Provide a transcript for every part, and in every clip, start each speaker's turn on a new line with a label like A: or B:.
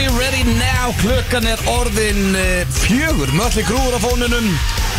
A: now Klukkan er orðin eh, fjögur Mölli grúður á fónunum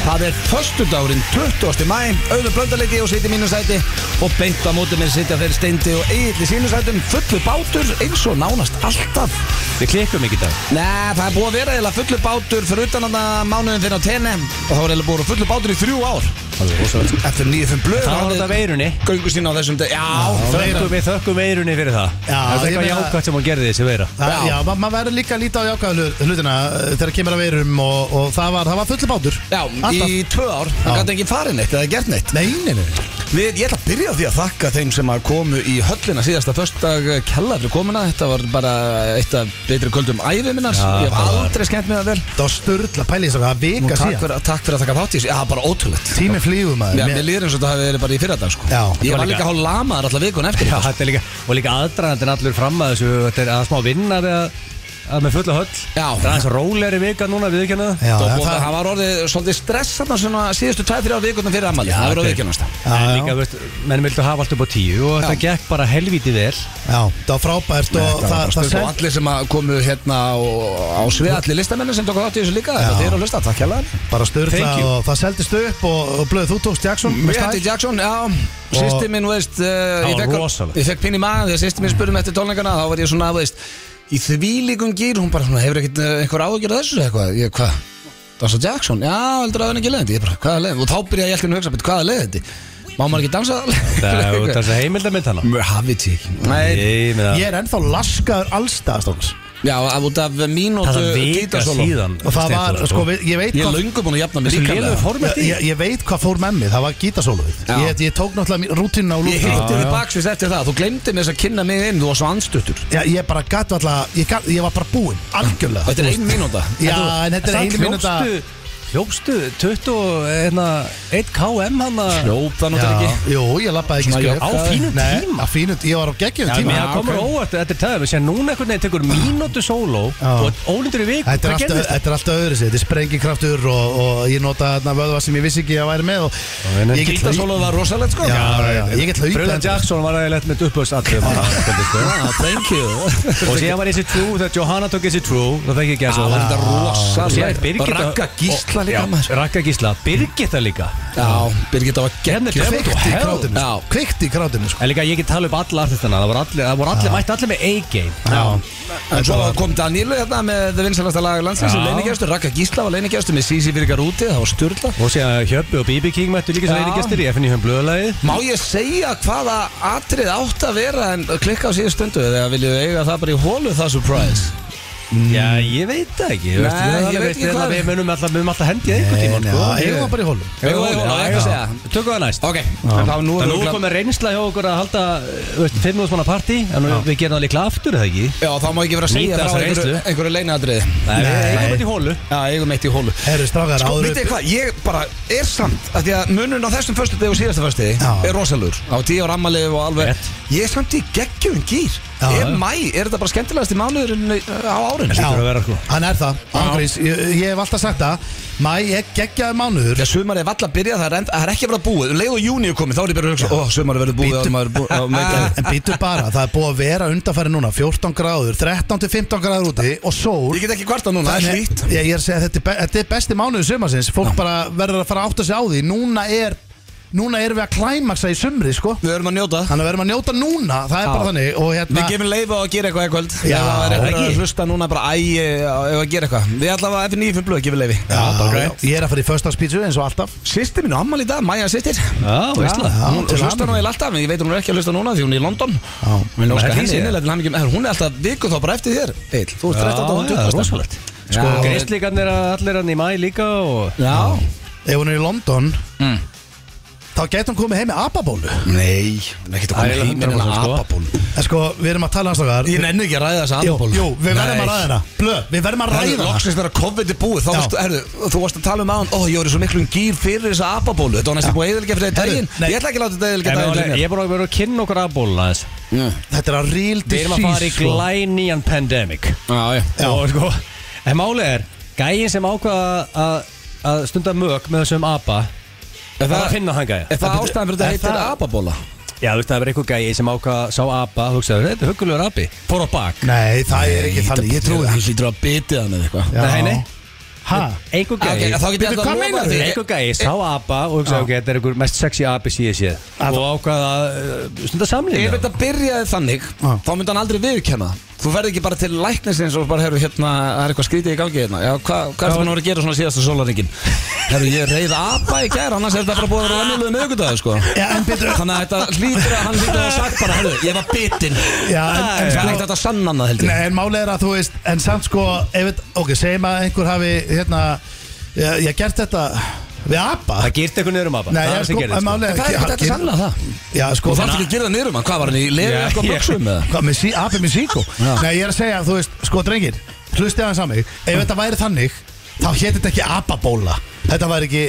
A: Það er föstudagurinn 20. mæ Auður blöndarleiti og sitja í mínu sæti Og beint á móti mér sitja þeir steindi og eigin í sínu sætum Fullu bátur eins og nánast alltaf
B: Við klikkum ekki í dag
A: Nei, það er búið að vera eiginlega fullu bátur Fyrir utan að mánuðin fyrir á tenni Og það var eiginlega búið að vera fullu bátur í þrjú ár Eftir 9-5 blöð
B: Það var
A: hafði
B: þetta veirunni
A: Göngu sína á þessum deg Já,
B: Þökkum við þökkum veirunni fyrir það
C: Já,
B: Það er
C: ég
B: eitthvað
C: meina-
B: jákvæmt sem hún gerði þessi veira
C: Það,
A: Já.
C: já, ma maður verður líka að líta á jákvæðu hlut- hlutina eh, þegar kemur að veirum og, og það var, það var fullu bátur
A: já
C: Alltaf.
A: í tvö ár
C: Já.
A: Það gæti ekki farin eitt eða gert neitt
C: Nei, nei, nei
A: Við, ég ætla að byrja á því að þakka þeim sem að komu í höllina síðasta föstdag kella fyrir komuna, þetta var bara eitt af betri kvöldum æfi minnar
B: Já,
A: ég hef
B: það var.
A: aldrei skemmt mig það vel
C: Það var sturla pæli þess að það
A: Nú,
C: vika
A: takk,
C: síðan
A: fyrir, takk fyrir að taka þátt í þessu, já bara ótrúlegt
C: Tími flýgur
A: Já,
C: maður
A: mér líður eins og þetta hafi verið bara í fyrradag sko.
C: Já,
A: Ég
B: var
A: var
B: líka-
A: líka hálf lamaðar alltaf vikun eftir
B: Já,
A: sko.
B: þetta er líka Og líka aðdraðandinn allur fram að þessu Þetta er að smá vinna við að, að með fulla höll
A: Já.
B: Það er aðeins rólegri vika núna við ekki hérna.
C: Já,
A: Það var
C: en
A: búið að-
C: það-
A: Það var orðið svolítið stress þarna svona síðustu 2-3 vikunum fyrir ammali
B: Já,
A: Það var orðið
B: þetta er-
A: vikunast
C: Já,
B: Líka, veist, menn vildu hafa allt upp á tíu og þetta gekk bara helvítið vel
C: Já, það var frábært og
B: Nei, það var
C: það,
B: bara
C: það,
A: Og
C: sel,
A: allir sem að komu hérna og- á svið Allir listamennin sem tók þátt í þessu líka
C: Já.
A: Þeir eru að hlusta, takk hérlega
C: bara sturla
B: Thank you.
C: og það seldist upp og, og blöð þú tókst Jackson með
A: Mér hætti
C: slag.
A: Jackson, já Sýsti minn, veist uh, ég,
B: var
A: fekk,
B: rosalegt.
A: ég fekk pinn í maður Þegar sýsti minn spurði mig eftir tónleikana Þá var ég svona, veist Í þvílíkum gýr Hún bara, svona, hefur ekkert uh, einhver áhugjur af þessu eða eitthvað Ég, hvað? Dansa Jackson? Já, heldur að hann ekki leiðandi Ég bara, hvaða leiðandi? Og þá byrjaði ég alltaf að hugsa "Bíddu, Hvaða leiðandi? Má maður ekki dansa?
B: Það er út af þessu heimildamind hana
A: Mjög hafið tík Nei,
B: Ég meina,
C: Ég er ennþá laskaður allstaðstóks
A: já, af út af
B: Það
A: mínútu
B: er vika
A: gítarsóló
B: síðan
C: Og það var,
B: Steindór,
C: sko, við- ég veit
A: Ég er
C: hvað
A: löngu búin að jafna mig
B: Þessu lélega
A: líka
B: formett í
C: Ég, ég veit hvað fór með mig, það var gítasóluð
A: Já.
C: ég, ég tók náttúrulega rútinu á
A: Ég
C: lúta
A: hitti
B: Já,
A: þið
B: já.
A: baksvist eftir það Þú glemdi mér þess að kynna mig inn Þú var svo andstuttur
C: Já, ég bara gæti alltaf, ég, gat- ég var bara búinn, algjörlega
A: Þetta er ein mínúta
C: Já, en þetta er
B: Það
C: einu mínúta
B: hljópstu Hljópstu hérna, 21 km hann að
A: Hljópa
C: Já,
A: náttúrulega ekki
C: Jú, ég lappaði ekki
A: Svona,
C: skref
A: já, á
B: fínum
C: Nei,
B: tíma.
C: á fínum, Ég var á geggjum
B: Já,
C: tíma
B: mér komur okay. óvart, þetta er tæðum Sér núna einhvern veginn tekur mínútu sóló
C: Já.
B: og ólindur í viku,
C: Þetta er,
B: hvað
C: alltaf,
B: gerðist?
C: þetta er alltaf öðru sér, þetta er sprengikraftur og, og ég nota þarna vöðva sem ég vissi ekki að væri með og
B: en
C: ég get hlau-
A: Gítasólu var rosalegt sko
C: Já, já, já, ég get hlaupið
B: Fröðan
C: þetta. sko.
B: Jackson var aðeins með um uppböðsallum
A: Ah, thank you
B: og sko. síðan var þessi trú, þegar Johanna tók þessi trú það fekk ég ekki að
A: Það var þetta
B: Ah. Og síðan
A: rosalegt
B: Birgitta-
A: Ragga Gísla líka
B: Já,
A: maður
B: Ragga Gísla, Birgitta líka
A: Já, Birgitta var
B: Hérna er
A: geggjur
B: Birgitta.
C: Kveikt í
B: Hell.
C: krátinu,
A: Já.
C: sko. kveikt í krátinu sko.
B: En líka ég get tala upp alla artistana Það voru allir, það voru
C: Ah.
B: allir, mætti allir með A-game
A: En svo kom Danílu hérna með vinsalasta lag landsins
B: Já.
A: Leinigestur, Ragga Gísla var leinigestur með Sisi Virgar úti, það var sturla
B: Og síðan Hjöppi og BB King mættu líka sem
A: Já.
B: einigestir í FNÍ um blöðalagi
A: Má ég segja hvaða atrið átt að vera en klikka á síðu stundu eða viljum við eiga það bara í hólu það surprise
C: Mm.
B: Já, ég veit það ekki
A: Nei,
B: veistu, það er
A: ég
B: alveg-
A: veit ekki
B: veistu,
A: hvað-
B: það Við munum alltaf, munum alltaf hendið einhvern
C: Nei,
B: tímann
C: nei,
B: sko.
C: já,
B: Ég-
C: eigum það bara í hólum.
A: Eigum
B: Eigum það í
A: það í hólum,
B: hólum, já,
A: ekki að
B: já.
A: segja.
B: Tökum það næst
A: Ok, en þá nú
B: Það
A: er
B: nú
A: örugglega-
B: komið reynsla hjá okkur að halda þú veist, 5.000 manna partí En nú- við gerum það líklega aftur, eða ekki?
A: Já, þá má ekki vera að segja
B: Nýta
A: frá
B: þessa
A: einhverju,
B: reynslu.
A: einhverju leinatriði
B: Nei, við
C: Nei.
B: eigum þetta í hólu
A: Já, eigum eitt í hólu
C: Herru, strákar,
A: Sko,
C: áður
A: veitir
C: upp
A: hvað, ég bara er samt að Því að munun á þessum föstudegi og síðasta föstudegi
C: Já.
A: er rosalur Á tíu ára ammalið og alveg
B: Rétt.
A: Ég er samt í geggjum gýr
C: Já,
A: Er
C: já.
A: mæ, er þetta bara skemmtilegast í mánuðurinn uh, á árinu?
C: Já,
B: Hlýtur að vera, sko.
C: Hann er það, ángríns, ég, ég hef alltaf sagt það Mæ, ég geggjaði mánuður
A: Þegar sumar er valla að byrja, það er, end, það er ekki að vera búið Um leið og júni er komið, þá er ég bara að hugsa Ó, sumar er verið búið
C: Bíddu.
A: áður en maður er búið- áður en maður er
C: En býtu bara, það er búið að vera undanfæri núna 14 gráður, 13 til 15 gráður úti og sól
A: búið Ég get ekki kvarta núna, það er
C: Þannig-
A: hlýtt
C: Ég, ég er að segja að þetta, er be- þetta er besti mánuðu sumarsins Fólk bara verður að fara að átta sig á því Núna er, núna erum við að klæmaksa í sumri sko.
A: Við erum að njóta
C: Þannig að verðum að njóta núna Það er
A: Já.
C: bara þannig Og hérna
A: Við gefum leifa að gera eitthvað eitthvað
C: Já,
A: Ef það er eitthvað
B: ekki.
A: að hlusta núna bara æ, ef að gera eitthvað Við ætlaðum að F95 blöð gefum leifi
C: Já,
B: bara
C: já,
B: grænt.
C: Ég er að fara í föstaspítsu eins og alltaf
A: Sýstir mínu ammal í dag, Maja sýstir
B: Já, veistla
C: Já,
A: Hún
C: til
A: hlusta nú
C: hamingju.
A: eða alltaf, en ég veit hún er ekki að hlusta núna því hún er í London
C: Já.
A: Minn
B: Það
A: óska
B: er
A: henni
B: lýsing.
A: innilega til hamingjum En Hún er alltaf viku þá bara eftir þér Eil, þú ert
B: Já,
A: 13 og
B: já,
A: 20
B: rosalegt.
A: Sko,
C: Sko,
A: Grist
B: Gristlíkarnir að allir hann í mæ líka og
A: Já
C: Ef hún er í London
A: Mm.
C: Þá getur hún komið heim með ababólu
A: Nei, hún er ekkert að
B: Það er
A: koma heim með
B: eiginlega
A: hennar
B: 100% sko.
A: apaból
C: En sko, við erum að tala hans okkar
A: Ég nenni ekki að ræða þessa
C: Jú,
A: apaból
C: jú, við verðum að ræða hana Blöð, við verðum að
A: Ræða
C: ræða hana
A: Loksins þegar COVID er búið Þá
C: Já.
A: varstu, herðu, þú varst að tala um aðan Ó, ég voru svo miklu gýr fyrir þessa apabólu Þetta var næstu búið eðilega fyrir
C: Herðu,
A: daginn
C: nei.
A: Ég ætla ekki að láta þetta eðilega
B: En við-
A: daginn Mm.
B: Ég er bara að vera að kynna okkur að bóla þess
A: Já,
C: Þetta er að real
B: Við erum að fara í
C: disease sko.
B: glænían pandemic
A: já
C: Já.
B: og sko, en málið er gæin sem ákvaða að, að stunda mög með þessum apa
A: Er
B: það er að
A: það-
B: finna þann gæja
A: er það ástæðan fyrir þetta
B: Er
A: heitir
B: það-
A: apabóla?
B: Já, þú veist, það er eitthvað gæi sem ákvað sá apa, þú veist, þetta er huggulegur api Fór á bak
C: Nei, það er ekki þannig, ég trúi
A: Hann hlýtur að bitið hann eða eitthvað
C: Já.
B: Nei, nei.
C: Ha?
B: Einhver
C: Ah,
B: gæi
A: Ok, þá getur
C: Bíddu,
A: ég
C: hvað
A: alltaf
C: meinar
A: lofað
C: þú?
A: því
B: Einhver gæi sá
C: Eh-
B: apa og hugsaði, ok, þetta er einhver mest sexy api síðan
C: Að-
B: séð Og ákvað að uh, stunda
A: Ef
B: samlinni
A: þetta byrjaði þannig,
C: Já.
A: þá myndi hann aldrei viðurkenna það. Þú ferð ekki bara til læknisins og bara, herru, hérna, það er eitthvað skrítið í gangi hérna Já, hvað hva er það að vera að gera svona síðasta sólaringin? herru, ég reyði apa í gær, annars er þetta bara búið að vera venjulega miðugudagið, sko
C: Já, en betur
A: Þannig að þetta hlýtur að hann hlýtur að hafa sagt bara, herru, ég var bitinn
C: Já, en-
A: Það
C: en
A: er
C: sko-
A: ekkert þetta sann annað, held ég
C: Nei, en málið er að þú veist En samt sko, ef, þetta- ok, segjum að einhver hafi Hérna, ég, ég gert þetta Við apa
B: Það gýrt eitthvað niður um apa
C: Nei,
B: það er
C: ég,
B: það sem
C: sko,
B: gerðist,
C: en málið
A: En Það er
C: er
A: ekkert
C: hann
A: þetta
C: gerir-
A: sannlega það
C: Já,
A: Þú
C: sko
A: þarf ekki að gera það niður um hann, hvað var hann í leður
B: Já,
A: eitthvað
B: ég-
A: buxum eða?
C: Hvað með sí, apið með síkó?
A: Já.
C: Nei, ég er að segja, þú veist, sko drengir Hlustið aðeins að mig Ef þetta væri þannig, þá héti þetta ekki apabóla Þetta væri ekki,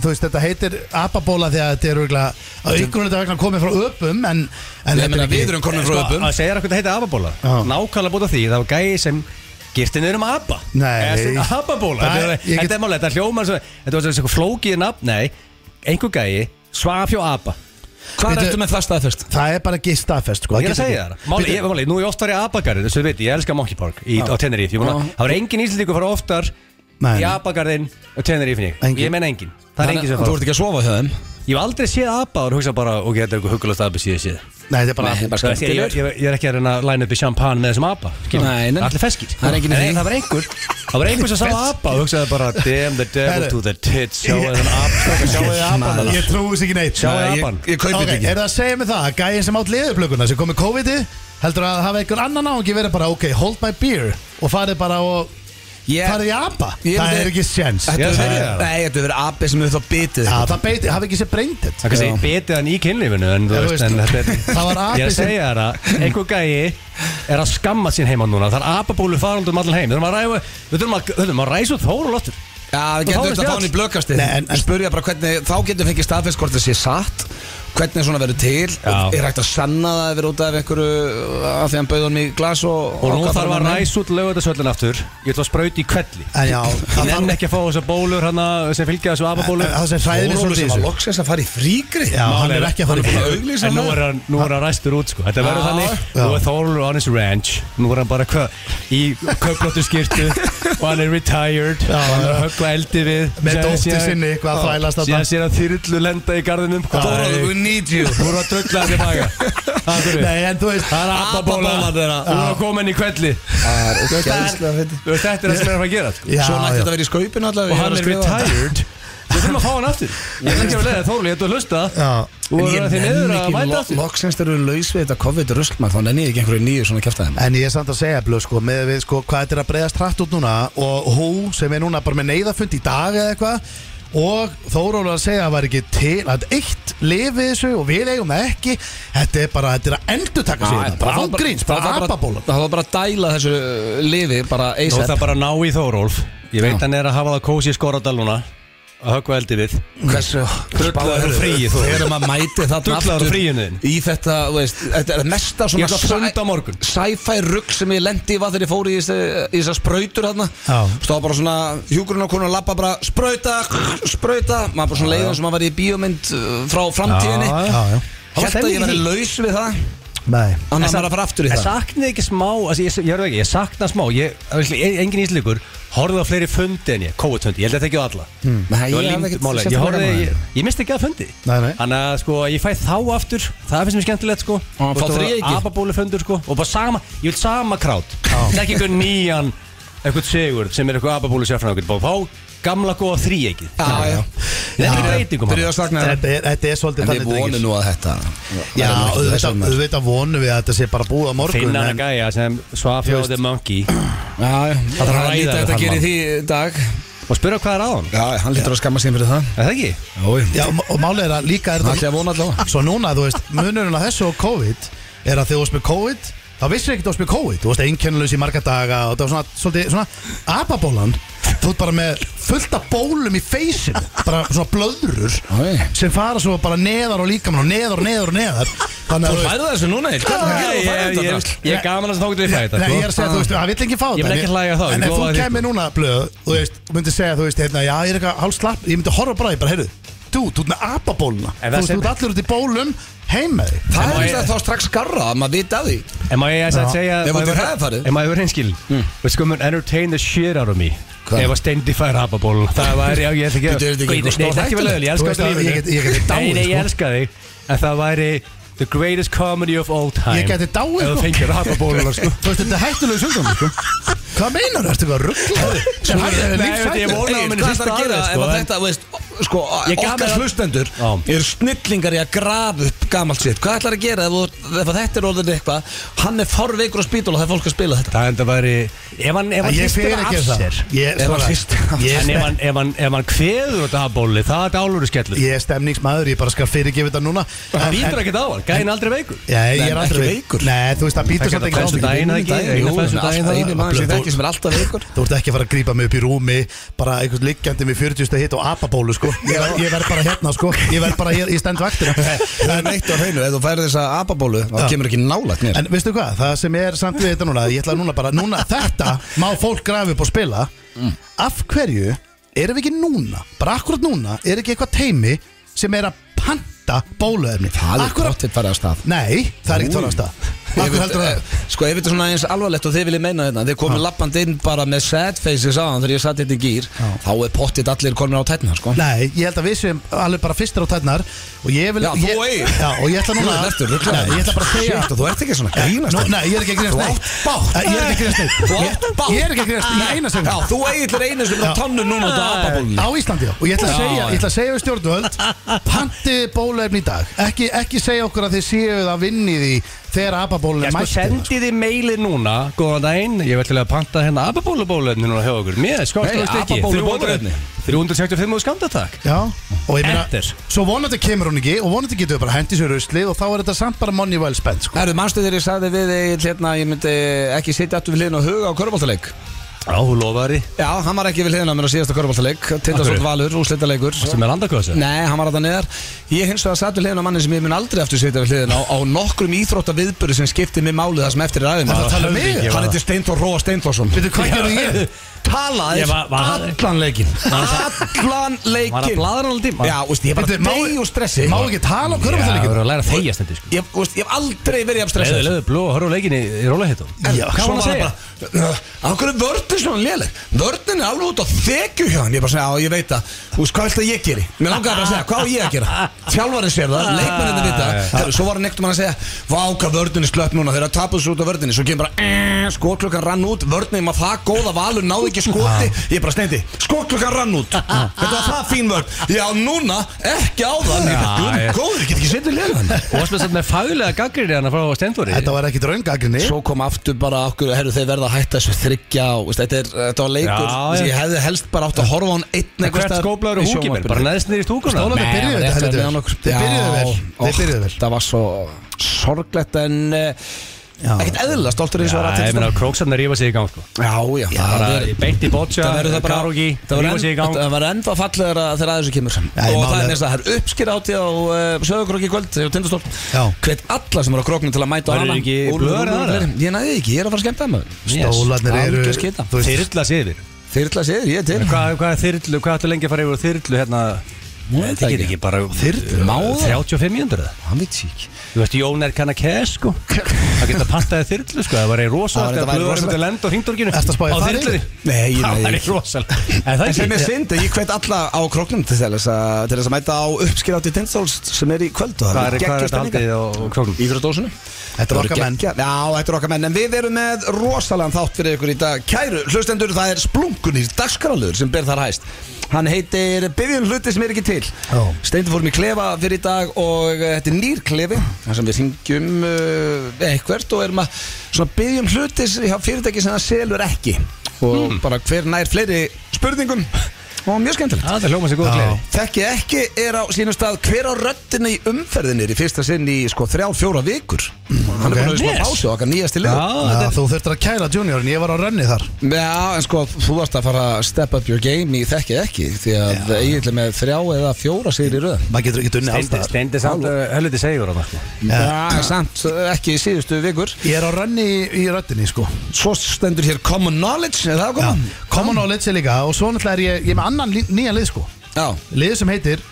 C: þú veist, þetta heitir apabóla Því að þetta er örgulega Að ykkurinn þetta vegna komið frá öpum En, en
A: Ég meina, við erum konum
C: Sko,
A: frá öpum
B: sko, Að segja þér hvað þetta heita ababóla
C: Já.
B: Nákvæmlega búið að því Það var gæi sem girti niður um abba
C: Nei.
B: Eða sem Ababóla
C: Nei,
B: Þetta er-
C: ég get-
B: Þetta er málega, þetta hljómar svo- Þetta var svo- svo flókið nafn Nei, einhver gæi svaf hjá abba
A: Hvað
C: Bíddu-
A: ertu með það staðfest?
C: Það er bara ekki staðfest, sko
B: Ég er að segja þér Máli, ég, máli, Nú er ég oft farið í abagarðin Þessu veit, ég elska Monkey Park í, á Tenerife Ég meina,
A: Já.
B: Það var engin íslendingu að fara oftar
C: Nei.
B: Í abagarðin á Tenerife
C: Engin.
B: Engin. Ég menn engin Það er engin sem
A: Þú
B: fara
A: ert ekki að sofa hjá þeim?
B: Ég hef aldrei séð abba og hugsa bara Ok, þetta er eitthvað huggulast abba síðan séð
C: Nei, þetta er bara
A: Nei, bara
B: Ég, ég, ég, ég er ekki að reyna að læna upp í champagne með þessum apa skilur.
A: Nei, nei.
B: Allir feskir
A: Það er enginn í því.
B: Nei, Það var einhver Það var einhver sem sá apa og hugsaði bara Damn the devil
C: Herru.
B: to the tits Sjáðu þennan apa Sjáðu þið
C: Ég
B: apan þarna.
C: trúi þess ekki neitt
B: Sjáðu
C: Nei,
B: apann.
A: Ég kaupi
C: Ok,
A: þetta ekki
C: er það að segja mig það að Gæin sem átt liðuplökunna sem kom með COVID-i Heldur að hafa einhver annan áhengi verið bara Ok, hold my beer Og farið bara og
A: Ég-
C: farið í apa
A: Ég
C: Það
A: myndi-
C: er ekki séns
A: Þetta
B: Ég
A: hefur
B: segi
A: verið-
B: það.
A: Nei, þetta hefur verið abbi sem hefur þá bitið
C: Já, það beiti, hafi ekki sér breyndið
B: Það kannski betið hann í kynlífinu en, þú
C: Já,
B: veist,
C: veist.
B: en þetta er,
C: Það var api
B: Ég er að
C: sem-
B: segja þér að einhver gæi er að skamma sín heima núna Það er apabólu faraldum allan heim Við þurfum að ræða Við þurfum að, við þurfum að ræsa út Þóru Lóttur
A: Já, við getum
B: þá er
A: þetta
B: spjall.
A: fáin í blökasti
C: Nei, en- en-
A: Spurja bara hvernig, þá getum við fengið staðfest hvort það sé satt Hvernig svona verður til
B: Já.
A: Er hægt að sanna það ef við út af einhverju Af því hann bauð honum í glas og
B: Og nú
A: ákvað
B: þarf
A: bara
B: að
A: nei.
B: ræsa út lögutarsöllin aftur Ég ætla að sprauti í kvelli
C: En já, það
B: Það
C: þarf
B: er ekki að fá þessar bólur hana, sem fylgja þessu apabólu
C: En- en það sem hræðir mig
A: Þórólfur
C: svolítið í
A: sem var
C: þessu
A: loksins að fara í frígri
C: Já, hann er ekki að fara í
A: búinn að
C: frí
A: auglýsa
B: En nú
A: það.
B: er hann, nú er hann ræstur út sko Þetta verður
A: Já.
B: þannig,
C: Já.
B: nú er Þorlur on his ranch Nú er hann bara hva, í köplóttu skirtu Og hann er retired
C: Já,
B: Og hann er
C: já.
B: að höggva eldi við
C: Með dóttu sinni eitthvað að þvælast
B: Síðan
C: þarna
B: sér að þyrlu lenda í garðinum sko.
A: Þórólfur,
B: Nei,
A: we need you
B: Nú er hann drögglaði tilbaka Það er
C: Nei, en þú veist
B: Það er abbabóla
A: Abbabólan
B: Nú er hann komin í kvelli
A: Það er
B: Þú veist,
A: ógeðslega
B: það er-
A: fyndið.
B: þú veist, Þetta er það sem er að fara að gera sko.
C: Já,
A: Svona ætti
C: já.
A: þetta að vera í skaupinu allavega
B: Og
A: ég
B: hann
A: að
B: er
A: skrifa það.
B: retired Við þurfum að fá hann aftur Ég er ekki að vera leið Þorlur, ég ætla að hlusta
C: Já.
B: Þú
A: En
B: er
A: ég
B: því niður að
A: nenni
B: mæta
A: ekki,
B: aftur
A: lo- loksins þegar við erum laus við þetta COVID-rusl Þá nenni ég ekki einhverju nýju svona kjæftæðum
C: En ég er samt að segja, blöð, sko, með við, sko, hvað þetta er að breyðast hratt út núna og hú, sem er núna bara með neyðafund í dag eða eitthvað og Þóróla að segja að það var ekki til að eitt lifi þessu og við eigum það ekki þetta er bara, þetta er að endur taka sig þetta, bara ángríns, bara apabóla
A: Það var bara að dæla þessu uh, lifi bara
B: Nú er
A: ASAP
B: það bara að ná í Þórólf Ég veit hann er að hafa það kósi í skoradaluna að höggva eldi við
A: Hversu
B: Drullaður og fríi, þú.
A: Þegar maður mæti þarna
B: Drullaður og
A: aftur
B: fríinu þinn.
A: Í þetta, þú veist, þetta er mesta
B: Ég
A: svona
B: ætla að funda á morgun.
A: Sci-fi rugg sem ég lendi í var þegar ég fór í þessi- í þessar sprautur þarna
C: Já.
A: Stóð bara svona hjúkurinn og konar lappa bara Sprauta, sprauta Maður bara svona leiðan sem maður var í bíómynd uh, frá framtíðinni
B: Já,
C: Já, já,
A: Hjælt að ég verði laus við það
C: nei
A: Annars maður að fara aftur í
B: Ég
A: það
B: saknaði ekki smá altså, ég, ég, verð ekki, ég sakna smá ég, ég, ég, Engin íslíkur Horfði á fleiri fundi en ég COVID-fundi Ég held að þetta ekki á alla
A: Nei,
B: Ég, var
A: Hmm. ég hef
B: límd-
A: ekkert
B: málega, ég,
A: sérstaklega
B: horfði,
A: gaman að
B: ég, ég misti ekki að fundi
C: Nei, nei.
B: Þannig að sko, ég fæ þá aftur Það finnst mér skemmtilegt sko
A: Og fá þríeykið.
B: Ababólufundur sko Og bara sama Ég vil sama krát Það er ekki einhver nýjan Eitthvað segur Sem er eitthvað ababólu sérfræðingur Bara fá gamla góða þríeikið
A: Já, já
B: Þetta er um breytingum
A: Byrjuðu að sakna þeirra.
C: þetta er, þetta er svolítið
A: En við vonum nú að þetta
C: Já,
A: verði nú ekki þess
C: auðvitað
A: vegna.
C: auðvitað vonum við að þetta sé bara búið á morgun
B: Finna hann
C: en,
B: gæja sem svaf hjá
C: Þú veist.
B: The Monkey
A: Já, já, það
B: þarf
A: er
B: að ræða
A: lítið
B: við
A: hægt að
B: hann
A: gera í
B: mann.
A: því dag
B: Og spyrja hvað er á hann
A: Já, hann lítur að skamma sín fyrir það
B: Er það ekki?
A: Jói
C: Já, og málið er að líka er
A: Það
C: þetta
A: ætla ég að vona allavega
C: Svo núna, þú veist, munurinn á þessu og COVID er að þegar þú varst með COVID þá vissir ekki þú varst með COVID, þú varst einkennlaus í marga daga og það var svona, svolítið, svona apabólan, þú ert bara með fullt af bólum í feysin bara svona blöðrur
A: Oi.
C: sem fara svo bara neðar og líkamann og neðar og neðar og neðar þannig að þú veist,
A: færðu þessu núna Egill? Hvað
B: Ég-
A: ertu að gera? Þú færð
B: ég-
A: þetta
B: ég-
A: drasl.
B: Ég er gaman að það þá getur við fæði þetta
C: Nei, ég er
B: sko.
C: að segja, þú veist, það vill enginn fá þetta
B: Ég vil
C: en
B: ekki hlæja þá, ég
C: En ef
B: lofa
C: þú
B: því, sko.
C: kemur núna, blöð, þú veist, og myndir segja, þú veist, hérna, já, ég er eitthvað hálf slapp Ég myndi horfa bara, ég bara, heyrðu, út, þú ert með apabóluna
B: En
C: Þú
B: það
C: veist, þú
B: sem-
C: ert allir út í bólum heim með þig
A: Það
B: En
A: er
B: má
A: ekki
B: ég-
A: þá strax skarra að maður vita af því
B: En maður ég að segja
A: Ef
B: má ég
A: þú
B: vera-
A: hefði farið.
B: Ef maður verið einskil
C: Hmm.
B: Veist sko, mun entertain the shit out of me
A: Hvað?
B: Ef að stendi fær hapaból Það væri, já, ég ætla ekki
A: Bíddu, er þetta ekki
B: Nei,
A: eitthvað
B: Nei, það er ekki vel
A: stórhættulegt?
B: öðvöld, ég
C: Þú
B: elska
C: veist
B: þetta
C: að ég get- ég geti dáið,
B: Nei, nei, ég
C: sko.
B: elska þig En það væri the greatest comedy of all time
C: Ég geti dáið,
B: Ef
C: sko.
B: þú fengir hapabóluna, sko
C: Þú veist, þetta er hættulegu sjúkdómur, sko Hvað meinar þú? Ertu eitthvað rugglaður? Svo er
B: Nei,
C: það
B: veit ég,
C: lífsættur
B: ég vona-
A: Egil,
B: minn í
A: Hvað
B: fyrsta
A: ætlar að gera
B: aðeins,
A: ef
B: sko,
A: að
B: en-
A: þetta, veist, sko,
B: Ég gaf
A: okkar
B: mér-
A: hlustendur
B: Já.
A: eru snillingar í að grafa upp gamalt sitt Hvað ætlar að gera ef, þú- ef að þetta er orðin eitthvað Hann er forveikur á spítal og það er fólk að spila þetta
B: Það enda væri Ef hann, ef hann
C: Ég
B: hristir
C: fyrir
B: það
C: ekki um
B: af
C: það
B: sér
A: Ef
C: Ég-
A: hann
C: svona-
A: hristir af
C: ég-
B: En ef hann, ef hann, ef hann kveður þetta hapabóli Það er dáluru skellur
C: Ég er stemningsmaður, ég bara skal fyrirgefa þetta núna
B: Það
C: En-
B: býtur
C: en-
B: ekkert á hann, gæðin aldrei veikur
C: Já,
A: Nei,
C: ég er
A: ekki
C: aldrei
A: veikur.
C: Nei, þú veist, það býtur
B: Það
C: samt
B: geta
C: ekki á
B: flestu
C: því.
B: um daginn, eða ekki?
A: Jú,
B: Eina fæssu
A: en alltaf
B: daginn, það-
A: eini maður sem
C: Þú-
A: þekki sem er alltaf veikur
C: Þú ert ekki að fara að grípa mig upp í rúmi bara einhvers liggjandi með 40 hitt og apabólu sko. ég, ver, ég verð bara hérna sko. ég verð bara hér, ég stend vaktina
A: Það er neitt á hreinu, ef þú færir þessa ababólu þá
C: Já.
A: kemur ekki nálægt mér
C: en veistu hvað, það sem er samt við þetta núna ég ætla núna bara, núna þetta má fólk grafi upp og spila
A: Mm.
C: af hverju erum við ekki núna bara akkurat núna, er ekki eitthvað teimi sem er að panta bóluefni
A: Það er
C: Akkurat-
A: gott að fara að stað
C: nei, það er ekki
A: Új.
C: tóra stað akkur heldur það
A: Sko, ef þetta er svona eins alvarlegt og þið viljið meina þetta Þið komið lappand inn bara með sad faces á hann Þegar ég satt þetta í gýr Þá er pottit allir komin á tætna, sko
C: Nei, ég held að við séum alveg bara fyrstir á tætnar Og ég vil
A: Já, þú
C: ég,
A: Egill.
C: Já, og ég ætla núna
A: Þú ert eftir, ruglaður.
C: Nei, Ég ætla bara að segja
A: Shit, og þú ert ekki svona að grínast,
C: Nú,
A: Egill.
C: Nei, ég er ekki að grínast
A: Þú
C: neitt.
A: átt bágt.
C: Nei, Ég er ekki að grínast neitt.
A: Þú
C: Ég-
A: átt bátt.
C: Ég er ekki að grínast í eina sem
A: Já, þú eigið er einu sem er á
C: Já.
A: tannum núna út á ababólunni
C: Á Íslandi, já, og ég ætla að
A: Já,
C: segja,
A: já.
C: ég ætla að segja við stjórnvöld Panti bólefni í dag ekki, ekki segja okkur að þið séu að vinni því Þegar ababólefni
B: Ég
C: er
B: sko
C: mættið
B: sendi þið meilið núna Góðan daginn, ég vil til að panta hérna ababólubólefni núna hjá okkur Mér,
A: Nei,
B: skorstofist ekki
A: ababólubóluefni.
B: 365 og skamdatak
C: Já, og ég meina,
B: Enter.
C: svo vonandi kemur hún ekki Og vonandi getur við bara hendi sér rusli Og þá er þetta samt bara money well spent sko.
A: Erðu, manstu þegar ég sagði við Egill hérna Ég myndi ekki sitja aftur við hliðin og huga á körfbóltaleik
B: Já, hún lofaði
A: Já, hann var ekki við hliðin á mér á síðasta körfbóltaleik Tindasótt
B: Af hverju?
A: Valur, úrslitaleikur
B: sem er landakösa
A: Nei, hann var alltaf neðar Ég hins vegar satt við hliðin á manni sem ég mun aldrei aftur sitja við hliðin á, á nokkrum íþrótta viðböru sem skipti mig máli það sem eftir er aðeins
C: Ertu að tala um mig?
A: Hann heitir Steindor Róa Steindórsson
C: Veitu, hvað gerði ég?
A: Talaði
B: Ég var- var-
A: allan leikin Allan leikin
B: Var að blaðra allan tímann?
A: Já, veist, ég er bara
C: Veitu, má-
A: deg og stressi
C: Má ekki tala um
B: Já, það
C: körfuboltaleikinn?
B: verður að læra að þegja stendi sko
A: Ég veist, ég hef aldrei verið af stressað
B: Leðu, leðu, bló, horfðu á leikinni í rólehitum
A: En
B: Hvað var
A: svo
B: hann að
A: var
B: segja?
A: það bara Á hverju er vörðin svona léleg Vörðin er alveg út á þekju hjá hann Ég bara segja, á ég veit það Þú veist, hvað vilt að ég geri? Mér langaði bara að segja, hvað á ég að gera? Þjálfarið sér það, leikmennið vita
B: Ah.
A: Herru, Svo var hann ekkert mann að segja Vá, hvað vörðin er slöpp núna Þegar tapuð svo út á vörðinni Svo kemur bara eh, Skotklukkan rann út Vörðin maður það góða valur Náði ekki skoti
B: Ah.
A: Ég bara steindi Skotklukkan rann út Þetta var það fín vörð Já, núna Ekki á það Ég bara,
B: Já,
A: guð minn
B: já.
A: Góður, ég get ekki setið legan
B: Og varst með satt með faglega hérna gaggrinni hann að fara á stendvori
C: Þetta var ekkit raungagrinni
A: Svo kom aftur bara okkur, herru þeir verða að hætta þessu þryggja og veist, þetta, er, þetta var leikur
B: Já,
A: já,
B: já.
A: ég hefði helst bara átt að horfa á hann einn einhvers
B: Hvert
A: staðar í
B: skóplaður og húkimil,
A: sjónvarpinu.
B: bara neðst niður í stúkuna
C: Stólarnir
B: Nei,
C: byrjuðu
B: hann
C: þetta
B: rétti
C: heldur
B: hann
C: vel.
B: við
A: okkur.
B: hann
C: Þeir byrjuðu vel,
A: Já,
C: þeir byrjuðu vel.
A: Það var svo sorglegt en uh,
C: Já.
A: ekkert eðlilega stoltur eins og var
B: Já,
A: að
B: ég meina,
A: tilstæða
B: króksarnar rífa sig í gang sko
A: Já, já, það
B: Bara
A: verður-
B: beint í boccia,
A: Það verður það bara
B: karogi,
A: Það
B: rífa sig í
A: verður
B: gang
A: en, það verður ennþá fallegra þegar að þessu kemur
C: ég
A: Og það
C: málega-
A: er næsta, það er uppskýr átti á uh, sögurkróki í kvöld og tindastól
C: Já.
A: Hvet alla sem eru á króknum til að mæta á
B: Verður
A: hana
B: ekki
A: Úlfur,
B: blöðar
A: Úlfur,
B: þar,
A: Úlfur. Ég næði ekki, ég er að fara að skemmta maður
C: Stólarnir eru
A: Algjör skita.
C: þú veist,
B: Þyrla siður
A: Þyrla séður, ég er til
B: Hvað hvað er þyrlu, hvað ættu lengi að fara yfir úr þyrlu hérna
A: Nú er það
B: Þið
A: ekki.
B: getur ekki bara eh,
A: Þyrlu? Má það?
B: 35 mínútur eða?
A: Hann veit sér ekki
B: Þú veist, Jón er kann að kæða sko Það geta pantaði þyrlu sko Það var einn
A: Það var-
B: rosalegt
A: þetta
B: að
A: væri
B: blöður
A: rosalegt.
B: um þetta lend og hringdorginu
C: Ertu að spá í
B: Á
C: það
B: þyrlunni
C: yfir?
A: Nei, ég-
B: Það
A: nei,
B: var
A: ég-
B: einn rosalegt En það
A: En sem er
B: ekki
A: synd, ég hvet alla á kroknum til þess að, til þess að mæta á uppskýrátti Tindstóls sem er í kvöld og
B: Hvað er hvað er
A: geggjur
B: þetta
A: stemningar.
B: haldið og og króknum?
A: Íþróttdósunum
C: Þetta er okkar menn
A: Já, þetta er okkar menn En við erum með rosalega þátt fyrir ykkur í dag Kæru, hlustendur, það er splunkunir Dagskrálur sem ber þar hæst Hann heitir Bifjum hluti sem er ekki til
C: Já.
A: Steindur fórum í klefa fyrir í dag Og eh, þetta er nýr klefi þar sem við syngjum uh, eitthvert Og erum að svona bifjum hluti sem- hjá fyrirtæki sem það selur ekki Og bara hver nær fleiri spurningum Og mjög skemmtilegt
B: Það er hljóma sér góða
C: Já.
B: gleði
A: Þekki ekki er á sínum stað hver á röddina í umferðinni er í fyrsta sinn í sko þrjá, fjóra vikur Hann er búin að við smá
B: Yes.
A: pásu á okkar nýjasti
B: Já,
A: lið
B: þetta
C: Já,
B: er
C: Þú þurftir að kæla juniorin, ég var á rönni þar
A: Já, en sko, þú varst að fara að step up your game í þekki ekki Því að eiginlega með þrjá eða fjóra sigri í röð
C: Maður getur ekki unni
B: Steindi-
C: alltaf
B: Steindi samt eh, Hölluði segjur á það sko
A: Já, en samt ekki í síðustu vikur
C: Ég er á rönni í, í röddinni sko
A: Svo stendur hér common knowledge, er það
C: Já.
A: komin?
C: Common knowledge er líka og svo náttúrulega er ég, ég er með annan lí, nýjan lið sko
A: Já,
C: Lið sem heitir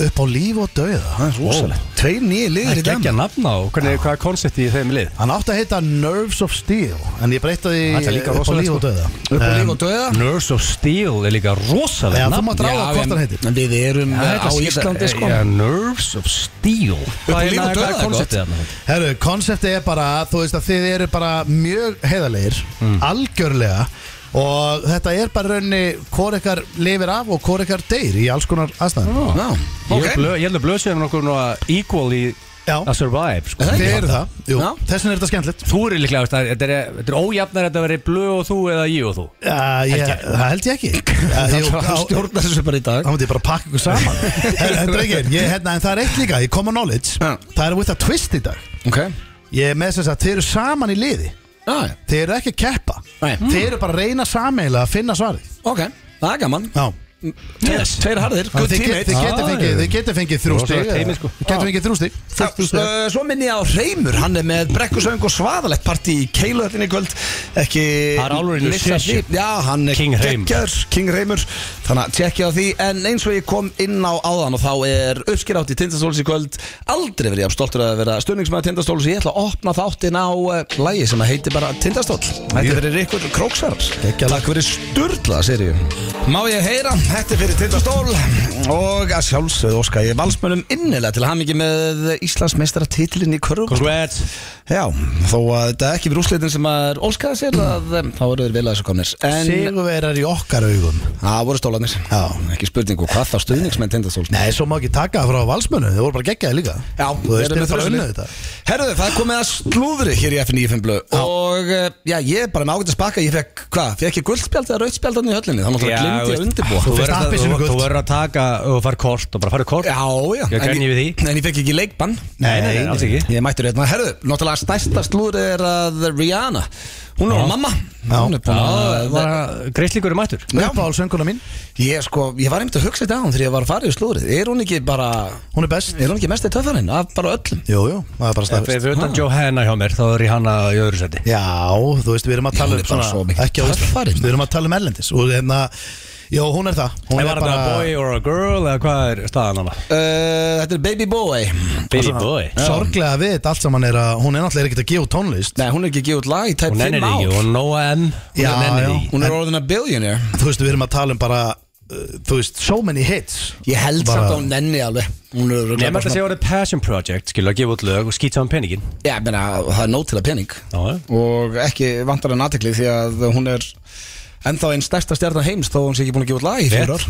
C: upp á líf og dauða
A: Það er rosalegt. Tveir nýju liðir í dag
B: Gekkja nafna og hvernig, hvað er konceptið í þeim lið?
C: Hann átti að heita Nerves of Steel En ég breyta því
B: Það er líka
C: upp á
B: rosalegt,
C: líf og
B: sko.
C: dauða
A: Upp á líf og dauða
B: Nurse of Steel er líka rosalega
C: Já, þú mátt ráða
A: Já,
C: hvort
A: en-
C: hann heitir.
A: En við erum eh, á Íslandi sko
B: ja, Nerves of Steel
A: líf
B: Hvað er-
A: og
B: hvað
A: dauða,
B: er konceptið þarna?
C: Herru, konseptið er bara að Þú veist að þið eru bara mjög heiðarlegir Algjörlega Og þetta er bara raunni Hvor ykkar lifir af og hvor ykkar deyr Í alls konar aðstæðan
A: Já,
B: Ég held
A: ok
B: blö- Ég held að blöðsum er nokkur nú að equal í
C: Já.
B: að survive sko.
C: Þið eru það, jú,
A: Já.
C: þess vegna er þetta skemmtilegt
B: Þú eru líklega, veist, það- þetta er, þetta er ójafnar að þetta veri blöð og þú eða ég og þú
C: Já, ég, það held ég ekki Já, jú,
A: Það
C: á-
A: stjórnar þessu bara í dag
C: Þá myndi ég bara pakka ykkur saman Herra, drengir, ég, hérna, En það er eitt líka, ég kom á knowledge
A: Já.
C: Það er with a twist í dag
A: Ok
C: Ég er með þess að þið eru saman í liði
A: Já,
C: Þið eru ekki að keppa
A: Nei.
C: Þið eru bara að reyna sameiginlega að finna svarið
A: ok Það er gaman
C: Já
A: Tveir- Tveir harðir
C: Þannig
A: Good Ah.
C: að Þið get-
A: teammate
C: þið getið
B: Já,
C: fengið,
B: já.
C: þið getið fengið þrjú
B: Rosa
C: stig eða-
B: teimi, sko.
C: Þið getið fengið þrjú stig
A: Já,
C: Þrjú stig.
A: uh, Svo minni ég á Hreymur, hann er með brekkusöng og svaðalegt partí í Keiluhöllinni í kvöld ekki
B: Það er alveg í
A: missa
B: session.
A: því. Já, hann er
B: King Hreimur.
A: geggjaður, King Hreymur Þannig að tjekkja á því En eins og ég kom inn á áðan og þá er uppskerátt í Tindastóls í kvöld Aldrei verið ég stoltur að vera stunningsmæður Tindastóls Ég ætla að opna þáttinn á uh, lægi sem að heiti bara Tindastól Þetta er fyrir ykkur króksverðars
C: Geggjað.
A: Takk fyrir sturla, sér Má ég heyra, þetta er fyrir Tindastól Og að sjálfsögðu óska ég valsmönum innilega til hamingi með Íslandsmeistara titilinn í körfum
B: Congrats
A: Já, þó að þetta er ekki verið úrslitin sem að er óskaða sér að, um, Þá eru þeir vel að þessu komnir En
C: Sigurverar í okkar augum
A: það voru stólanir
C: Já.
A: Ekki spurningu, hvað þá stuðningsmenn Tindastóls
C: Nei, svo má ekki taka það frá valsmönu Þið voru bara geggjaði líka
A: Já,
C: Þú veist,
A: erum
C: þið
A: við
C: er bara
A: þrjusni.
C: unnið þetta
A: Herðu, það er komið að slúðri hér í FNÍ5 blöð Og eh, já, ég er bara með ágætt að spaka Ég fekk, hvað, fekk ég guldspjald eða rautspjald Þannig í höllinni, þannig að
B: Já,
A: glimti ég að
B: veist,
A: undirbúa
B: Þú verður
C: Fyrst
B: að-
C: appelsínu
B: þú-
C: gult.
B: þú verður að taka og fara kort og bara fara kort
A: Já, já
B: Ég grenji
A: En
B: við því.
A: En ég fekk ekki leikbann
B: Nei, nei, nei, alls ekki.
A: Ég er mættur hérna Herðu, náttúrulega stærsta slúður er að Rihanna Hún er
B: Já.
A: mamma
C: Já.
A: Hún er búin að
B: Greislíkur er mættur
A: Já.
C: Uppáhald sönguna mín,
A: Ég sko, ég var einmitt að hugsa þetta á hún Þegar ég var að fara í slúðrið Er hún ekki bara
C: hún er best
A: Er hún ekki mest í töffarinn Af bara öllum
C: Jú, jú, það er bara staðfest
B: Fyrir utan Johanna hjá mér þá er ég hana í öðru seti
C: Já, þú veist, við erum að
A: Já,
C: tala
A: hún
C: um
A: er bara svo
C: svona,
A: mikil
C: ekki á
A: töffari,
C: Íslandi Við erum að tala um erlendis og hérna, já, hún er það Hún
B: En var þetta boy or a girl eða hvað er staðan hana?
A: Uh, þetta er Baby Boy
B: Baby boy
C: sorglega við þetta allt saman er að hún er náttúrulega ekkert að gefa út tónlist
A: Nei, hún er ekki gefið út lag í tæp
B: Hún
A: 5
B: nennir
A: ár
B: ekki, hún Noah M Hún
C: Já,
B: nennir
C: já.
B: ekki
A: Hún er orðin að billionaire
C: Þú veist, við erum að tala um bara, uh, þú veist, so many hits
A: Ég held
C: Bara-
A: samt að hún nenni alveg Hún er
B: Nefnum
A: örugglega
B: þetta
A: bara
B: að
A: svona
B: segja orðið passion project, skilur að gefa út lög og skýta um peningin
A: Já, ég meina, það er nót til að pening
B: Já,
A: Og ekki vantar hann aðtekli því að hún er Ennþá einn stærsta stjarnar heims Þó hún sé ekki búin að gefa út lag í
B: Rétt.
A: fyrir ár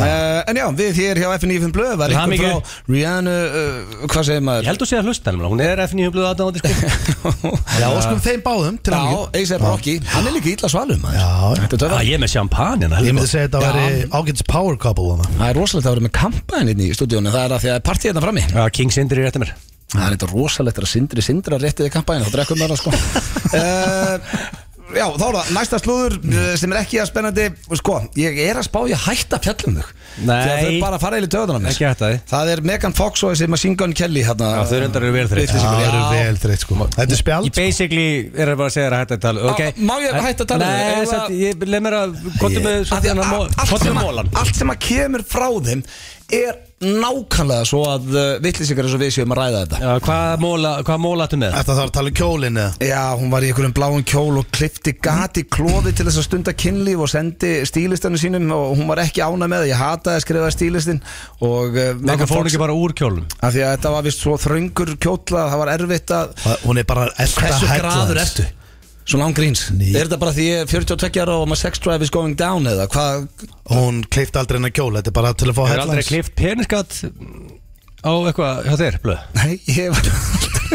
A: uh, En já, við hér hjá FNF Blöð Var
B: Til
A: einhver
B: hamingju.
A: frá Rihanna uh, Hvað segir
B: Ég
A: maður?
B: held að segja hlusta hennar, hún er FNI blöðu aðdáðandi sko
C: Já, óskum þeim báðum til
A: Já,
C: hann
A: A$AP Rocky Hann er líka illa svalum maður.
C: Já.
A: Þetta er
B: Já,
A: töfra
B: ég er með champagne hérna,
C: Ég
B: heldur
C: myndi
B: bara.
C: segja að þetta
A: Já.
C: væri ágætis power couple hana.
A: Það er rosalegt að vera með kampaðin inn í stúdíónu Það er að því að partíð hérna frammi
B: Já, King Sindri er eftir mér
A: Það er eitthvað rosalegt að sindri sindra réttið í kampaðin Þá drekkum við það sko uh, Já, þá er það næsta slúður eh, sem er ekki að spennandi Sko, ég er að spá ég hætta fjallum þau
B: Nei.
A: Þegar þau bara fara eða töðunar mér
B: Ekki hætta því.
A: Það er Megan Fox og þessi Machine Gun Kelly hérna,
B: Já, þau reyndar eru vel þreytt.
A: Já,
C: Það eru vel þreitt sko Þetta er
B: Ég
C: spjald
B: basically er bara að segja þér að hætta að tala okay.
A: Á, má ég hætta að tala við þig?
B: Nei,
A: Eða-
B: satt, um ég leið mér að Kottu með
A: Af því að a-
B: svona
A: allt
B: Kottu
A: sem
B: með
A: að-
B: mólan
A: Allt sem að kemur frá þeim er nákvæmlega svo að uh, vittlýsingar eins og við séum að ræða þetta
B: Já, hvað móla, hvað móla ættu með?
C: Þetta þarf að tala um kjólin eða
A: Já, hún var í einhverjum bláum kjól og klifti gat í klóði til þess að stunda kynlíf og sendi stílistanum sínum og hún var ekki ána með það, ég hataði að skrifa stílistin og uh,
B: Nei,
A: Megan
B: fór
A: Fox
B: ekki bara úr kjólum
A: af því að þetta var vist svo þröngur kjótla það var erfitt að
C: Það- Hún er bara elta
A: hversu
C: hella
A: graður
C: þess.
A: ertu? Svo lang gríns
C: Ný.
A: Er þetta bara því ég er 42 ára og maður sex drive is going down eða hvað?
C: Hún kleift aldrei hennar kjól Þetta er bara til að fá
B: Hefur
C: hella
B: aldrei
C: hans.
B: klift peniskat á eitthvað hjá þér, blöð?
A: Nei, ég var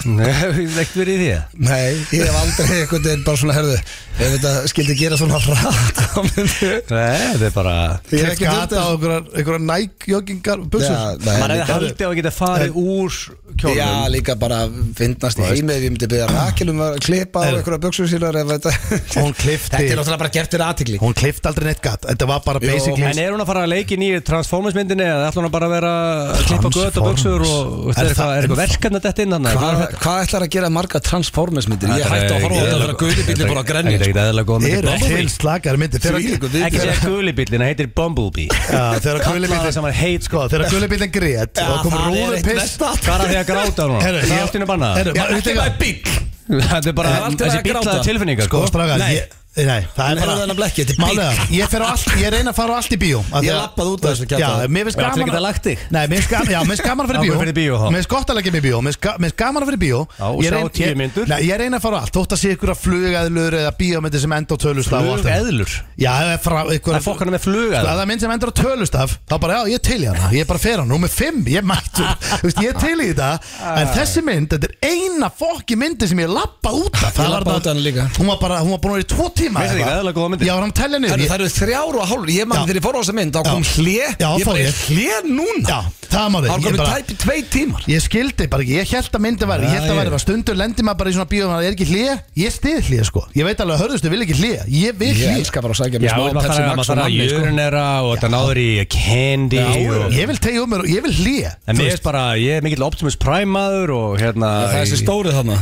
B: Nei, hefur ekkert verið í því að
A: Nei, ég hef aldrei einhvern veginn bara svona herðu ef þetta skildi gera svona rætt þá myndi
B: Nei, þetta er bara
A: Ég hef
C: Kleift
A: ekki
C: gata á
A: þetta
C: einhverjar- einhverjar nækjoggingar
A: Já,
C: bussur
A: nei.
B: Man hefði
A: líka-
B: haldið að geta farið úr kjólum
A: Já, líka bara finnast í heimi ef ég myndi byrja Rakel um að klippa á
C: Heyrðu.
A: einhverja buksur sínar ef þetta Þetta
C: Hún
A: er
C: kleifti
A: náttúrulega bara gert fyrir aðtikli
C: Hún kleift aldrei neitt gat Þetta var bara
A: Jó,
C: basically
B: En er hún að fara að leiki nýju Transformers myndinni eða ætla hún að bara vera að klippa göt og
C: Transformers.
B: buksur og
C: Er
B: er eitthvað,
C: það-
B: er eitthvað verkefni að detta inn hann?
A: Hvað Hvað hva ætlar að gera marga Transformers-myndir? Ég
B: Þetta er
A: hætti að horfa á sko.
B: ekki
A: þetta
B: eðlilega-
A: þegar guðubíli bara að
B: Þetta er
A: grenni
B: ekkert eðlilega góð
C: Eru
B: mynd. Þetta er
C: til
B: Bumblebee.
C: slakar myndir Þegar
A: Þvílíkur
B: Ekki
A: viðbjóður.
B: segja gulibillin, það heitir Bumblebee
C: Já, þegar
B: Kallaði sem
C: gulibíllinn
B: hann heit sko
C: sko, Þegar gulibíllinn grét og kom
A: það er
C: rúður
A: eitt
C: piss
A: versta.
B: Hvað er að því að gráta núna?
C: Herru,
B: Það er
C: ég-
B: allt í hennu bannað
C: Herru, maður-
A: Ekki
C: veitu hvað?
A: bara bíl
B: Þetta er bara
A: Það er allt í lagi
B: þessi
A: að gráta.
B: bílaða tilfinninga sko
C: Sko, strákar,
A: Nei.
C: ég- Nei, það er
A: Nei, það er nefnilega ekki, þetta er
C: Málega, ég, fer á allt, ég reyna að fara á allt í bíó af því
A: Ég
C: að-
A: labbaði út af þessu
C: Já,
A: kjaftaði.
C: mér finnst
B: Það er allir
C: gaman
B: geta lagt þig
C: Nei, mér finnst gaman, já, mér finnst gaman að fara í
B: Já,
C: bíó
B: fyrir bíó, þá.
C: Mér finnst gott að leggja mig í bíó Mér finnst ga- mér finnst gaman að fara í bíó
B: Já, og
C: Ég
B: sjá
C: reyn-
B: tíu
C: ég-
B: mínútur.
C: Nei, ég reyna að fara á allt Þótt að sé ykkur að flugeðlur eða bíómyndir sem enda á tölustaf og allt þetta.
B: Flugeðlur
C: Já, eða frá ykkur
B: Það er fokkana með
A: Sko,
B: flugeðlur
C: Það er mynd sem endur á tölustaf Þá bara, já, ég er til í hana Ég er bara fer hana, hún er fimm, ég er mættur Þú veist, ég er til í þetta En þessi mynd, þetta er eina fokki myndi sem ég lappa út af Það
A: Ég
C: var
A: labbaði út af
C: bara-
A: henni líka.
C: Hún var bara, hún var búin að vera í tvo tíma
B: Mér finnst þetta eðlilega góða myndir.
C: Já, hann telja niður
A: Herru,
C: Ég-
A: Það eru þrjár og hálf Ég
C: Já.
A: maður þegar ég fór á þessa mynd Þá kom
C: Já.
A: hlje
C: Já,
A: Ég
C: fór
A: bara
C: ég.
A: er hlje núna
C: Já, það er málið
A: Það
C: Ég
A: komið
C: bara-
A: tæpi tvei tímar
C: Ég skildi bara ekki, ég held að myndi væri Ég held að væri að stundur lendi maður bara í svona bíóðum Það er ekki hlýja, ég stið hlýja sko Ég veit alveg að hörðustu vil ekki hlýja, ég vil
A: Ég
C: hlýja
A: elskar bara að sækja
B: Já,
A: mér smá
B: maður
A: Pepsi
B: þarf
A: Max
B: að- maður
A: og
B: þarf að
A: nammi sko.
B: jörunera og þetta náður í candy og-
C: Ég vil tegja um mér og ég vil hlýja
B: En mér finnst bara, ég er mikill Optimus Prime maður og hérna
A: Það er þessi stórið þarna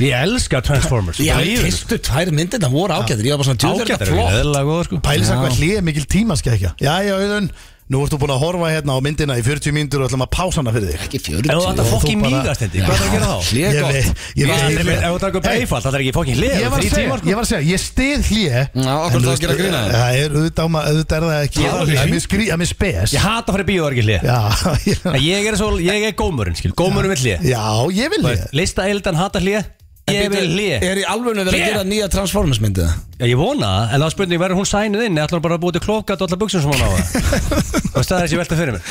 B: Ég elska Transformers
A: Já,
B: Bara lífið.
A: fyrstu tvær myndirna voru ágættir Ég var bara svona djöður
B: Ágætt
A: þetta
B: er
A: flott
B: eðlilega góð sko
C: Pælsa hvað hlýja er mikil tímaskækja Jæja auðun, nú ertu búin að horfa hérna á myndina í 40 mínútur og ætlum að pása hana fyrir þig
A: Ekki
B: En þú ætti
A: fjörutíu
B: að fokkin
C: bara-
B: mígast þetta, hvað þarf að gera þá?
A: Hlé
C: Ég
A: er
C: veit-
A: gott
C: ég
B: Ég
C: var-
B: er með, ef þú takur
C: Hey.
B: beifall, það er ekki fokkin hlið sko.
C: Ég var að segja, ég var að segja, ég stið hlýja
A: Já, okkur þá að gera grín að þér.
C: Það er auðvitað á maður- auðvitað er það ekki
B: Já,
C: Það er mér skrý- það er mér spes
B: Ég hata að fara í bíó, það er ekki hlið
C: Já, ég-
B: En ég er svo, ég er gómurinn, skil, gómurinn vil hlið
C: já, ég vil hlýja
B: Lista eldan hata hlið, ég vil hlið
A: Er í alvönu verið
B: Hlé.
A: að gera nýja Transformers myndið
B: Já, ég vona það, en það er spurning, verður hún sænuð inn eða ætlar hún bara að búið til klókat og allar buksum sem hún á það Þú veist það er þessi velta fyrir mér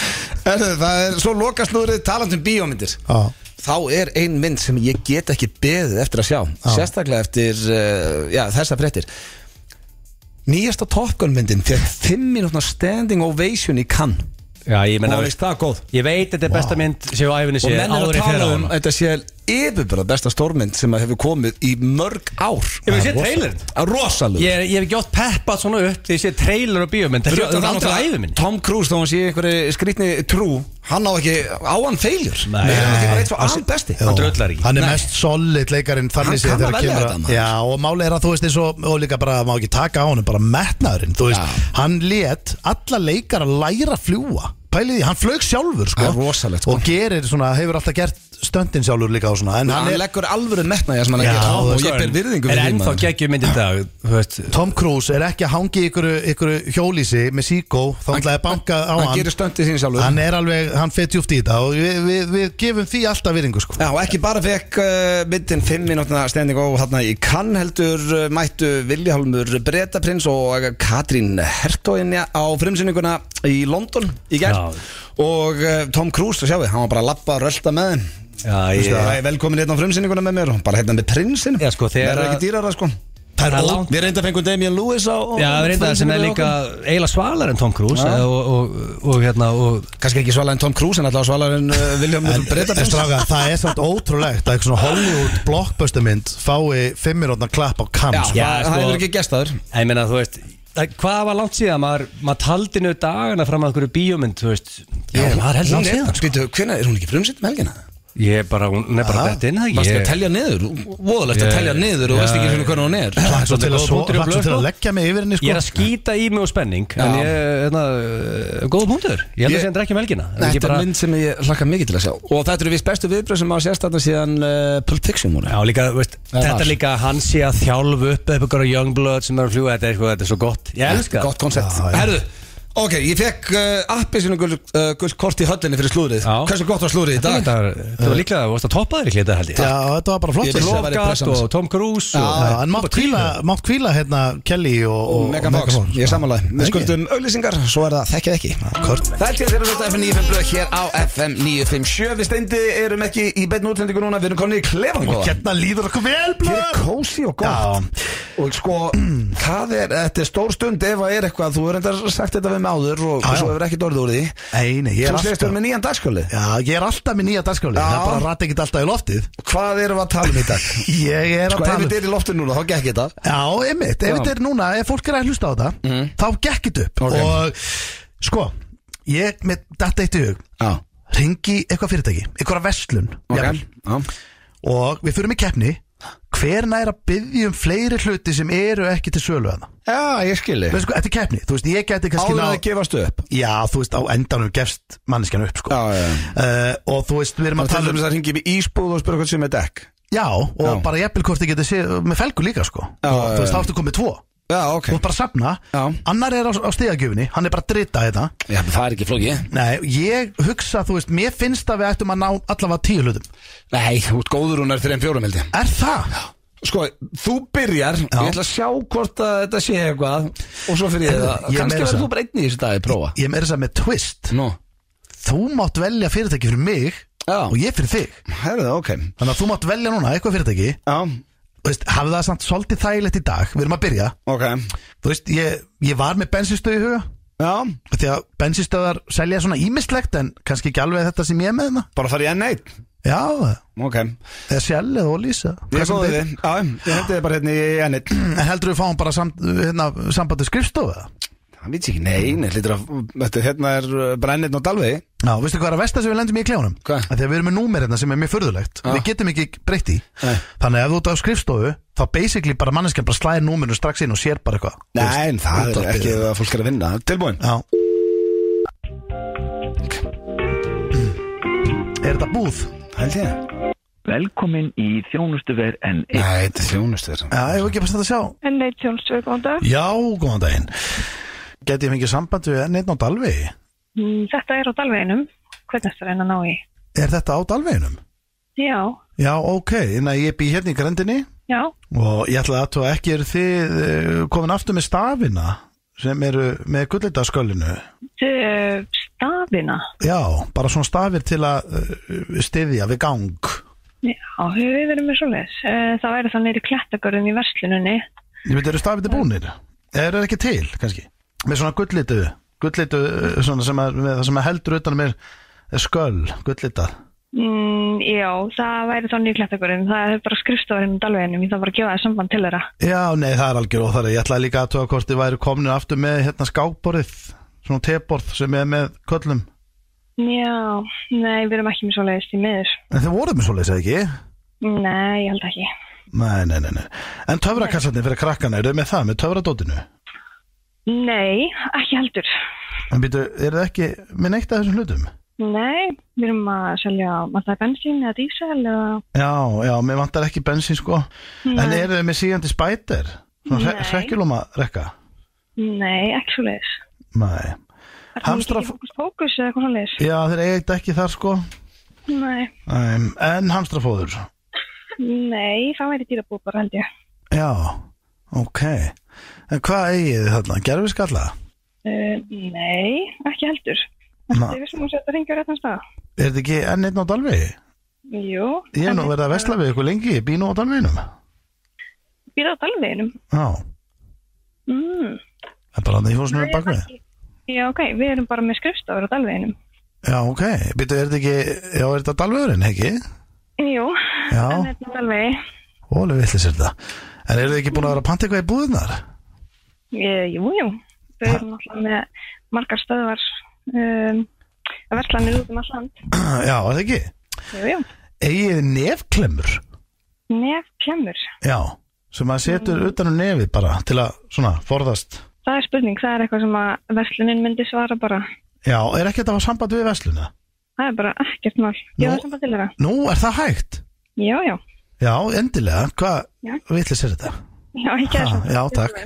A: Það er svo lokasnúrið talandum um bíómyndir
C: Já.
A: Þá er ein mynd sem ég get ekki beðið eftir að sjá Sérstaklega eftir uh, já, þessa fréttir Nýjasta Top Gun myndin Þegar 5 minútna standing ovation í Cannes
B: Já, ég menna,
A: Og veist það góð
B: ég veit þetta er besta mynd sem á æfinni
A: Og
B: sé
A: menn er að
B: áður en fyrir
A: tala
B: á
A: um
B: hana
A: að Þetta sé yfirbara besta stórmynd sem að hefur komið í mörg ár
B: Ég vil sé trailerinn.
A: Rosalug
B: Ég er- ég hef ekki ótt peppað svona upp því ég sé trailer og bíómynd um Það er aldrei æfinni
A: Tom Cruise þó hann sé í einhverju skrýtni trú Hann á ekki á hann feiljur
B: Nei.
A: Hann er eitt svo albesti
C: Já.
B: Hann drullar ekki.
C: Hann er
A: Nei.
C: mest solid leikarinn
A: Hann
C: þannig séð
A: kann
C: þegar
A: að velja
C: kemur
A: þetta,
C: að-
A: maður.
C: Já, og málið er að þú veist eins og, og líka bara má ekki taka á honum, bara metnaðurinn þú veist,
A: Já.
C: hann let alla leikar að læra að fljúa pælið því, hann flög sjálfur sko,
A: Það er rosalegt, sko.
C: og gerir svona, hefur alltaf gert stöndin sjálfur líka og svona en
A: Hann,
C: hann er,
A: leggur alvöru metnaði sem hann
C: Já,
A: er að
C: og
A: gera Og
B: Sko,
A: ég ber virðingu
B: Er
A: fyrir því,
B: ennþá
A: maður.
B: geggjum mynd í dag, þú veist
C: Tom Cruise er ekki að hangi ykkur, ykkur hjólísi með síkó þá hann að banka á
A: Hann
C: hann
A: gerir stöndið sín sjálfur
C: hann er alveg, hann fyrir djúft í þetta og við, við, við gefum því alltaf viringu sko
A: Já, og ekki bara fekk uh, myndin 5 minútna stending og þarna í kann heldur uh, mættu Viljálmur Bretaprins og Katrín Hertóinja á frumsynninguna í London í
B: Já.
A: gerð og uh, Tom Cruise, þú sjáu, hann var bara að lappa að rölda með þeim
B: Já,
A: Þú veist,
B: ég-
A: Það er velkomin hérna á frumsynninguna með mér og bara hérna með prinsinn
B: Já, sko, þegar-
A: Það er ekki dýrara sko
B: Það er
A: Ó,
B: langt
A: Við reynda fengum Damien Lewis á
B: Já, það er reynda sem er
A: frumsýningu
B: líka
A: hjá okkur.
B: eiginlega svalar en Tom Cruise
A: Já.
B: eða, og, og, og hérna og
A: Kannski ekki svala en Tom Cruise en allavega svala en uh, Viljálmur
C: En, en
A: Bretaprins
C: stráka, það er samt ótrúlegt að eitthvað svona Hollywood blockbuster mynd fái fimmirotna klapp á kann
A: Já,
C: sko.
B: Já,
A: það
B: sko-
A: hefur ekki gestaður
B: Ég meina, þú veist, það, hvað var langt síðan? Maður, maður taldi nöðu dagana fram að einhverju bíómynd, þú veist Já, það er heldur
A: Hún
B: langt
A: er-
B: síðan sko.
A: Býtu, hvenær er hún ekki frumsýnd með helgina?
B: Ég er bara, hún er bara
C: Aha.
B: dætt inn, það
A: Maður skal
B: ekki
A: telja niður, voðalegt að
B: Ég-
A: telja niður og
B: Já,
A: veist ekki svona hvernig hún
B: Já.
A: er
C: Hlakka svo til, að,
B: Góð
C: svo,
B: punktur
C: hlakka
B: í
C: svo
B: blöð,
C: til að
B: sko.
C: leggja mig yfir henni sko.
B: Ég er að skýta í mig og spenning En
A: Já.
B: ég, hérna, uh, góð punktur Ég held
A: Ég-
B: að segja ekki um helgina Er
A: Þetta
B: ekki
A: er
B: bara-
A: mynd sem ég hlakka mikið til að sjá Og þetta eru við bestu viðbröð sem maður sést þarna síðan uh, Pulp Fiction múli
B: Já, líka, þú veist,
A: Það er
B: þetta
A: þar.
B: er líka hann sé að þjálfu upp upp ykkur á Youngblood sem er að fljúa, þetta er, sko, þetta er svo gott Ég elska
A: Gott koncept
C: Já, já.
A: Herðu, ok, ég fekk uh, appi sinu gull, uh, gull kort í höllinni fyrir slúðrið
B: Já.
A: Hversu gott var slúðrið í
B: Þetta
A: dag?
B: var, þetta var líklega, þú veist að toppa þér í klita held ég
C: Já, þetta var bara flott
A: Ég vissi það væri
B: Lokat
A: pressan hans.
B: og Tom Cruise
C: Já,
B: og,
C: En mátt kvíla, mátt kvíla hérna Kelly og,
A: Og Megan Fox, ég er samanlega Við skuldum auglýsingar, svo er það þekkið ekki
C: Kort
A: Það er til þeirra þetta FM 95 blöð hér á FM 957 Við steindi erum ekki í beinn útlendingu núna Við erum komin í klefan góðan.
C: Hérna líður okkur vel
A: Hér er
C: blöð
A: kósi og
C: Já.
A: gott Og sko, það er, þetta er stór stund ef að er eitthvað, þú er enda sagt þetta við með áður og
C: Já, já.
A: svo hefur ekki dórið úr því
C: Nei, nei, ég er
A: Svo slegist
C: alltaf
A: við með nýjan dagsköli
C: Já, ég er alltaf með nýja dagskáli
A: Já.
C: Það er bara að rata ekkert alltaf í loftið
A: Hvað erum við að tala um í dag?
C: Ég er að
A: Sko, ef
C: tala um-
A: þetta er í loftin núna, þá gekk þetta
C: Já, einmitt, ef þetta er núna, ef fólk er að hlusta á þetta þá gekk þetta upp
A: Mhm. Ok.
C: og sko, ég með datta eitt í hug
A: Já,
C: ringi eitthvað fyrirtæki, eitthvað verslun
A: ok
C: jafnvel,
A: Já,
C: og við fyrir með keppni hver nær að byggja um fleiri hluti sem eru ekki til sölu að
A: Já, ég skilji
C: það sko, Þetta er keppni, þú veist, ég geti kannski
A: Áður
C: ná
A: að gefast upp
C: Já, þú veist, á endanum gefst manneskjan upp sko.
A: Já, já, já.
C: Eh, Og þú veist, við erum að
A: Maður
C: tala
A: tala um
C: um
A: það hringi í ísbúð og spyrja hvað sem er dekk
C: Já,
A: Já.
C: og bara jafnvel hvort þið getið séð með felgu líka sko.
A: Já,
C: og,
A: já,
C: Þú veist,
A: já.
C: þá ertu komið tvo
A: Já, ok
C: Þú ert bara að safna,
A: Já.
C: annar er á, á stegagjöfinni Hann er bara að drita þetta
A: Já, menn það er ekki flóki
C: Nei, ég hugsa, þú veist, mér finnst að við ættum að ná allavega tíu hlutum
A: Nei, þú ert góður hún er 3-4 mildi
C: Er það?
A: Sko, þú byrjar,
C: Já.
A: ég ætla að sjá hvort að þetta sé eitthvað Og svo fyrir ég
C: En
A: það
C: ég
A: Kannski
C: meira
A: verður
C: það.
A: þú bara einn í þessu dagi, prófa
C: Ég meira þess að með twist
A: Nú,
C: Þú mátt velja fyrirtæki fyrir mig
A: Já.
C: og ég fyrir þig
A: herðu það, ok
C: Þannig að þú mátt velja núna eitthvað fyrirtæki
A: Já,
C: Þú veist, hafði það samt svolítið þægilegt í dag Við erum að byrja
A: ok
C: Þú veist, ég, ég var með bensinstöð í huga
A: Já,
C: af Því að bensinstöðar selja svona ímislegt En kannski ekki alveg þetta sem ég er með hana
A: bara farið enn eitt
C: Já,
A: Ok,
C: eða sjæl eða ólýsa
A: ég er góður þið Já, ég hendi þið bara hérna í enn eitt
C: En heldur við fáum bara samt, hérna, sambandi skrifstofu eða?
A: Það veit ég ekki, nei, nei, hlýtur að þetta- Hérna er uh, brennirn og dalvegi
C: Já, veistu hvað er að vesta sem við lendum í í kljáunum?
A: Hvað?
C: Að því að við erum með númer hérna sem er mjög förðulegt
A: Já.
C: Við getum ekki breytt í
A: Nei.
C: Þannig að ef þú ert á skrifstofu Þá basically bara manneskjan bara slæðir númerinu strax inn og sér bara eitthvað Þú veist,
A: Nei, en það er
C: útvarpið.
A: ekki að fólk er að vinna Tilbúin
C: Já Er þetta búð?
A: Held ég
D: Velkomin í þjónustuver E. en
A: Nei, þetta er þjónustur
C: Já, ég var ekki bara að sjá
E: En neitt þjónustu, góðan dag.
C: Já, góðan daginn Geti ég fengið samband við neitt á Dalvegi?
E: Mm, Þetta er á dalveginum. Hvernig ertu að reyna að ná í?
C: Er þetta á Dalveginum?
E: Já,
C: Já, ok, þannig að ég bý hérna í grendinni
E: já,
C: Og ég ætla að aðtúa ekki eru þið eh, komin aftur með stafina sem eru með gullitaskölinu.
E: Þe- eh, stafina.
C: Já, bara svona stafir til að eh, styðja við gang.
E: Já, við erum með svoleiðis. Eh, Það væri það neyri klettagörðum í verslununni.
C: Ég veit, eru stafir til búnir? Er það ekki til, kannski? Með svona gullitu, gullitu eh, svona sem, er, með, það sem er heldur utanum er, er sköl, gullitað.
E: Mm, já, það væri það neyri klettagörðum. Það er bara skrifstofurinn á dalveginum. Ég þarf bara að gefa það samband til þeirra.
C: Já, nei, það er algjör óþarri. Ég ætla líka að tóa hvort þið væri komin aftur með hérna skákborðið, svona teborð sem er með köllum.
E: Já, nei, við erum ekki með svoleiðis í miður.
C: En þið voruð með svoleiðis, eða ekki?
E: Nei, ég held ekki.
C: Nei, nei, nei, nei. En töfrakassarnir fyrir krakkana, eru þau með það, með töfradótinu?
E: Nei, ekki heldur.
C: En býtu, eru þau ekki með neitt af þessum hlutum?
E: Nei, við erum að selja, maður það er bensín eða dísel eða...
C: Já, já, mér vantar ekki bensin, sko. En eru þau með sígandi spæter? Svona
E: Nei.
C: hrekkjulóma rekka?
E: Nei, ekki svoleiðis.
C: Nei. Hamstra...
E: Fókus, fókus eða eitthvað svoleiðis?
C: Já, þeir eiga þetta ekki þar, sko.
E: Nei,
C: Um, en hamstrafóður?
E: nei, það væri dýrabúð bara held ég.
C: Já, ok. En hvað eigið þið þarna? Gerfiskalla?
E: Uh, nei, ekki heldur.
C: Ma-
E: Þetta er vissum að setja ringi á réttan stað.
C: Er þetta ekki enn einn á dalvegi?
E: Jú.
C: Ég hef
E: en
C: nú verið að vesla við ykkur lengi, ég bý nú á dalveginum.
E: Býða á dalveginum.
C: Já,
E: Mm.
C: það er bara þannig að ég fór svona upp bakvið.
E: Já, ok, við erum bara með skrifstafur á dalveginum.
C: Já, ok, býtu, er þetta ekki, já, er þetta dalvegurinn, ekki?
E: Jú,
C: Já.
E: en þetta er dalvegi.
C: Ólega villis er þetta. En eru þið ekki búin að vera að panta eitthvað í búðunar?
E: Eh, Jú, jú. Við erum alltaf með margar stöðvar um, að verslanir út um alland.
C: já, er það ekki?
E: Jú, jú.
C: Egið þið nefklemmur?
E: Nef klemur.
C: Já, sem maður setur utan um nefið bara til að, svona, forðast.
E: Það er spurning, það er eitthvað sem að verslunin myndi svara bara.
C: Já, er ekki þetta að hafa samband við versluna?
E: Það er bara ekkert mál.
C: Nú-
E: Ég var samt að til þeirra.
C: Nú, er það hægt?
E: Já, já.
C: Já, endilega,
E: Já.
C: hvað villis er þetta?
E: Já, ekki
C: Ha,
E: að það.
C: já, takk.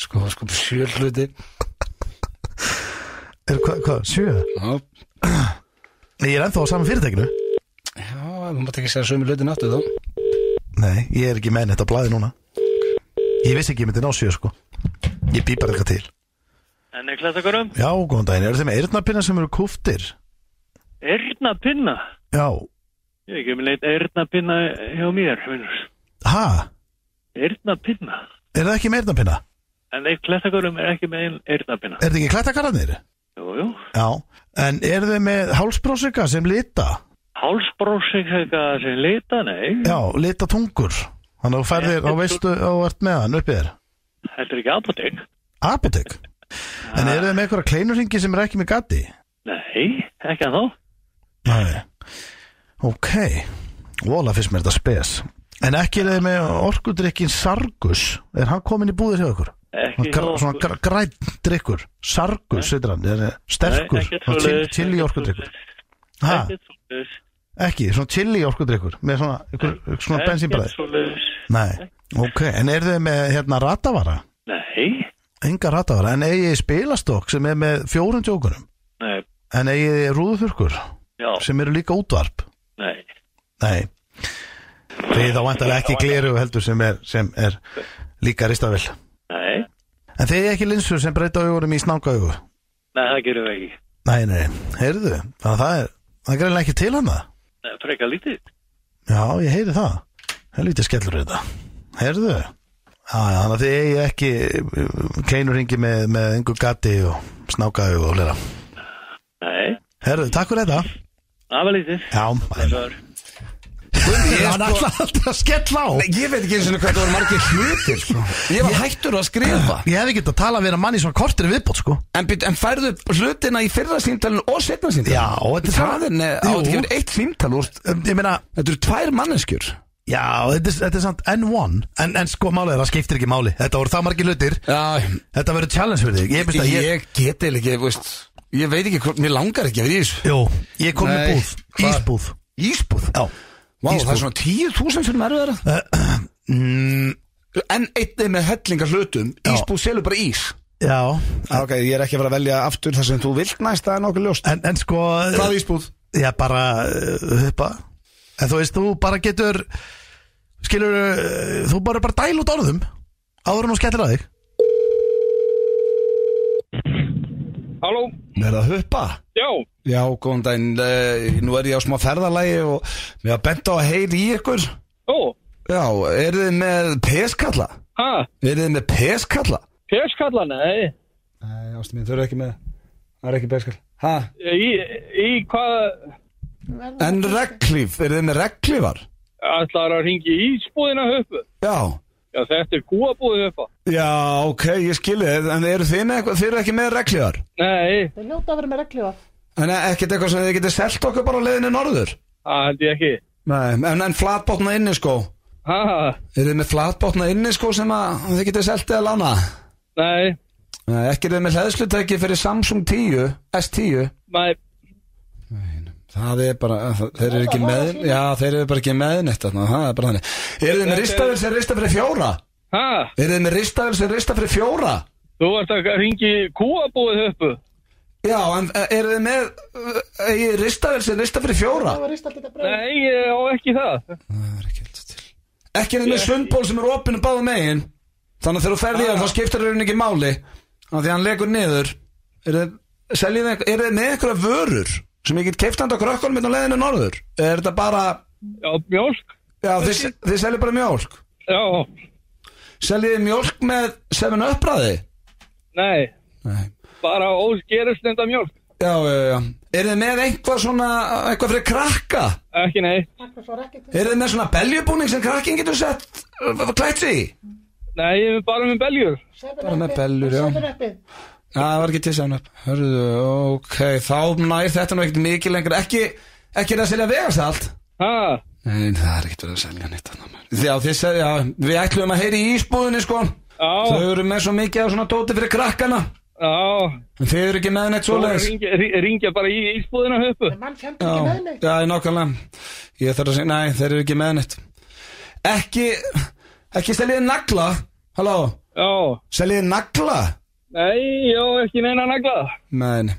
A: Sko, sko, sjö hluti
C: Er hvað, hvað, sjö?
A: Já,
C: Ég er ennþá á saman fyrirtækinu.
A: já þú mátt ekki segja sömu hlutin aftur þá
C: Nei, ég er ekki með neitt á blæði núna. Ég vissi ekki ég myndi ná sjö, sko. Ég bý bara eitthvað til.
D: En er klættakurum?
C: Já, góðan daginn, eru þið með eyrnapinna sem eru kúftir?
D: Erna pinna?
C: Já,
D: Ég er ekki með leitt erna pinna hjá mér, vinnur.
C: ha?
D: Erna pinna?
C: Er það ekki með eyrnapinna?
D: En eitt klættakurum er ekki með einn erna pinna.
C: Er það ekki klættakararnir?
D: Jú, jú.
C: Já, en eru þið með hálsbrósika sem lita?
D: Hálsbrósing eitthvað sem lita, nei.
C: Já, lita tungur. Þannig að þú færðir og veistu og ert með hann uppið þér.
D: Þetta er ekki apotek.
C: Apotek. En eru þið með einhverja kleinurringi sem er ekki með gatti?
D: Nei, ekki að þá.
C: Nei. Ok Vola finnst mér þetta spes En ekki er þið með orkudrykkin Sargus Er hann komin í búðið hjá ykkur?
D: Ekki
C: Gr
D: hjá
C: svona
D: okkur.
C: gr græn drykkur Sargus, heitir hann er, eh, Sterkur,
D: ekkert
C: svona
D: svoleiðis,
C: chill- chili
D: ekkert
C: orkudrykkur
D: svoleiðis,
C: Ha,
D: ekkert svoleiðis.
C: ekki, svona chili orkudrykkur Með svona, ykkur, ykkur svona
D: Ekkert
C: bensínbræði
D: svoleiðis.
C: Nei, ok, en er þið með hérna ratavara?
D: Nei,
C: Enga ratavara, en eigið þið spilastokk sem er með fjórum tjókunum
D: nei,
C: En eigið þið rúðuþurkur
D: já,
C: sem eru líka útvarp
D: nei
C: Nei Þið þá vantar ekki gleru heldur sem er, sem er líka ristavill
D: Nei,
C: En þið er ekki linsur sem breyta augurum í snanga augu
D: nei, það gerum við ekki
C: Nei, nei, heyrðu Þannig að það er, það er greinlega ekki til hana
D: Nei, Frekar lítið
C: Já, ég heyri það Helvítið skellur þetta Heyrðu Já, já, þannig að þið eigi ekki keinuringi með, með einhver gati og snákaðu og hlera.
D: Nei,
C: Herðu, takk fyrir þetta.
D: það var lítið
C: Já,
D: Blessaður.
B: sko.
C: hann ætlaði alltaf að skella á.
A: Nei, ég veit ekki eins og hvað það voru margir hlutir sko. Ég var hættur að skrifa
C: Ég hefði getað talað við hann manni svona kortir viðbót, sko.
A: En, byt- en færðu hlutina í fyrra síntalinu og setna síntalinu
C: Já, þetta er
A: Það er neð, á
C: Jú.
A: þetta gefur eitt síntal úr
C: Um, Ég meina,
A: Þetta eru tvær manneskjur
C: Já, þetta er, þetta er samt N1 En, en sko málið er, það skiptir ekki máli Þetta voru það margir hlutir
A: Já,
C: Þetta verður challenge fyrir þig Ég,
A: ég,
C: ég, ég,
A: ég get eða ekki, veist Ég veit ekki, hvort- mér langar ekki að vera í þessu
C: Jó, ég kom með
A: Nei,
C: búð
A: hvað?
C: Ísbúð
A: Ísbúð Eh,
C: Já
A: Vá, það
C: Ísbúð.
A: er svona 10.000 sem er verið
C: mm,
A: En einnig með hellinga hlutum Ísbúð selur bara ís
C: Já
A: Ok, ég er ekki að vera að velja aftur það sem þú vilt næst Það er nokkuð ljóst
C: En, en sko
A: Hvað ísbúð?
C: Já, bara uh, huppa En þú veist, þú bara getur Skilur, uh, þú bara bara dæl út orðum Áður en þú skellir að þig
F: Halló,
A: Er það huppa?
F: já,
A: Já, góðan daginn, eh, nú er ég á smá ferðalagi og mér var bent á að heyri í ykkur
F: ó,
A: Já, eru þið með peskalla?
F: hæ,
A: Eru þið með peskalla?
F: peskalla, nei,
A: Nei, ástum mín, þau eru ekki með Það er ekki peskall ha?
F: í, í hvað,
A: En reglíf, eru þið með reglífar?
F: ætlar að ringi í ísbúðina höfu?
A: Já
F: Já, þetta er kúabúði höfa.
A: Já, ok, ég skilji þið, en eru þið með eitthvað, þið eru ekki með reglífar?
F: Nei,
G: Þau hljóta að vera með regljóða.
A: En ekkert eitthvað sem þið getið selt okkur bara á leiðinni norður?
F: það held ég ekki.
A: Nei, en, en flatbotna inni sko
F: Hæ,
A: Eru þið með flatbotna inni sko sem að þið getið selt eða lána?
F: nei,
A: Nei, ekki er þið með hlæðslutæki fyrir Samsung 10, S10
F: nei,
A: Það er bara, þeir eru ekki með Já, þeir eru bara ekki með neitt þarna, Það er bara þannig Eru þið með ristavel sem rista fyrir fjóra?
F: hæ,
A: Eru þið með ristavel sem rista fyrir fjóra?
F: þú ert að ringi í kúabúði höfu?
A: Já, en eh, eru þið með uh, eh, ristavel sem rista fyrir fjóra?
G: Það var rist alltaf bröð.
F: Nei, ég á ekki það.
A: Ekki er þið með sundból sem er opinu báðum megin Þannig að þegar þú ferði í hann þá skiptir raunin ekki máli Þannig að því að hann legur niður Eru þið seljið þið- eruð þið með einhverja vörur sem ég get keift handa krökkunum hérna á leiðinu norður? Er þetta bara
F: Já, mjólk,
A: Já, þið, þið seljið bara mjólk
F: já,
A: Seljið þið mjólk með 7 uppræði?
F: nei,
A: Nei
F: bara ógerust nefnda mjólk.
A: Já, já, já Er þið með eitthvað svona, eitthvað fyrir krakka?
F: Ekki nei,
G: Takk fyrir svo regljóða.
A: Er þið með svona beljubúning sem krakkin getur sett uh, klætt sig í?
F: nei, ég er bara með beljur.
A: Bara með bellur, já.
G: Sæfur uppið.
A: Já, það var ekki til sæðan upp Hörðu, ok, þá nær þetta nú ekkert mikið lengur Ekki, ekki er það að selja vegast allt
F: Hæ,
A: Nei, það er ekkert verið að selja nýtt annað maður Já, þið segja, já, við ætlum að heyri í ísbúðinni, sko Þau
F: já,
A: eru með svo mikið af svona dóti fyrir krakkana
F: já,
A: En þið eru ekki með neitt
F: þú ert
A: svoleiðis
F: að ringja- ri- ringja bara í ísbúðina höfu.
G: Mann fjandi ekki
A: Já,
G: með mig.
A: já, nákvæmlega Ég þarf að segja, nei, þeir eru ekki með neitt Ekki Ekki seljiði nagla Halló,
F: Já,
A: seljiði nagla
F: nei, ég á ekki neina nagla.
A: Men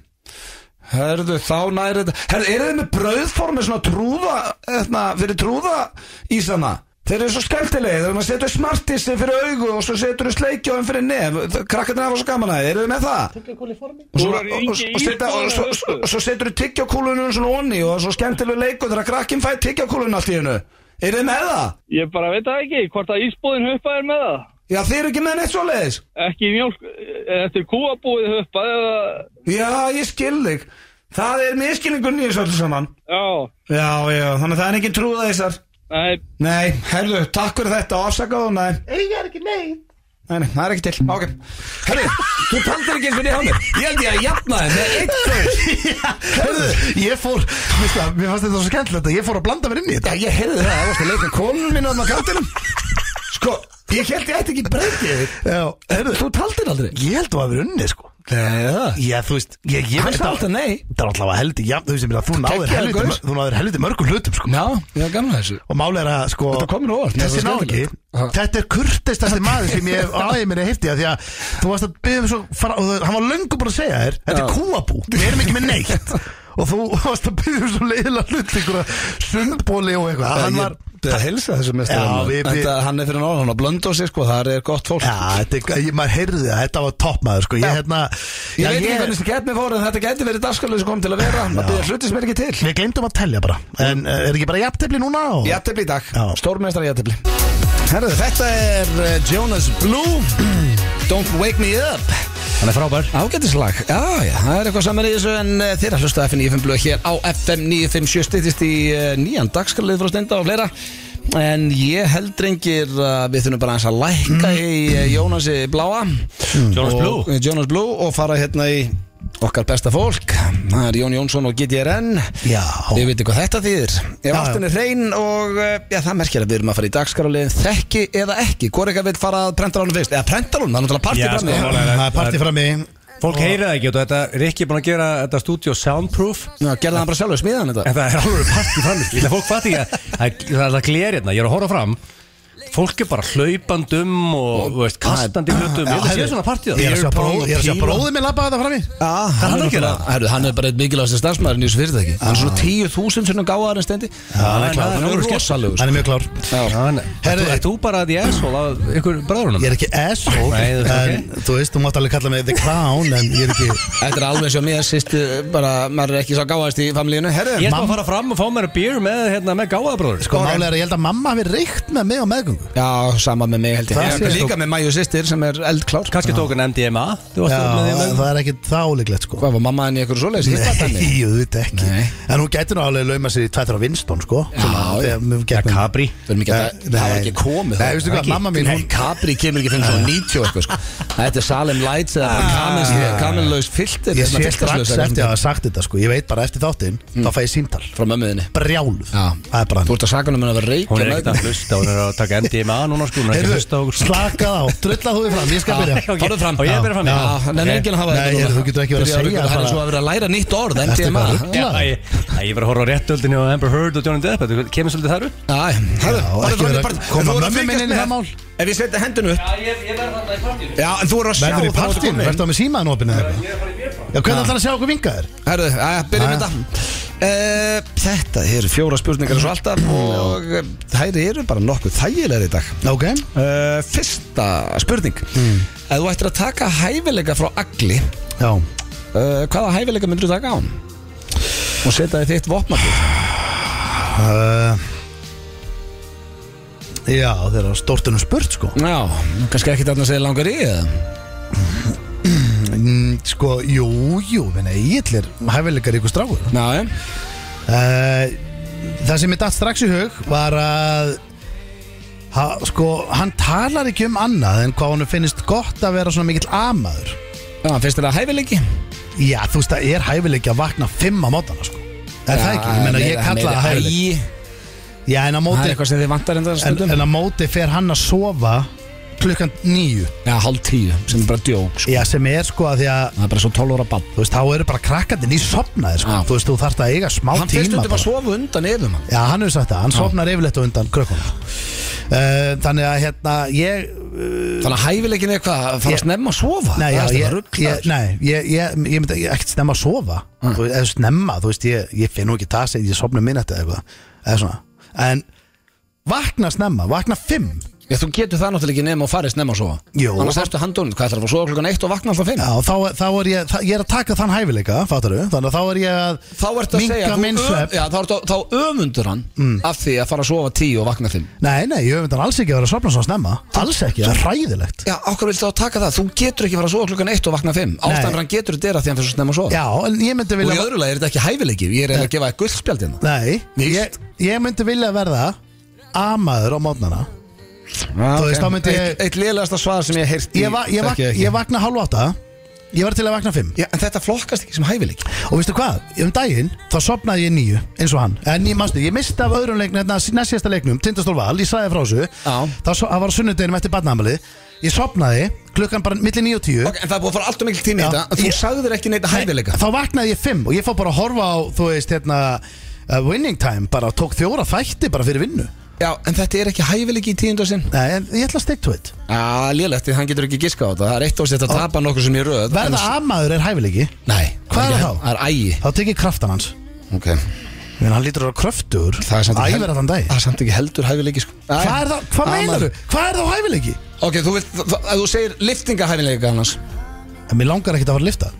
A: Herðu, þá næri þetta Herðu, eru þið með brauðform með svona trúða eðna, Fyrir trúða ísana Þeir eru svo skemmtilegi, þeir eru að setja smartissi fyrir augu og svo setur þau sleikjóðum fyrir nef Krakkarnir hafa svo gaman að, þið, eru þið með það?
G: Tugglukúli formi.
A: Og svo,
F: Þú eru
A: og, og,
F: ekki í
A: og, setja, og,
F: íbúðinni,
A: svo,
F: veistu?
A: og svo setur þú tyggjókúlunum svona onni og það er svo skemmtilegu leikur þegar krakkinn fæ tyggjókúlun allt í hennu Er þið með það?
F: Ég bara veit það ekki, hvort að ísbúðin höpa er með það.
A: Já, þið eru ekki með neitt svoleiðis
F: Ekki mjölk, eftir kúabúið höpa eða,
A: Já, ég skil þig Það er miskilningunni í þessu öllu saman
F: já,
A: Já, já, þannig að það er engin trúða þessar
F: nei,
A: Nei, herðu, takk fyrir þetta og afsakaðu, nei
G: Eiga er ekki neitt.
A: Nei, Nei, nei, það er ekki til Ok Herru, þú pandir ekki eins og niður á mér Ég held ég að jafna þér með eitt gaur
C: Hörðu, ég fór, veist það, mér fannst þetta svo skemmtilegt að ég fór að blanda mér inn í
A: Já,
C: þetta
A: ég heyrði það, það varst að leika konun minna á kantinum Sko, ég held ég ætti ekki breytið
C: Já, hörðu,
A: Þú taldir aldrei
C: ég held þú að vera unni, sko
A: Nei, það
C: Já, þú veist, ég, ég
A: Hann
C: veit
A: sagði alltaf nei.
C: Það er alltaf að heldi, já, þú veist, ég meina, þú náður
A: Geggjaður
C: helviti,
A: gaur.
C: mör- þú náður helviti mörgum hlutum, sko
A: Já, ég var gamla þessu
C: Og málið er að, sko
A: Þetta kom mér á óvart, mér
C: Þessi
A: fannst það
C: náðingi,
A: skemmtilegt. Ha.
C: þetta er kurtistasti maður sem ég hef aðeins minni hefti Því að þú varst að byggja svo fara, og það- Hann var löngu búin að segja þér Þetta er
A: Já.
C: kúabú, við erum ekki með neitt Og þú varst að byggja svo leiðilega hlut Einhverja sundbóli og eitthvað Hann var
A: Það helsa þessu mestur
C: Já, við- við-
A: Þetta, hann er fyrir norðan og blönd á sig, sko, þar er gott fólk
C: Já, þetta er, ég, maður heyrði það, þetta var toppmaður sko, ég hérna
A: Ég
C: já,
A: veit ekki hvernig þessi getni fór en þetta geti verið dagskalega sem kom til að vera Það byrja hluti sem er ekki til
C: Við glemdum að tellja bara, en eh, er ekki bara jafntefli núna? Og...
A: Jættibli í dag,
C: Já.
A: stórmestari jættibli Herðu, þetta er eh, Jonas Blue Don't wake me up
B: Hann er frábær
A: Ágætislag, já, já, það er eitthvað saman í þessu en uh, þeir að hlusta á FM 95 blöð hér á FM 957 stýttist í uh, nýjan dagskalið frá stenda og fleira en ég held rengir að við þurfum bara eins að lækka í uh, Jónasi Bláa
B: Jonas
A: og,
B: Blue.
A: eh, Jonas Blue og fara hérna í okkar besta fólk það er Jón Jónsson og GTRN
C: Já.
A: Ég veit hvað þetta þýðir Ef
C: Já,
A: ástin er hrein og eh, já, það merkir að við erum að fara í dagskaraliðin Þekki eða ekki, hvort eitthvað vil fara að prenta hann fyrst Eða prenta hann, það er náttúrulega partí
B: Já,
A: frammi.
B: sko,
C: Það er partí fram í
B: Fólk heyrið það ekki og þetta Rikki er búin að gera þetta stúdíu soundproof
A: Já, gerði hann bara sjálfur smiðan þetta
B: En það er alveg partí frammi Ég ætla að fólk fatti ekki að það er- það er það gler hérna Ég er að horfa fram Fólk er bara hlaupandum og þú veist, kastandi hlutum Ég ætla að sé svona partí
C: Ég er að sjá bró- ég er að sjá
B: píla.
C: bróðið minn labbaði það fram í
A: Já, hann, er náttúrulega- herru, hann er bara einn mikilvægast starfsmæðurinn í þessu fyrirtæki Hann er svona 10.000 sem hann gáðar en stendi Já,
C: hann er klár.
A: Hann er sko. rosalegur
C: Hann er mjög klár
B: Hann-
C: Herðu-
B: Ert ert þú bara að ég er svol af ykkur bráðurunum?
C: Ég er ekki asshole
B: Nei, þú-
C: En þú veist, þú mátt alveg kalla mig The Crown En ég er ekki
A: Þetta er alveg sem ég sýst bara, maður er ekki svo gáðast í familíinu Herru,
B: Ég ætla að fara fram og fá mér að býr með, hérna, með gáðabróður
C: Sko, málega er að ég held að mamma hafi reykt með mig á meðgöngu
A: já, sama með mig held ég
C: Það
A: Ég
C: sé-
A: er Líka með Mæju sýstir sem er eldklár
B: Kanski tók hann MDMA Þú varst með því
C: Já,
B: með
C: það er ekki það ólíklegt, sko
A: Hvað var mamma henni í eitthvað svoleiðis? Ég fatt
C: Nei,
A: henni
C: ég veit ekki
A: Nei.
C: En hún gæti nú alveg lauma sér í tvættur á Winston, sko
A: já.
B: Já,
C: já
B: Capri
A: Við erum ekki að-
C: Nei.
A: Það var ekki komið
C: Nei, veistu hvað,
A: Ekki.
C: mamma mín, hún-
A: Nei, Capri kemur ekki fyrir svona 90 og eitthvað sko. Þetta er Salem Lights eða bara Kaminlaus filter
C: Ég
A: hérna,
C: sé
A: filterslaus
C: Ah. strax
A: eða eitthvað sem-
C: eftir að
A: Hmm.
C: hafa sagt þetta, sko Ég veit bara eftir þáttinn, þá fæ ég símtal
A: Frá mömmuðinni
C: Brjáluð
A: Já.
C: Það er bara
A: Þú ert að saka hann um að vera reykja
B: Hún er ekkert
A: meðgöngu.
B: að hlusta, hún er að taka MDMA núna sko, hún er ekki að
C: Heyrðu,
B: hlusta á okkur
C: slakað á, drullað þú þig fram, ég skal byrja
B: Ok,
A: Farðu fram
B: Og ég byrja fram
A: Já, já Nei,
B: Ok.
A: enginn að hafa
C: Nei,
A: þetta núna.
C: heyrðu, þú getur ekki verið að
A: Byrjaðu
C: segja
A: rugla, Það
C: bara-
A: er svo að vera að læra nýtt orð
C: Ertu
A: MDMA
C: eitthvað ruglaður?
A: Já,
B: Já, ég, æ, ég var að horfa á réttöldinni á Amber Heard og Johnny Depp Þetta kemur svolítið þar upp
A: Já, herðu,
C: Já,
A: farðu
C: ekki
A: fram í
C: vera að
A: partí. En
C: koma
A: þú verður að
C: mömmu hérna
A: fylgjast
C: minni inn í
A: með-
C: það mál.
A: Ef ég setja hendun upp
B: Já, ég, ég verð þarna í partíu
A: Já, en þú verður að sjá
C: Verður í
A: þegar þú ert
C: partín,
A: komin.
C: verður það með símaðan opinn eða eitthvað Já, hvernig ætlar að sjá okkur vinga þér?
A: Herðu, aðja, byrjum
C: Jæja.
A: þetta Eh, Þetta eru fjóra spurningar eins og alltaf og eh, þær eru bara nokkuð þægilegar í dag
C: Ok Hmm.
A: Eh, Fyrsta spurning Ef þú ættir að taka hæfileika frá agli
C: Já
A: eh, hvaða hæfileika myndir þú taka á hann? og setja þið þitt vopnabíl
C: uh, Já, þeir eru stortunum spurt sko
A: Já, kannski ekki þarna að segja langar í eða?
C: mm, Sko, jú, jú, minna, ég ætlir hæfileikar ykkur strákur uh,
A: Já, já
C: Það sem ég datt strax í hug var að ha, Sko, hann talar ekki um annað en hvað hann finnist gott að vera svona mikill amaður
A: Já, finnst þér það hæfileiki?
C: Já, þú veist, það er hæfileiki að vakna fimm á mótana sko Er það ekki? Ég meina, ég kalla það hæfileik
A: hæfileiki
C: Já, en
A: Það er
C: að móti
A: eitthvað sem þið vantar hérna- enda
C: en,
A: stundum
C: en að móti fer hann að sofa klukkan nýju
A: Já, hálf tíu, sem er bara djók sko.
C: Já, sem er sko að því að
A: Það er bara svo 12 ára bann
C: þú veist, þá eru bara krakkandi nýsopnaðir sko.
A: Já.
C: þú veist, þú þarft að eiga smá
A: Hann finnst
C: tíma
A: stundum
C: bara.
A: að sofa undan yfir mann
C: Já, hann hefur sagt það, hann sopnar yfirleitt á undan krökkunum uh, Þannig að hérna, ég
A: Þannig að hæfileikin er hvað, að fara
C: Ég-
A: að snemma að sofa
C: Nei, já,
A: Það er bara
C: ég, ég,
A: rugglaður.
C: nei, ég, ég, ég myndi ekkert snemma að sofa þú veist, eða snemma, þú veist, ég, ég finn nú ekki það sem ég sopna um minnætti eða eitthvað eða svona, en vakna snemma, vakna fimm
A: Já, þú getur það náttúrulega ekki nema og farið snemma að sofa
C: Jú.
A: Annars ertu handónið, hvað ætlar að fara að sofa klukkan eitt og vakna alltaf fimm
C: Já, þá, þá er ég, það, ég er að taka þann hæfileika, fattaru Þannig að þá er ég að
A: Þá ertu að
C: minnka
A: segja, þú
C: minn svepp
A: já, þá, ertu, þá öfundur hann af því að fara að sofa tíu og vakna fimm
C: Nei, nei, ég höfum þann alls ekki að vera að sopna svo snemma Alls ekki, það er hræðilegt
A: Já, okkur viltu þá taka það, þú getur ekki fara að sofa klukkan eitt og vakna fimm Ástæðan fyrir hann getur þetta er að því hann fyrir svo snemma að sofa
C: Já, en ég myndi
A: Og í
C: vilja
A: öðru lagi er þetta ekki hæfileiki, ég er eiginlega að gefa þér guldspjald hérna
C: Nei,
A: Víst.
C: ég, ég myndi vilja verða Amaður á mótnana
A: Ah,
C: Þú veist, þá myndi ég-
H: Eitt, eitt lélegasta svar sem ég heirt
C: Eh, Ég, va ég, vak ég vakna hálf átta Ég var til að vakna fimm
H: Já, en þetta flokkast ekki sem hæfileik
C: Og veistu hvað, um daginn þá sopnaði ég nýju Eins og hann En ég manstu, ég misti af öðrum leiknum Þetta næstjæsta leiknum, Tindastól Val, ég sagði frá þessu
H: Já.
C: Þá so það var sunnudeginum eftir barnaamali Ég sopnaði, klukkan bara milli níu og tíu
H: Ok, en það er búið að fara allt og mikil tími í
C: Já.
H: þetta að Þú
C: Ég-
H: sagðir ekki neitt hæfileika
C: Þá vaknaði ég fimm og ég fór bara að horfa á Þú veist, hérna uh, Winning Time, bara tók fjóra þætti bara fyrir vinnu
H: Já, en þetta er ekki hæfileiki í tíundu sinn
C: Nei, en ég ætla að stick to it
H: Já, lélegt, því hann getur ekki giska á þetta Það er eitt ásett að tapa nokkuð sem ég röð
C: Verða afmaður er hæfileiki
H: Nei,
C: Hvað er það þá?
H: Það er ægi
C: Þá tekið kraftan hans
H: Ok
C: Menn hann lítur að kröftur
H: Það er samt ekki
C: Æver allan dag
H: Það er samt ekki heldur hæfileiki sko
C: Hvað er það, hvað
H: Amal.
C: meinar Hvað er það á hæfileiki?
H: Ok, þú vilt, þú- ef þú segir liftinga hæfileika annars
C: En mér langar ekkert að fara að lifta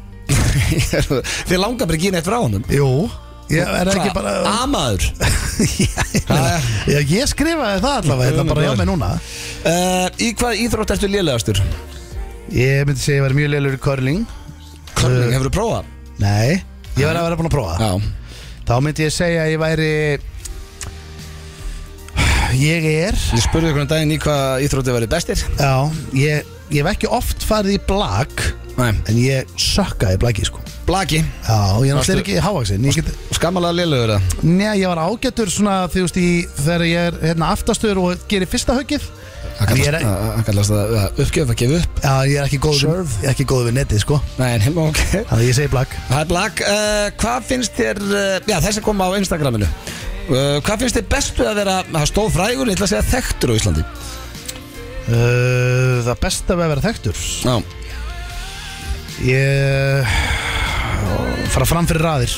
H: Þið langar bara ekki í neitt frá honum
C: Jú Ég er ekki
H: Hvað?
C: bara
H: Amaður
C: Já, ég, ég skrifaði það allavega Þetta bara hjá mig núna
H: uh, Í hvað íþrótt ertu lélegastur?
C: Ég myndi segja að ég væri mjög leilur í curling
H: Körling, hefur þú prófað?
C: Nei Ég verði að vera búin að prófa
H: Eh. Já
C: Þá myndi ég segja að ég væri Ég er
H: Ég spurði ykkur um daginn í hvað íþrótti verið bestir
C: Já Ég, ég hef ekki oft farið í blag
H: Nei
C: En ég sökkaði í blagi sko
H: Blaki
C: Já, ég er
H: Varstu-
C: náttúrulega ekki hávaksin Ég get
H: Skammalega lélegur það
C: Nei, ég var ágættur svona þú veist í þegar ég er hérna aftastur og gerir fyrsta höggið En ég er,
H: Það kallast það að uppgjöf að gefa upp
C: já, ég er ekki góð við, ég er ekki góð við netið sko
H: Nei, en heim, ok
C: Þannig að ég segi blakk
H: Það er blak uh, Hvað finnst þér uh, Já, þessi kom á Instagraminu uh, Hvað finnst þér bestu að vera Það stóð frægur, ég ætla að segja þekktur á Íslandi
C: uh, Það besta við að vera þekktur
H: Já
C: Ég eh, fara fram fyrir raðir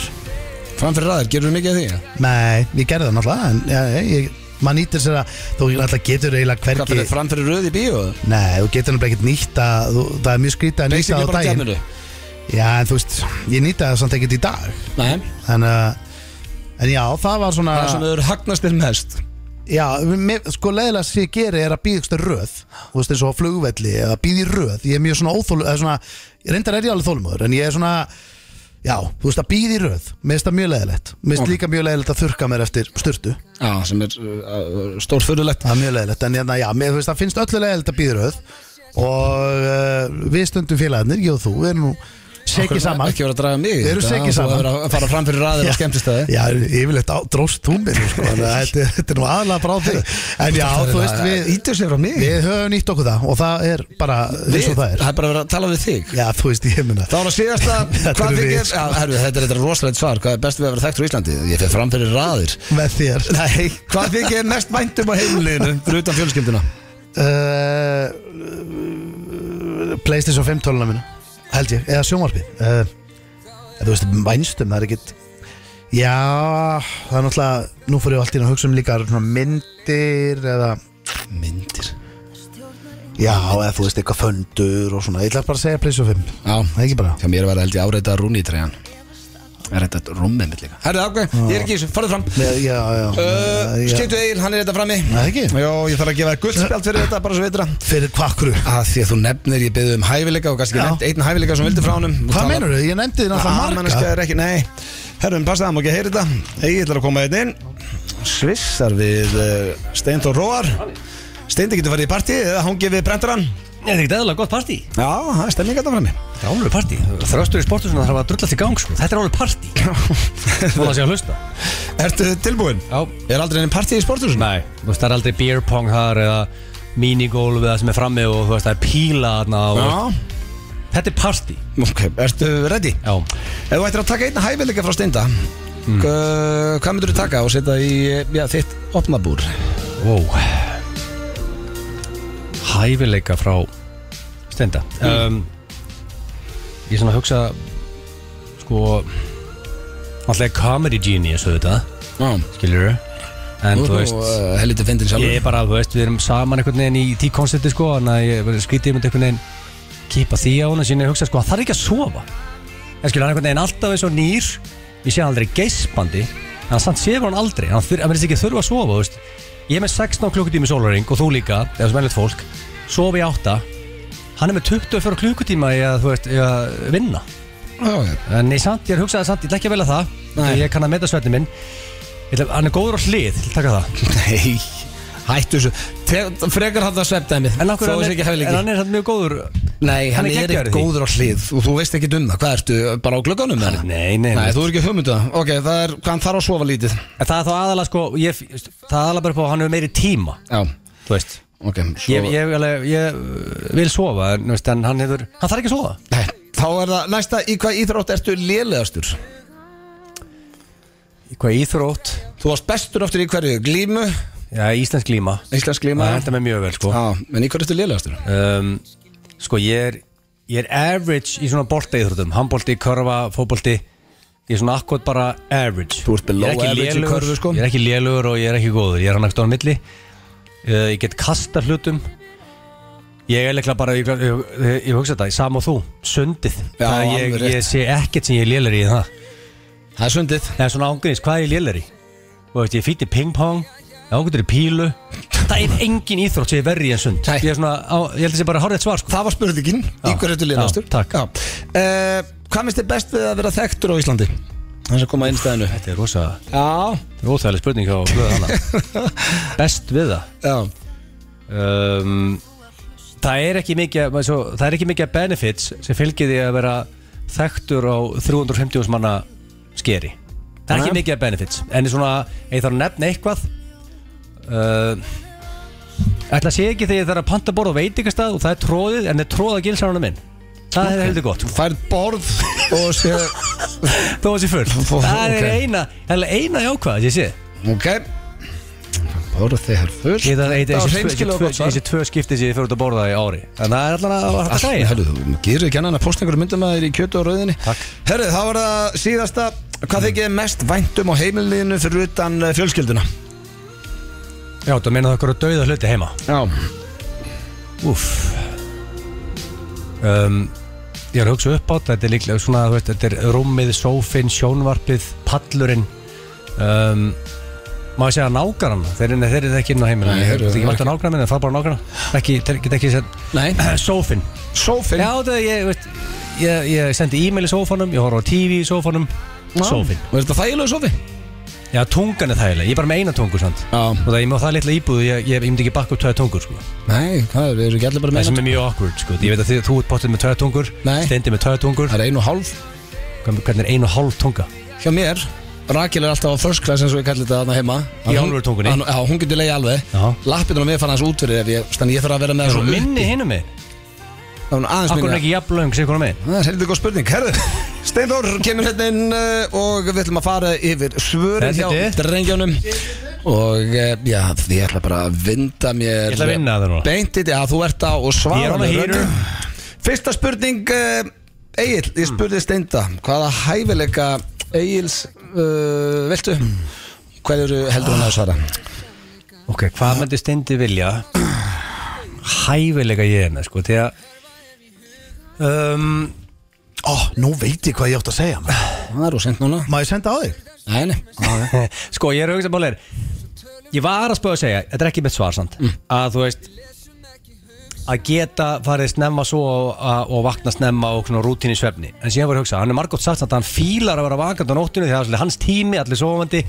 H: Framfyrir raður, gerur þú mikið af því? ja?
C: Nei, ég gerði það náttúrulega En já, ég, maður nýtir sér að þú náttúrulega getur eiginlega
H: Hvað fyrir
C: hvergi
H: framfyrir röð í bíó?
C: Nei, þú getur náttúrulega ekkert nýtt að þú, það er mjög skrítið að nýta
H: Basically
C: það á
H: bara
C: daginn
H: djamminu.
C: Já, en þú veist, ég nýta það samt ekkert í dag
H: Nei,
C: Þannig að En já, það var svona,
H: það er svona þau eru hagnast þér mest
C: Já, mér, sko leðilega sem ég geri er að býða ykkur röð Þú veist eins og á flugvelli eða býða í röð Ég er mjög svona óþólu eða svona, Ég reyndar er ég alveg þólumöður En ég er svona Já, þú veist að býða í röð Mér finnst það mjög leðilegt Mér finnst líka mjög leðilegt að þurka mér eftir sturtu
H: Já, sem er uh, stórfurðulegt
C: Það er mjög leðilegt En hérna, já, mér þú veist það finnst öllu leðilegt að býða í röð Og uh, við stundum félagarnir, ég og þú Við erum nú
H: Okkur
C: Sekið
H: er
C: saman
H: Ekki verið að draga mig í
C: Við erum
H: þetta,
C: sekir
H: þú
C: saman.
H: hefur að fara fram fyrir raðir á skemmtistæði
C: Já, yfirleitt á, dróst þú mér sko, þannig að þetta, þetta er nú aðalega bara á þig En já, þú veist, við
H: Ítur sér á mig
C: Við höfum nýtt okkur það og það er bara eins og það er
H: Það er bara verið að tala við þig
C: Já, þú veist, ég meina
H: Þá er það síðasta
C: Þetta
H: Hvað
C: eru við,
H: þykir
C: sko.
H: Já, herru, Þetta er þetta rosalegt svar Hvað er best við að vera þekktur á Íslandi? Ég fer fram fyrir raðir
C: Með þér
H: Nei Hvað þykir mest
C: um
H: væntum á heimilinu Fyrir utan fjölskylduna
C: uh, Playstation 5 tóluna mínu Held ég, eða sjónvarpi uh, Þú veist, vænstum, það er ekkit Já, það er náttúrulega Nú fór ég allt í einu að hugsa um líka svona myndir eða
H: Myndir
C: Já, eða þú veist, eitthvað föndur og svona Ég ætla bara að segja Playstation 5
H: Já
C: Það er ekki bara
H: Hjá mér var held ég áreita rúni í treyjan Er þetta rúmið mitt líka Herru, ok Ég er ekki í þessu Farðu fram
C: Já, já, já,
H: Uh,
C: já.
H: Skeytu Egil, hann er þetta frammi
C: Það er ekki
H: Jó, ég þarf að gefa þér guldspjald fyrir þetta bara svo veitra
C: Fyrir kvakru
H: að Því að þú nefnir, ég byrði um hæfileika og kannski
C: Já.
H: nefnt einn hæfileika sem vildi frá honum Þú
C: Hvað
H: talar-
C: meinur Ég nefndi þið
H: Ah,
C: náttúrulega marga
H: manneskja er ekki, nei Herrum, passa það, má ekki að heyra þetta Egil ætlar að koma einn inn Svissar við uh, Steintor Róar Steindi getur farið í partí eða hangið við brendarann
B: Nei, þetta er ekkert eðalega gott partí
H: Já, það er stemning að það frammi
B: Þetta er alveg partí Þröstur í sportu svona þarf að drulla til gang sko. Þetta er alveg partí Vona að sé að hlusta
H: Ertu tilbúin?
B: Já
H: Er aldrei einn partí í sporthúsinu?
B: Nei Þú veist það er aldrei beer pong þar eða minigolf eða sem er frammi og þú veist það er píla þarna og
H: Já,
B: Þetta er partí
H: ok, ertu ready?
B: Já
H: Ef þú ættir að taka einn hæfileika frá steinda mm. Hvað myndur þú taka og setja í já, þitt opnabúr?
B: Wow Hæfileika frá Stenda um, Ég er svona að hugsa Sko Alltaf comedy genius auðvitað
H: Já
B: Skilur En þú veist
A: eh,
H: uh, Helviti fyndin
B: Ég er
H: sjálfur
B: bara, þú veist, við erum saman einhvern veginn í tí koncepti sko Þannig að ég verður skrítið um einhvern veginn Kipa því á hana síðan ég hugsa sko, hann þarf ekki að sofa En skilur, hann er einhvern veginn alltaf eins og nýr Ég sé hann aldrei geispandi En hann samt sefur hann aldrei Hann þur- hann verðist ekki þurfa að sofa, þú veist Ég er með 16 klukkutími sólaring og þú líka Eða sem ennlegt fólk Sofa í 8 Hann er með 24 klukkutíma í að, þú veist, í að vinna
H: Já, já.
B: En ég, samt, ég er hugsað samt, ég ætla ekki að velja það
H: Nei.
B: Ég kann að meta svefni minn Ég ætla, Hann er góður á hlið, ég ætla að taka það
H: Nei
A: Hættu þessu Te- Frekar hann það svefdæmið
B: En, af hverju
A: Þó
B: hann
A: þessi ekki
B: er,
A: hæfileiki
B: en hann er samt mjög góður
A: Nei, hann,
B: hann er
A: er
B: geggjaður í
A: ekki
B: því.
A: góður á hlið Og þú veist ekki um það Hvað ertu, bara á glögganum með hann?
B: Nei, nei,
A: Nei, þú er ekki hugmyndu það Ok, það er, hann þarf að sofa lítið
B: En það er þá aðalega sko ég, Það er aðalega bara på að hann hefur meiri tíma
A: Já,
B: Þú veist
A: ok svo...
B: Ég, ég, ég, ég uh, vil sofa en, þú veist, en hann hefur Hann þarf ekki að sofa
A: Nei, þá er það Næsta, í hvað íþrótt ertu lélegastur?
B: Í Hvað íþrótt
A: Þú varst bestur aftur í hverju? Glímu?
B: Já, íslensk glíma
A: Íslensk glíma?
B: Það henda mig mjög vel sko
A: Já, en í hverju ertu lélegastur?
B: um, Sko ég er Ég er average í svona bolta íþróttum Handbolti, körfa, fótbolti Ég er svona akkot bara average
A: Þú ert below
B: Ég er ekki
A: average í
B: lélegur-
A: körfu, sko.
B: Ég er ekki lélugur og ég er ekki góður Ég er hann ekkert á milli uh, Ég get kasta hlutum Ég er leiklega bara Ég, ég, ég, ég hugsa þetta, sam og þú, sundið
A: Já,
B: Það
A: alveg
B: ég,
A: rétt.
B: ég sé ekkert sem ég er lélugur í en það
A: Það er sundið
B: Það er svona ángurins, hvað er ég lélugur í? Og veist, ég fýtti ping-pong Ég ángurður í pílu Það er engin íþrótt sem ég verri en sund
A: Nei.
B: Ég er svona, á, ég held að sé bara hárið svar sko.
A: Það var spurningin, í
B: Já.
A: hverju ertu lélegastur?
B: Já, takk.
A: Eh, Hvað minnst þið best við að vera þekktur á Íslandi? Það sem koma einstæðinu
B: Þetta er rosa
A: Já,
B: Þetta er óþægileg spurning hjá Flöðu Hanna Best við
A: já,
B: það um, Það er ekki mikið maður svo, Það er ekki mikið benefits sem fylgir því að vera þekktur á 350 manna skeri Það er ekki
A: Nei.
B: mikið benefits En svona, ef ég þarf að nefna eitthvað uh, Ætla að sé ekki þegar ég þarf að panta borð á veitingastað og það er tróðið, en það er tróða gilsarana minn Það er heldur gott,
A: þú færð borð og sé
B: þó að sé full
A: Fó-
B: Það er
A: ok.
B: eina, það er eina jákvæð, ég sé
A: Ok Borð þegar full
B: Ég það
A: Það
B: er
A: var
B: þessi tvö-
A: hreinskilega
B: tvö-
A: gott svar.
B: þessi tvö skipti sem ég fyrir út að borða í ári En það er allan að að
A: Allt,
B: hlæja
A: herru, þú gerir ekki annan að posta einhverju myndum að þér í kjötu og rauðinni
B: Takk.
A: Herru, það var það síðasta Hvað þykir þér mest væntum á heimilinu fyrir utan eh, fjölskylduna?
B: Já, þú meina það okkur að dauða hluti heima
A: Já
B: Úff um, Ég er að hugsa upp átt Þetta er líklega svona, þú veist, þetta er rúmið, sófinn, sjónvarpið, pallurinn um, Má ég segja nágrann Þeir eru þeir eru ekki inn á heimilinu
A: Nei,
B: Ég
A: þeir eru
B: get ekki
A: það
B: mætt á nágrann minn, það er bara nágrann Ekki, þeir get ekki sér
A: Nei
B: Sófinn
A: Sófinn
B: Já, þetta, er- ég, veist Ég, ég sendi e-mail í sófanum, ég horf á TV í sófanum Sófinn
A: Og er þetta þægilegu sófi?
B: Já, tungan er þægileg, ég er bara með eina tungu samt
A: Já.
B: Og það ég með það litla íbúð, ég, ég, ég myndi ekki bakka upp tveið tungur sko.
A: Nei, hvað, við erum ekki allir bara
B: Það
A: með
B: sem er mjög awkward, sko. ég veit að þið, þú ert bóttið með tveið tungur
A: Nei.
B: Steindi með tveið tungur
A: Það er einu og hálf
B: Hvernig er einu og hálf tunga?
A: Hjá mér Rakel er alltaf á first class eins og ég kalli þetta þarna heima
B: Í
A: Hún-
B: alvöru tungunni?
A: Hann- Já, hún getur leiði alveg
B: Já.
A: Lappinu á mér fann hans út fyrir ef ég Þannig ég þarf að vera með
B: Það er svo
A: svona
B: minni
A: uppi.
B: hinum með
A: Það er hún aðeins
B: Akkur er
A: minni
B: ekki jafn löng sem konar með
A: Það er heldur góð spurning Herðu, Steindór kemur hérna inn uh, og við ætlum að fara yfir svörin
B: Þetta er
A: hjá
B: þitt.
A: drengjónum og uh, já, því ég ætla bara að vinda mér
B: Ég ætla að vinna það núna.
A: Beint í því að þú ert á og
B: Ég er
A: svara
B: on a
A: með
B: heater.
A: röddum. Fyrsta spurning uh, Egil, ég spurði Steinda hvaða hæfileika Egils uh, viltu? Hverju heldur hann að svara?
B: Ok, hvað myndi Steindi vilja? Hæfilega ég er með sko, því að um,
C: Ó, nú veit ég hvað ég átt að segja maður.
A: Það er úr sent núna
C: Má ég senda á þig?
A: Nei, nei
B: Sko, ég er auðvitað mál er Ég var að spöða að segja, þetta er ekki mitt svar samt
A: Mm.
B: Að þú veist Að geta farið snemma svo og, að- og vakna snemma og svona rútín í svefni En síðan var ég að hugsa, hann er margótt sagt samt að hann fílar að vera vakandi á nóttinu Því það er svolítið hans tími, allir sofandi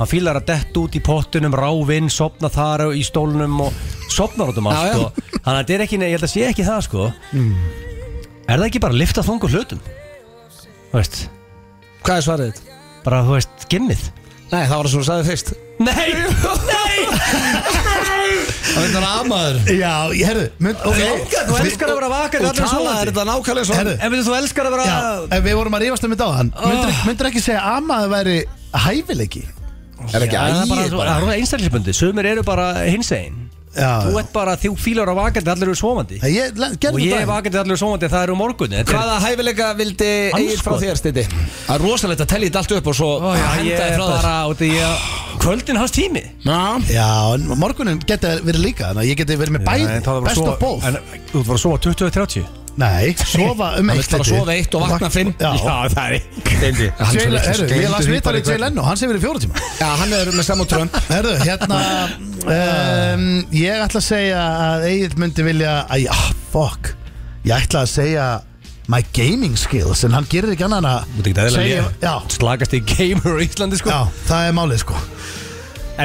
B: Hann fílar að dett út í pottunum, ráfinn, sopna þar í stólnum og sopnar út um
A: Já,
B: allt
A: Mm. já.
B: sko. Þannig að þetta er ekki, nei, ég held að sé ekki það sko Er það ekki bara að lifta þungu hlutum? Þú veist,
A: Hvað er svarið þitt?
B: bara þú veist, gimmið
A: Nei, það var það sem þú sagði fyrst
B: Nei, nei
A: Það veit hann að maður
C: Já, ég herðu mynd, ok
B: Þú elskar að vera vakandi
A: Þú
B: allir
A: talaði
B: sofandi
A: þetta nákvæmlega svo
C: Herðu.
B: En veitu, þú elskar að
C: Já,
B: vera
C: ef við vorum að rífast um þetta á
B: Ah.
C: hann myndir, myndir ekki segja að maður væri hæfileiki
A: Er ekki
B: Það er bara,
A: ægir
B: svo-
A: bara
B: það er einstaklisbundi Sumir eru bara hins einn
C: Já.
B: Þú ert bara, þú fílar að vakandi allir eru sofandi
C: Nei, Ég le-
B: Og
C: gerði
B: ég
C: þetta
B: er vakandi allir eru sofandi Það eru morgunni Þetta er-
A: Hvaða hæfileika vildi
B: Andskot.
A: Egil frá þér, Steindi? Það er rosalegt að tellja þetta allt upp og svo
B: Ó, já, Ég
A: henda þér
B: er
A: frá þér
B: bara út í að Kvöldin hans tími
A: Já,
C: Já, en morgunin geti verið líka Þannig að ég geti verið með bæði, best of both
B: Þú var að sofa 20-30
C: Nei, sofa um
A: Það
C: eitt
A: vill bara sofa eitt og vakna fimm.
C: Já,
B: það er Steindi
A: Hann er svo
C: Jay-
A: litlu
C: herru,
A: skemmtur í
C: Ég las
A: bara
C: viðtalið
A: í
C: Jay
A: kvöld.
C: Leno, hann sem verið fjóra tíma
A: Já, hann er með saman trömp
C: Herðu, hérna um, Ég ætla að segja að Egil myndi vilja Æ, ah, fuck Ég ætla að segja my gaming skills En hann gerir ekki annað en að
B: Þú ert ekki eðlilega
C: segja-
B: lélegur.
C: Já,
B: Slagast í gamer á Íslandi sko
C: já, það er málið sko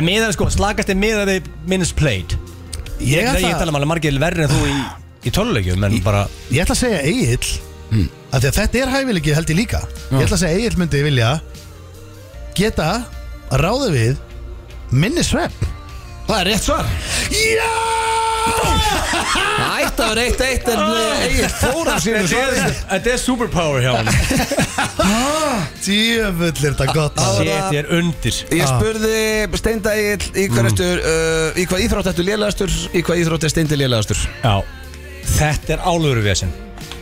B: En miðað sko, slagast er miðað við minus played
C: Ég
B: Ég, ég, ég
C: ætla,
B: tala um alveg margir verri en þú í, í töluleikjum En bara,
A: um-
C: ég ætla að segja Egil
A: Hmm.
C: af því að þetta er hæfileiki held ég líka Ég ætla að segja Egil myndi vilja geta að ráða við minni svepp
H: Það er rétt svar
C: Já!
H: Það ætti að vera eitt eitt en Egil fór af sínu svari
B: Ah. þetta er superpower hjá hann
C: Djöfull er þetta gott maður.
B: Shit, ég er undir
H: Ég spurði Steinda Egil í, hverjastu, uh, í hvað íþrótt ertu lélegastur Í hvað íþrótt er Steindi lélegastur
B: Já, þetta er álöfru vesinn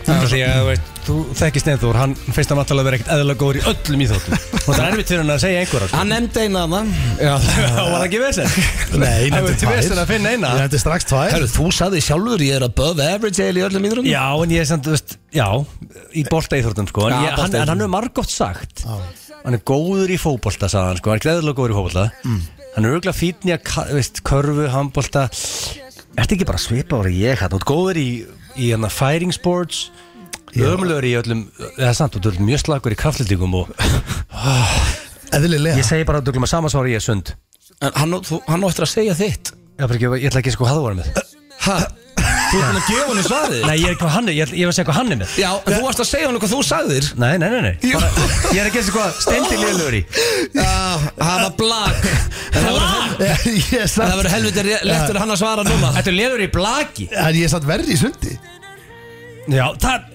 B: Því að þú veist, þú þekkist Neyþór Hann finnst hann náttúrulega verið ekkert eðla góður í öllum íþróttum Og það er erfitt fyrir hann að segja einhverja sko.
H: Hann nefndi eina að
B: Já, það var ekki vesinn
C: Nei,
B: Það var
C: nefndi
B: til vesinn
C: tvær
B: að finna eina
C: Ég nefndi strax tvær
H: það Þú saði sjálfur ég er above average Egil í öllum íþróttum
B: Já, en ég er samt, þú veist, já Í bolta íþróttum, sko En
H: Já,
B: ég, hann,
H: boltaíþróttum.
B: en hann er margótt sagt Hann er góður í fótbolta, sagði hann, sko Hann er gleðilega góður í fótbolta Hann er auðvitað fítn í að, ka- veist, körfu, handbolta Ertu ekki bara svipa ára ég hann? Þú ert góður í, í hann fighting sports Ömlöður í öllum eða samt, þú ert mjög slagur í kraftlýtingum og
C: Eðlilega
B: ég segi bara að þú glum að samansvara ég er sund
H: En hann, á- þú, hann á eftir að segja þitt
B: Ég, bara ekki, ég ætla ekki að sko hvað þú var með
H: Ha? Þú ert búin að gefa henni svarið
B: Nei, ég er ekki hvað hann er, ég, ætla- ég var að segja hvað hann er með
H: Já, en þú varst að segja henni hvað þú sagðir
B: Nei, nei, nei, nei
H: Jú.
B: bara, Ég er ekki að segja hvað stendir liðlöður í
H: Já, það var blag En það verður-
C: Ég er
H: en það
C: samt
H: verður helviti lett fyrir hann að svara núna
B: Þetta er liður í blaki
C: En ég er samt verri í sundi
B: Já, það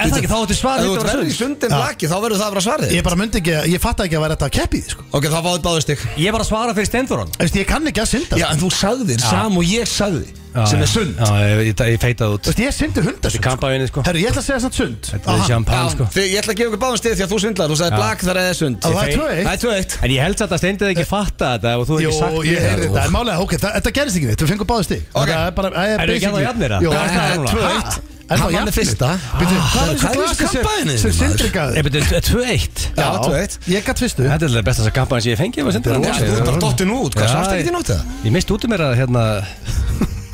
B: Er það ekki, þá ættu
H: Ef
B: svar
H: þú ert verður í
B: sund
H: sundin blaki, þá verður það að vera svarið
C: Ég bara myndi ekki, ég fatt ekki að vera þetta að keppi sko.
H: Ok, þá fáið báðu stygg
B: Ég var að svara fyrir Steindoran
C: Eftir, Ég kann ekki að synda sko.
H: Já, en þú sagðir, sam og ég sagði sem er sund
B: Já, ég, ég, ég feitaði út
C: Eftir, Ég syndi hundasund sko.
B: Kampaðinni, sko
C: Herru, ég ætla að segja samt sund
B: Þetta er
C: Aha.
B: champagne, sko
H: Já, þið- Ég ætla að gefa ykkur báðum stygg því að þú svindlar Þú sagði blak þar eða sund
C: Á, Það er tvö eitt
H: Það er tvö eitt
B: En ég held satt að Steindið ekki fatta þetta og þú hefði
C: Jú,
B: ekki sagt
C: ég
B: mér
C: heyrði
B: það.
C: þetta, en málega, ok, það- þetta gerist ekki neitt, við fengum báðu stig
H: Ok.
C: Það er bara, það er
B: Erum við ekki ennþá jafnir, eða?
C: Jú,
B: Hvað er
C: það
B: staðan
C: er
B: núna?
C: 2-1
H: Hann var fyrsta.
C: Býtu,
B: Ah.
C: hvað er
H: Hvað
C: þessi
H: er í
C: glasi
H: þessu kampavíni,
C: sem, sem
H: maður?
C: sindri
B: Nei,
C: gaði?
B: betur, þetta er 2-1
H: Já, 2-1.
C: Ég gætt fyrstu
B: Þetta er það besta þess að kampaðin sem ég fengi var Steindið
H: Já, Þú ert bara dottin út, hvað svarst ekki til nóta?
B: Ég mist út um mér að hérna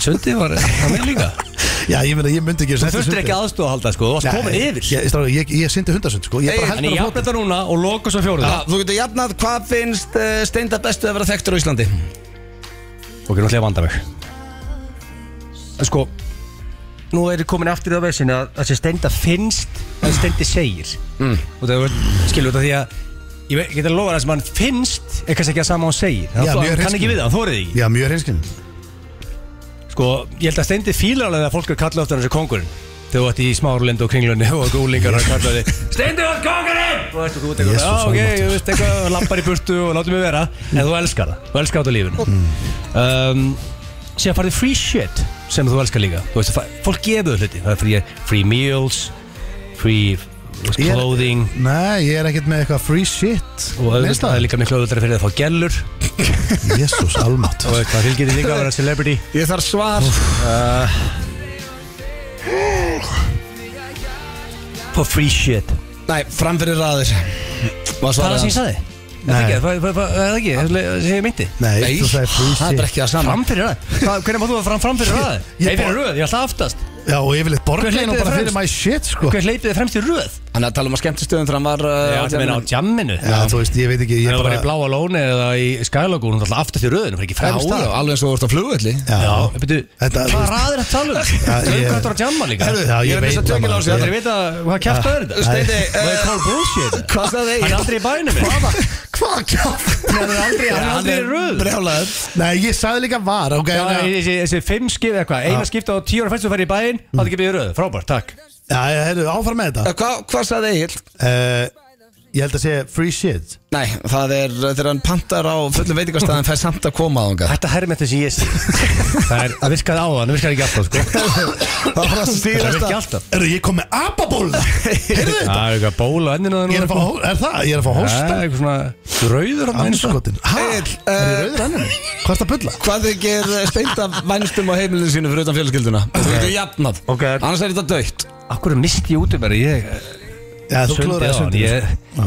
B: Sundið var Það mér líka
C: Já, ég meina, ég myndi ekki
B: Þú þurftir ekki aðstofa að halda sko Þú varst komin yfir
C: Ég, stráðu, ég, ég syndi hundasund, sko Ég bara
H: Egil,
C: held
B: En ég
C: bara á
B: jafn þetta núna og loka svo fjóruð
H: Já, Þú getur jafnað, hvað finnst eh, Steinda bestu að vera þekktur á Íslandi?
B: Ok, nú ætla ég að vanda mig En Sko Nú er ég komin aftur í það veðsinn að það sem Steinda finnst að Steindi segir mm. og það er skilur þetta því að ég veit- ég get að lofa það sem hann finnlt er kannski ekki að sama hann segir
C: Já,
B: það
C: mjög
B: hann kann
C: hreinskilinn.
B: ekki við það, hann þórið ekki
C: Já, mjög hreinskinn
B: Sko, ég held að Steindi fílar alveg að fólk er kallað aftur hans er kongurinn þegar þú ert í smárlind og kringlunni og gúlingar og kallaði Steindi var kongurinn! og veist, og þú ert eitthvað,
C: Jesus
B: já ok,
C: almáttugur."
B: þú veist eitthvað lappar í burtu og látum mig vera en þú elskar það, þú elskar þetta á lífinu um, síðan farið free shit sem þú elskar líka þú veist, fa- fólk gefur þér hluti, það er free, free meals free þú veist,
C: Ég-
B: clothing
C: Nei, ég er ekkert með eitthvað free shit
B: og auðvitað- það er
C: Neinstaklega
B: líka miklu auðvitað fyrir þig að fá gellur
C: Jésús, almátt
B: og það fylgir þig líka að vera celebrity
H: Ég þarf svar
B: fá free shit
H: Nei, framfyrir raðir Var
B: það er það
H: svarið
B: sem ég
H: hans?
B: sagði Er það ekki, Það- það- það- það er ekki, það er það sem ég myndi
C: Nei,
H: Nei,
C: þú sagði free
H: það er bara
C: shit
H: ekki það sama
B: Framfyrir röð? Hvað- Hvernig má þú að fram framfyrir röð?
C: Ég
B: Nei, fyrir
C: bara-
B: röð, ég ætla aftast
C: Já, og yfirleitt borglein og
B: hleypti
C: bara
B: þér
C: fyrir
B: fremst?
C: my shit, sko
B: Hver hleypið þið fremst í röð?
H: Hann er að tala um að skemmtistöðum þegar hann var uh, á
B: þetta meina á jamminu
H: djamminu.
C: Já, þú veist, ég veit ekki Ég
B: Ég var í
C: bara,
B: bláa lóni eða í skælagún Það er aftast í röðinu, það er ekki
H: Já,
B: fremst
H: já,
B: það
H: alveg eins og þú ert á flugvelli
B: Já,
C: já
B: betur,
C: Þetta- þú
B: hvað
C: veist-
B: raðir þetta um? talum? Það er
C: ég-
B: hvað að jamma líka
C: Herðu, já,
H: Ég
C: ég
H: er að missa
C: veit
H: tökin á
C: maður.
H: sig,
B: Ég er að vita hvað kæft það er þetta
H: Steindi,
B: Það er
H: eh,
B: call bullshit
H: Hvað sagði
B: Hann er
H: Egil?
B: aldrei í bænum Hvaða?
C: Hvað kjátt?
B: Hann er aldrei, hann er aldrei í röð
H: Brjálaður
C: Nei, ég sagði líka var, ok
B: Já,
C: en-
B: þessi, þessi fimm skip eða hvað, eina skipta á tíu ára fyrst og ferði í bæinn, þá það gefið í röð, frábært, takk
C: Já, já, heyrðu, áfram með þetta
H: Eh, Hvað hvað sagði Egil?
C: Eh, Ég held að segja free shit
H: Nei, það er uh, þegar hann pantar á fullum veitingastæðin fær samt að koma á honga
B: Þetta hermið þessi ég sé Það er, það virkaði á hann, það virkaði ekki alltaf sko
H: Það var það
B: Það er
H: stíðast
B: ekki alltaf
C: Erðu, ég kom með ababól Heyrðu þetta?
B: Það er eitthvað ból á enninu
C: Ég er að fá, hó- er það? Ég er að fá
B: Það
C: hósta
B: er eitthvað svona Rauður hann
C: Anskotin Hæ? Er
H: Egill,
C: ég
H: eh,
C: rauður ennum? Hvað er það að bulla?
H: Hvað þau ger eh, steinda vænstum á heimilinu sínu fyrir utan fjölskylduna Þú getur jafnað
B: Ok.
H: Annars er þetta dögt
B: Akkur misti ég út um mér Ég
C: Já, þú
B: sundi
C: klúður
B: á
C: að
B: hann
C: sundi
B: Ég
C: Já.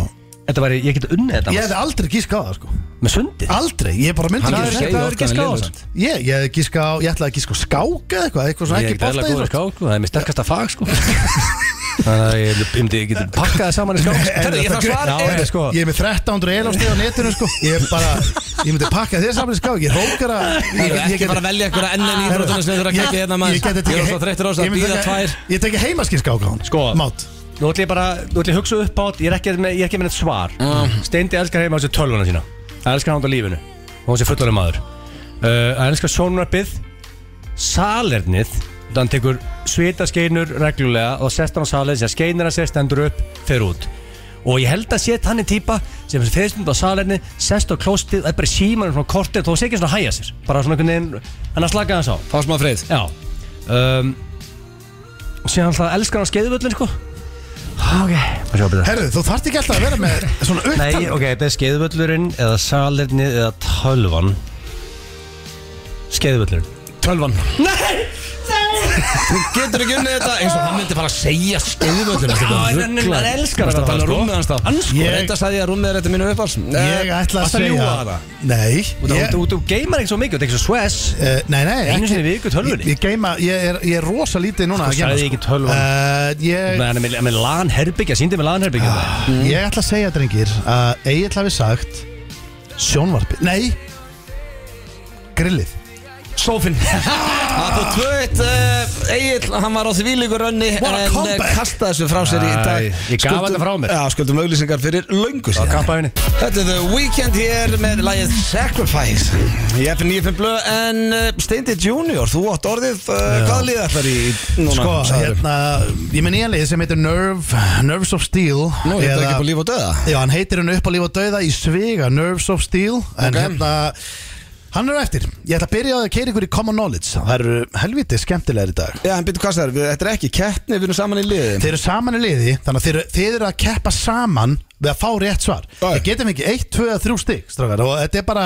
B: Þetta væri, ég get unnið
C: Ég
B: þetta maður.
C: hefði aldrei gíska á það sko
B: Með sundið
C: Aldrei, ég bara myndi
H: Hann
C: ekki
H: er
C: að
H: skeið
B: þetta
H: oft
B: er ekki
H: hann
B: skáð,
H: lélegur
B: sant?
H: samt.
C: sko. Ég, ég hefði gíska á, ég ætlaði að gíska á skáka eða eitthvað Eitthvað svona
B: Ég
C: ekki
B: get eðla
C: bóta
B: góður skák sko, Það er mér sterkasta fag sko Þannig að ég myndi- ég myndi ég geti pakkað það saman í skáp
A: Herri, ég þarf svar
B: Já,
A: er-
B: ég sko
C: Ég er með 1300 elastíð á netinu sko Ég er bara, ég myndi pakka þér saman í ská Ég rókar að
A: Ég er ekki
C: geti-
A: bara að velja einhverja ennum íþrótuna sem þú þurfa að kekja hérna maður
C: Ég geti tekið
A: Ég er
C: hei-
A: svo þreyttur á þess að
C: ég myndi
A: býða
C: taka-
A: tvær
C: Ég teki heimaskinn ská á hann
B: Sko.
C: Mát
B: Nú ætlum ég bara, nú ætlum ég að hugsa upp átt Ég er ekki með, ég er ekki með neitt svar Steindi elskar heima á þessu tölvuna sína Elskar hann á lífinu Og hún sé fullanum maður uh, Hann elskar sónunarpið Salernið Þannig tekur svita skeinur reglulega Og sest hann á salernið Sér skeinir að sér stendur upp, fer út Og ég held að sé þannig típa sem fyrir fyrirstund á salerni, sest á klóstið, það er bara í símanum svona kortið, þó sé ekki svona að hæja sér. Bara svona einhvern veginn, hann að slaka þess á.
A: Fá smá frið
B: Já um, Og síðan alltaf elskar hann skeiðvöllin sko Ok Sjá byrja
C: Herðu, þú þarft ekki alltaf að vera með svona
B: Nei,
C: upptalning
B: ok, þetta er skeiðvöllurinn eða salernið eða tölvan Skeiðvöllurinn
A: Tölvan Nei! Þú getur ekki unnið þetta eins og hann myndi fara að segja skeiðvöllum
B: elskar
A: Þetta tala um rúmið hans þá
C: Ég-
A: Reynda sagði ég að rúmið er þetta mínu uppáls
C: Ég ætla að segja Nei ég-
B: Þú geymar ekki svo mikið, þetta er ekki svo sves
C: Eh, Nei, nei
B: Einu
C: ekki-
B: sinni í viku tölvunni.
C: Ég, ég, geima, ég, er, ég er rosa lítið núna
B: Sko,
C: að geyma,
B: sagði
C: sko.
B: ég ekki tölvan?
C: Eh, ég, Mm.
B: Með, með, með lanherbyggja, síndi með lanherbyggja ah.
C: ég ætla að segja, drengir að Egil hafi sagt sjónvarpi Nei Grillið
A: Sófin Það búið tvö eitt eh, Egill, hann var á því vílíkur önni
C: What a
A: En eh,
C: comeback.
A: kastaði þessu frá sér í dag
B: Æ, ég gaf
A: Skuldum-
B: þetta frá mér.
A: Já, skuldum auglýsingar fyrir löngu
B: Á
A: síðan
B: kampaðinni
A: Þetta er The Weeknd hér með lagið Sacrifice Ég er fyrir 95 blöð En uh, Steindi Junior, þú átt orðið uh, Hvað liða þar í núna?
C: Sko,
A: sagðirðu?
C: hérna, ég minn nýjanlið sem heitir Nerve, Nerves of Steel
A: Nú, ég þetta
C: eða-
A: ekki búið líf og döða
C: Já, hann heitir hann upp á líf og dauða í svega Nerves of Steel En
A: Ok.
C: hérna, hann er á eftir Ég ætla að byrja á því að keira ykkur í Common Knowledge Það eru helviti skemmtilegar í dag
A: Já, en byrju hvað það er, þetta er ekki keppni, við erum saman í liði
C: Þeir eru saman í liði, þannig að þeir, eru- þeir eru að keppa saman við að fá rétt svar
A: Já.
C: Þeir getum ekki 1, 2, 3 stig strákar, og þetta er bara,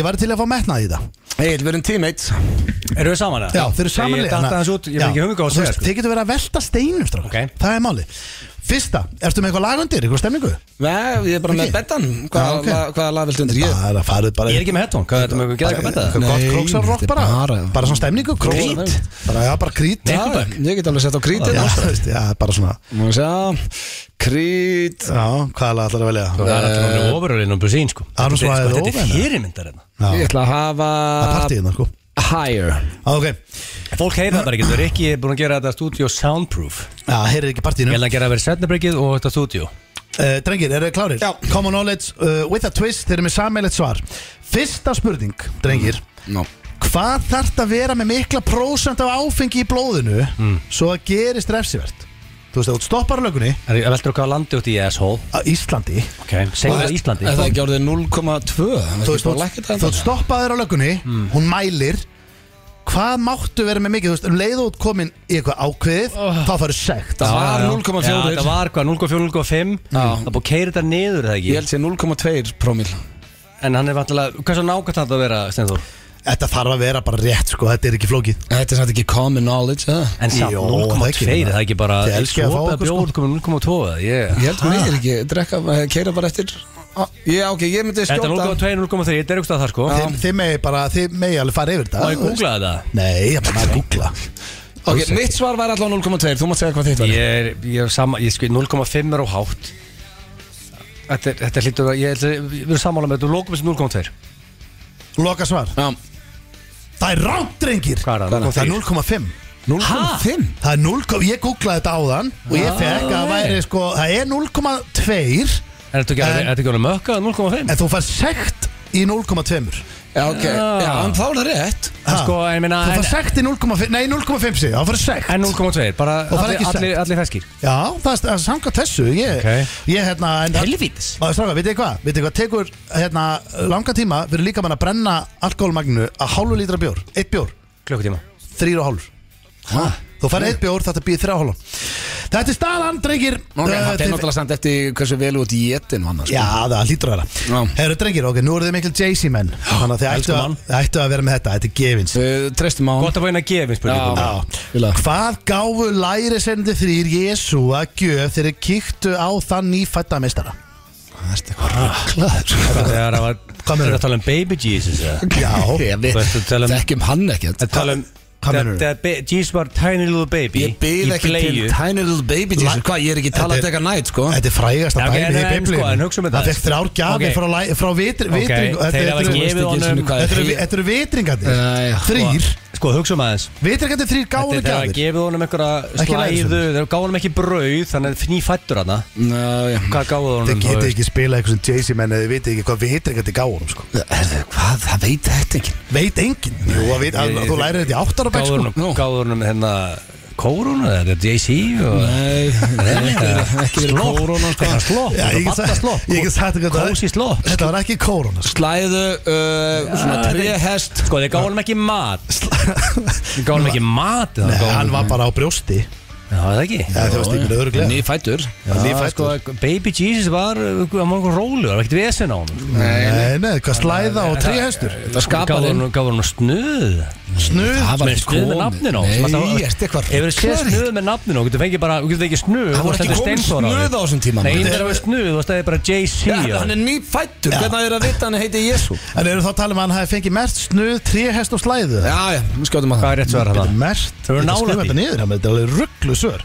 C: ég var til að fá metnað í það
A: Egil, við erum teammates
B: Eru við saman eða?
C: Já, þeir eru saman
B: Ég datta hans út, ég er ekki hugmynd góð að segja sko
C: Þeir getur verið að velta steinum strákar,
B: Ok.
C: það er máli Fyrsta, ertu með eitthvað lagundir, eitthvað stemningu?
A: Nei, ég er bara með betan
C: Já,
A: Hvaða
C: ok.
A: okay. hva, lag viltu undir ég?
C: Það er að farið bara
B: Ég er ekki með headphone, hvað er þetta með að geða eitthvað betta?
C: Eitthvað gott
A: Nei,
C: króksarrock
A: þetta er
C: bara,
B: Ah,
C: bara
A: bara-
C: svona stemningu Krít
A: Krít.
C: Bara, já, bara krít
A: Já, Ég get alveg sett á
C: Já,
A: krítið
C: þú veist, já, bara svona
A: Má sjá Krít
C: Já, hvað er allar að velja?
B: Það er alltaf alveg ofurölinn og busín sko
C: Arons var
B: Þetta er- sko,
C: eða
B: Þetta er
C: ofan, eða?
B: fyrirmyndar hérna
C: Já,
A: Ég ætla að hafa
C: það er partíðina, sko
A: Higher
C: Já, ok
B: Fólk heyrða bara ekki, þú er ekki búin að gera þetta stúdíu soundproof
C: Já, heyrið ekki
B: Ég
C: partíðinu
B: held að gera verið setnabryggið og þetta stúdíu
C: uh, Drengir, eru þið klárir?
A: Já.
C: Common knowledge uh, with a twist Þeir eru með sammeilegt svar Fyrsta spurning, drengir
B: Mm,
A: no.
C: Hvað þarf það að vera með mikla prósent af áfengi í blóðinu
B: Mm.
C: Svo að gerist refsivert? Þú veist, ef þú stoppar á lögunni
B: Það er veldur okkar landi út í asshole
C: á Íslandi
B: Ok, segjum það Íslandi
A: Er það ekki orðið 0,2?
C: þú veist, þú-
A: þú
C: þú stoppaður á löggunni
B: Mm.
C: hún mælir hvað máttu vera með mikið, þú veist, um leiðu út komin í eitthvað ákveðið,
B: Ah.
C: þá farið sekt
A: Það var
B: Já,
A: 0,4
B: Það var hvað, 0,4, 0,5 Það er búið að keira þetta niður er það
A: Ég
B: ekki
A: held sér 0,2 promil
B: En hann er vantilega, hversu nákvæmt þarf þetta að vera, Steinþór?
C: þetta þarf að vera bara rétt, sko, þetta er ekki flókið
A: Þetta er satt ekki common knowledge eða?
B: En samt
C: Jó,
B: 0,2,
C: það er ekki-
B: það er ekki bara
C: Þið elskið að fá
B: Svopa
C: okkur, sko.
B: bjór, komið 0,2 eða? Ég-
A: Ég held hún er ekki Drekka, keira bara eftir Ah, Ég, ok, ég myndi
B: Þetta er
A: skjóta
B: 0,2, 0,3, þetta er aukstað það sko
A: Já.
C: þið, þið megi bara, þið megi alveg fara yfir þetta
B: Má ég
C: þú veist.
B: googla þetta?
C: Nei, ég bara maður googla
A: Ok, mitt svar var allavega 0,2 Þú mátt segja hvað þitt var
B: Ég er, ég er sama, ég sko, 0,5 er á hátt Þetta, er- þetta hlýtur að, ég held að, við erum sammála með þetta, þú lókum þessu 0,2
C: Loka svar,
A: Já,
C: það er rámt, drengir
B: Hvað er það?
C: það er 0,5
A: 0,5
C: Það er 0, ég googlaði þetta áðan og ég fekk að það væri sko, það er 0,2
B: Er þetta ekki
C: En-
B: alveg- er þetta ekki alveg mökka, 0,5?
C: en þú fær sekt í 0,2
A: Já, ok,
B: Já.
A: já, en þá er það rétt
B: En Sko, ég meina,
C: Þú
B: en-
C: fær sekt í 0,5, nei 0,5 sig, þá fær sekt
B: en 0,2, bara
C: Og það er
B: allir,
C: ekki sett.
B: allir, allir feskir
C: Já, það er samkvæmt þessu Ég,
B: Ok.
C: ég hérna en-
B: Helvítis
C: Og Stráka, vitið þið hvað? Vitið þið hvað tekur hérna, langa tíma fyrir líka mann að brenna alkoholmagnu að hálfu lítra bjór Eitt bjór,
B: Klukkutíma
C: þrýr og hálfur Þú færði eitt bjór, þetta býði þrjá og hálfum Þetta er staðan, drengir
A: Ok,
C: Eh,
A: það er
C: þið-
A: náttúrulega samt eftir hversu vel út í jetin hann
C: Já, það hlýtur að vera
A: Já.
C: Herru, drengir, ok, nú eru þið mikil Jay-Z menn Þannig að þið ættu,
B: elskum
C: að,
B: hann.
C: þið ættu að vera með þetta, þetta er gefins
A: Við treystum á hann
B: Gott að bæna að gefa mér spurningum
A: Já.
C: Já.
A: Fíla.
C: Hvað gáfu lærisendir þrýr Jésu að gjöf þegar þeir kíktu á þann nýfætta meistara?
A: Það er eitthvað röklaður
B: Þegar það var,
C: Hvað
B: það
C: meinarðu?
B: er að tala um baby Jesus eða?
C: Já,
A: Ég veit,
B: Þú veist, þú tala um-
A: þekkjum hann ekkert
B: Að tala um
C: Hvað
B: That
C: mennur
B: that ba- Jesus var tiny little baby
A: Ég byrð
B: í
A: ekki til
B: bleiu.
A: Tiny Little Baby Jesus
C: La-
A: Hvað, ég er ekki
C: Þetta
A: talað
C: er-
A: að teka nætt, sko
C: Þetta er frægast
B: Já,
C: að
B: ok, en-
C: dæmið í
B: en sko,
C: biblíu
B: en hugsum þetta
C: Það
B: aðeins.
C: fekk þrjár gjafir
B: Ok.
C: frá, læ- frá vitri,
B: Ok,
C: vitring
A: Þú
B: þeir hafa ekki
A: veist
B: gefið
A: ekki einu
B: honum-
A: sinni hvað
C: Þetta
A: er
C: eru-
A: hé-
C: þetta eru vitringarnir
A: Æ, já.
C: Þrýr
B: Sko, hugsum aðeins
C: Vitringarnir þrýr gáðu
B: Þetta er þegar að
C: gjafir
B: gefið honum einhverja
C: Ekki lærisveinar.
B: slæðu Þeir gáðu honum ekki brauð Þannig að fný fættur hana
A: Ná, já.
B: Hvað gáðu honum?
C: Þið
B: þá
C: getið Mm.
B: veist?
C: ekki spilað eitthvað sem Jay-Z menn eða þið vitið ekki hvað vitringarnir gáðum sko.
A: Herðu, Hvað, það veit þetta ekki
C: Veit enginn Jú, að vit, að, þú lærið þetta í áttara bæk
B: Gáðu
C: sko.
B: honum- Gáðu honum hérna Kóruna eða Jay-Z og
A: Nei, ekki verið
B: Slopp.
A: korona, sko
B: Eitthvað slopp,
C: Já, ég
B: eitthvað
C: get sagt-
B: baddaslopp
C: ég get sagt ykkur þetta-
B: Kósi slopp
C: Þetta var ekki kórona sko.
A: Slæðu, uh, svona trehest
B: Sko, þeir gáðu honum ekki mat Þeir gáðu honum ekki mat eða
C: Nei,
B: gáfu
C: hann
B: honum-
C: var bara á brjósti
B: Já, það ekki
C: Já, það varst ykkur öruglega
A: Nýfætur
B: Já,
C: nýfæddur.
B: sko, Baby Jesus var uh, Hann var einhver rólu, það var ekkert vesen á honum
C: Nei, nei, hvað slæða og tríhestur
A: Það skapaði
B: Gáður hún snuð
C: Snuð
A: Það var
B: Með
A: ekki
B: snuð með
A: komið.
B: nafninu á
A: Nei,
B: Sem alltaf-
A: ertu eitthvað
B: Ef þú séð
A: ruglaður?
B: snuð með nafninu á Þú getur fengið bara Þú getur fengið snuð
A: Það
B: þú
A: var
B: stendur
A: ekki komið
B: Steinþór
A: snuð á þessum tíma
B: Nei,
A: maður.
B: það er alveg snuð Þú stæði bara
A: Já,
B: Jay-Z á
A: Hann er nýfættur,
C: Já.
A: hvernig er að vita hann heiti Jésu
C: En eru þá að tala um að hann hafi fengið mest snuð, tríhest og slæðu
A: Já, já, við skjóðum að
B: Hvað er rétt svar að
C: Þetta
B: það?
C: er mert
B: Þau eru nálægt
C: Skrifa
B: í.
C: þetta niður, hann, þetta er alveg rugglu svör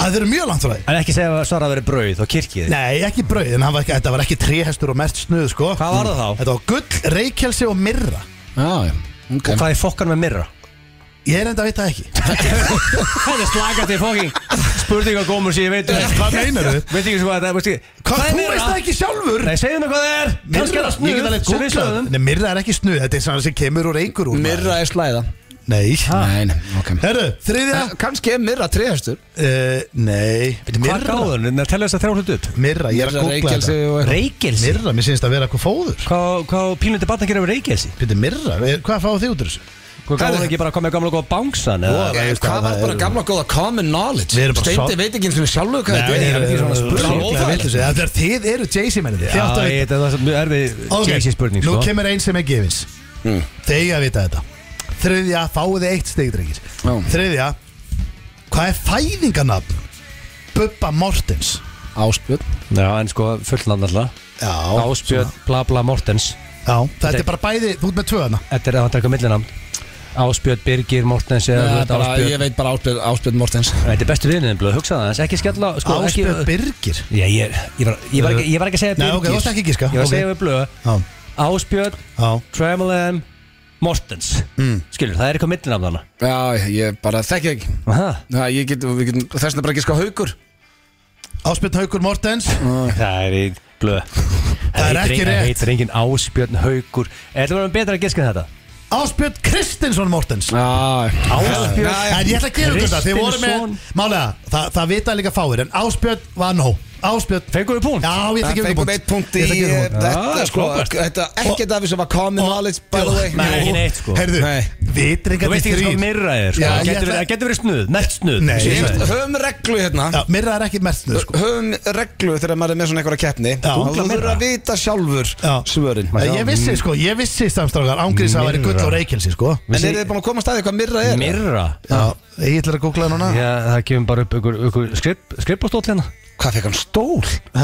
C: að þeir eru mjög langt frá því
B: En ekki segja að svara að vera brauð og kirkið
C: Nei, ekki brauð, en hann var ekki, þetta var ekki tríhestur og mert snuð sko.
B: Hvað var það þá?
C: Þetta var gull, reykjelsi og myrra
A: Já, já, ok
B: Hvað er fokkan með mirra?
C: Ég er enda að vita það ekki
B: Hvað er slagast í fokking? Spurning á gómur sem ég veit ekki.
C: Hvað meinar þau?
B: Veit ekki hvað það er veistu ekki-
C: Hvað, þú
B: myrra?
C: veist það ekki sjálfur?
B: Nei, segðu mér hvað það er Kannski er
C: ég get
B: það
C: alveg
B: snuð sem við
C: googlað
B: sögðum.
C: Nei, myrra er ekki snuð, þetta er svona sem kemur úr einhver úr
A: Myrra er slæða
C: maður. Nei
A: Nei, nei, ok
C: Herru, þriðja
A: Eh, Kannski er Myrra trehestur
C: uh, Nei,
B: Hvað gáður hún? Það telja þess að þrjá hlut upp
C: Myrra, ég er að googla
A: Reykjelsi
C: þetta
A: og
B: Reykjelsi?
C: Myrra, mér finnst að vera eitthvað fóður
B: Hvað, hvað pínlundi barna gerir við reykjelsi?
C: Pítur, myrra, er- hvað fáið þið út úr þessu?
B: Hvað gáður hún ekki bara að koma með gamla góða bángsan? eða?
C: Voða.
A: Eh,
C: veist
A: Hvað
C: hvað
A: var
C: það
A: bara
C: er.
A: gamla góða common knowledge
C: Við erum bara
A: Steindi
C: sá-
A: veit ekki eins og sjálfur hvað þetta
B: ég er
C: eh,
B: ekki svona spurning.
A: Óþægilegt.
C: Það er þið eru Jay-Z mennið þið
B: Já,
C: Þið áttu að
B: ég-
C: vita
B: þetta var mjög erfið
C: Ok,
B: Jay-Z spurning
C: Nú
B: sko.
C: kemur einn sem er gefins Þið eiga að vita þetta Þriðja, fáið þið eitt stig, drengir
A: Já.
C: Þriðja, hvað er fæðingarnafn Bubba Mortens?
A: Áspjöld
B: Já, en sko fullnafn alltaf
C: Já,
B: Ásbjörn Bla Bla Mortens
C: Já, þetta er bara bæði, þú ert með tvö hana
B: Þetta er að það taka millinamn Ásbjörn Birgir Mortens eða þú veist,
A: Ég
B: Ásbjörn
A: veit bara Áspjöld, Áspjöld Mortens
B: Þetta er bestu viðniðin blöð, hugsa það aðeins, Ekki skella á- sko, ekki-
C: Áspjöld Birgir
B: Já, ég, ég, var, ég, var ekki, ég var ekki að segja
C: Nei,
B: Birgir
C: ok, þú varst ekki að giska,
B: Ég
C: ok.
B: var að segja við blöð
C: Já,
B: Ásbjörn
C: já
B: Tremelin Mortens
C: Mm.
B: Skilur, það er eitthvað millinamn þarna
A: Já, ég bara þekki það ekki
B: Aha.
A: Já, ég get, við getum, þess vegna bara ekki sko haukur
C: Áspjöld Haugur Mortens
B: Það er í blöð
C: Það er ekki rétt.
B: Það heitir engin Ásbjörn Haukur Er þetta verið betra að giska en þetta?
C: Áspjöld Kristinsson Mortens
A: Já,
B: Ásbjörn
C: En ég ætla að gera þetta, þið voru
B: Kristinsson.
C: með Málega, það, það vita líka fáir En Áspjöld var nóg Áspjöld
B: Fengum við punkt?
C: Já, ég ætla að
A: Það
C: gefa ykkur
A: fengum eitt punkt í
C: Ég
A: eh,
C: ætla að gefa ykkur punkt.
A: þetta
B: Já,
A: sko
B: frábært.
A: Þetta ekkert af því sem var common knowledge by the way
B: Nei, ekki neitt, sko.
C: Herðu,
A: Nei.
B: Þú
C: vitringar
B: veist ekki hvað myrra er sko.
C: Já,
B: Það
C: ég
B: getur
C: ætla-
B: verið- það getur verið snuð, mert snuð
C: Nei.
B: Ég sagði.
A: Höfum reglu hérna
C: Já, myrra er ekki mert snuð, sko
A: Höfum reglu þegar maður er með svona einhverja keppni Þú þurfar að vita sjálfur
C: Já.
A: svörin
C: Ég, ég vissi, sko, ég vissi samstrákar Ángrís að það væri gull
B: Myrra.
C: og reykjelsi, sko
A: En eru þið búin að koma að staði hvað myrra er?
B: Myrra
C: Já, ég ætla að googla það núna
B: Já, það kemur bara upp ykkur, ykkur skripp, skrippastóll hérna
A: Hvað fekk hann stól?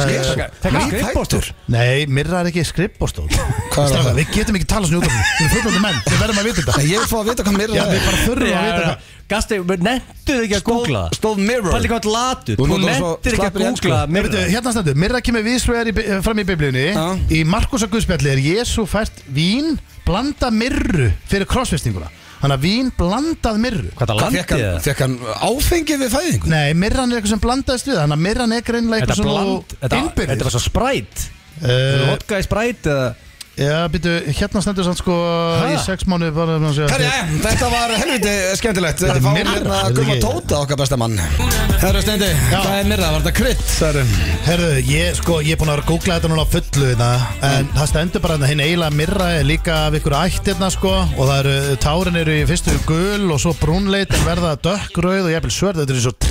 B: Þegar
A: Nýfæddur?
B: skrippastóll
C: Nei, myrra er ekki skrippbóstól
A: Hvað er
C: Strákar,
A: það?
C: við getum ekki talað svona út af því Við erum fullandi menn, við verðum að vita
A: Nei,
C: þetta
A: Ég vil fá að vita hvað
C: Já,
A: myrra
C: við
A: er
C: bara þurfum að vita þetta
B: Gasti, nefnduðu ekki að googla það
A: Stóð mirror
B: Palli hvað latu
A: Þú
B: Þú
A: notar svo
B: nefndir ekki að
A: slappur í ensku.
B: googla
C: Nei, veitu,
B: myrra
C: hérna stendur, myrra kemur vísvegar í, bi- eh, fram í biblíunni
A: Já.
C: Í Markusa Guðspjalli er Jésu fært vín blanda myrru fyrir krossfestinguna Þannig að vín blandað myrru
B: Hvað það
A: Hvað
B: landið
A: fekk hann?
B: það?
A: Fekk hann
H: uh,
A: áfengið við fæðingu?
C: Nei, myrran er eitthvað sem blandaðist við Þannig að myrran er greinlega
B: Þetta
C: eitthvað sem
B: bland
C: þú
B: Þetta þetta var
C: innbyrðir
B: svo spræt
C: Eh,
B: Vodka í spræt eða
C: Já, býtu, hérna stendur sann sko
B: Ha?
C: Í sex mánu bara
A: Herja, eh, þetta var helviti skemmtilegt
C: Þetta er
A: Við fáum
C: myrra,
A: hérna
C: er það
A: Gumma
C: ekki?
A: Tóta okkar besta mann Herra Steindi, hvað er myrra? Var þetta krydd? Það er
C: Herðu, ég, sko, ég er búin að vera að googla þetta núna á fullu þetta
A: Mm.
C: En það stendur bara hérna hinn eiginlega myrra er líka af ykkur ættirna sko Og það eru, tárin eru í fyrstu gul og svo brúnleit En verða dökkrauð og jafnvel svörð Þetta er eins og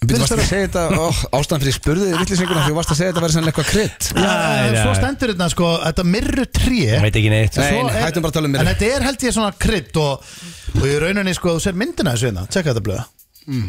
A: Þú varst
C: tré
A: að segja þetta, ó, ástæðan fyrir ég spurði þig vitlisinguna Þú varst að segja þetta verið sannlega eitthvað krydd
C: Já,
B: Æ,
C: svo
B: já.
C: stendur hérna sko, þetta myrru
B: Ég
C: tré
B: veit ekki neitt
A: Nei, nei, hættum bara að tala um myrru.
C: En þetta er held ég svona krydd og, og í rauninni sko, þú ser myndina þessu hérna Tjekka þetta blöða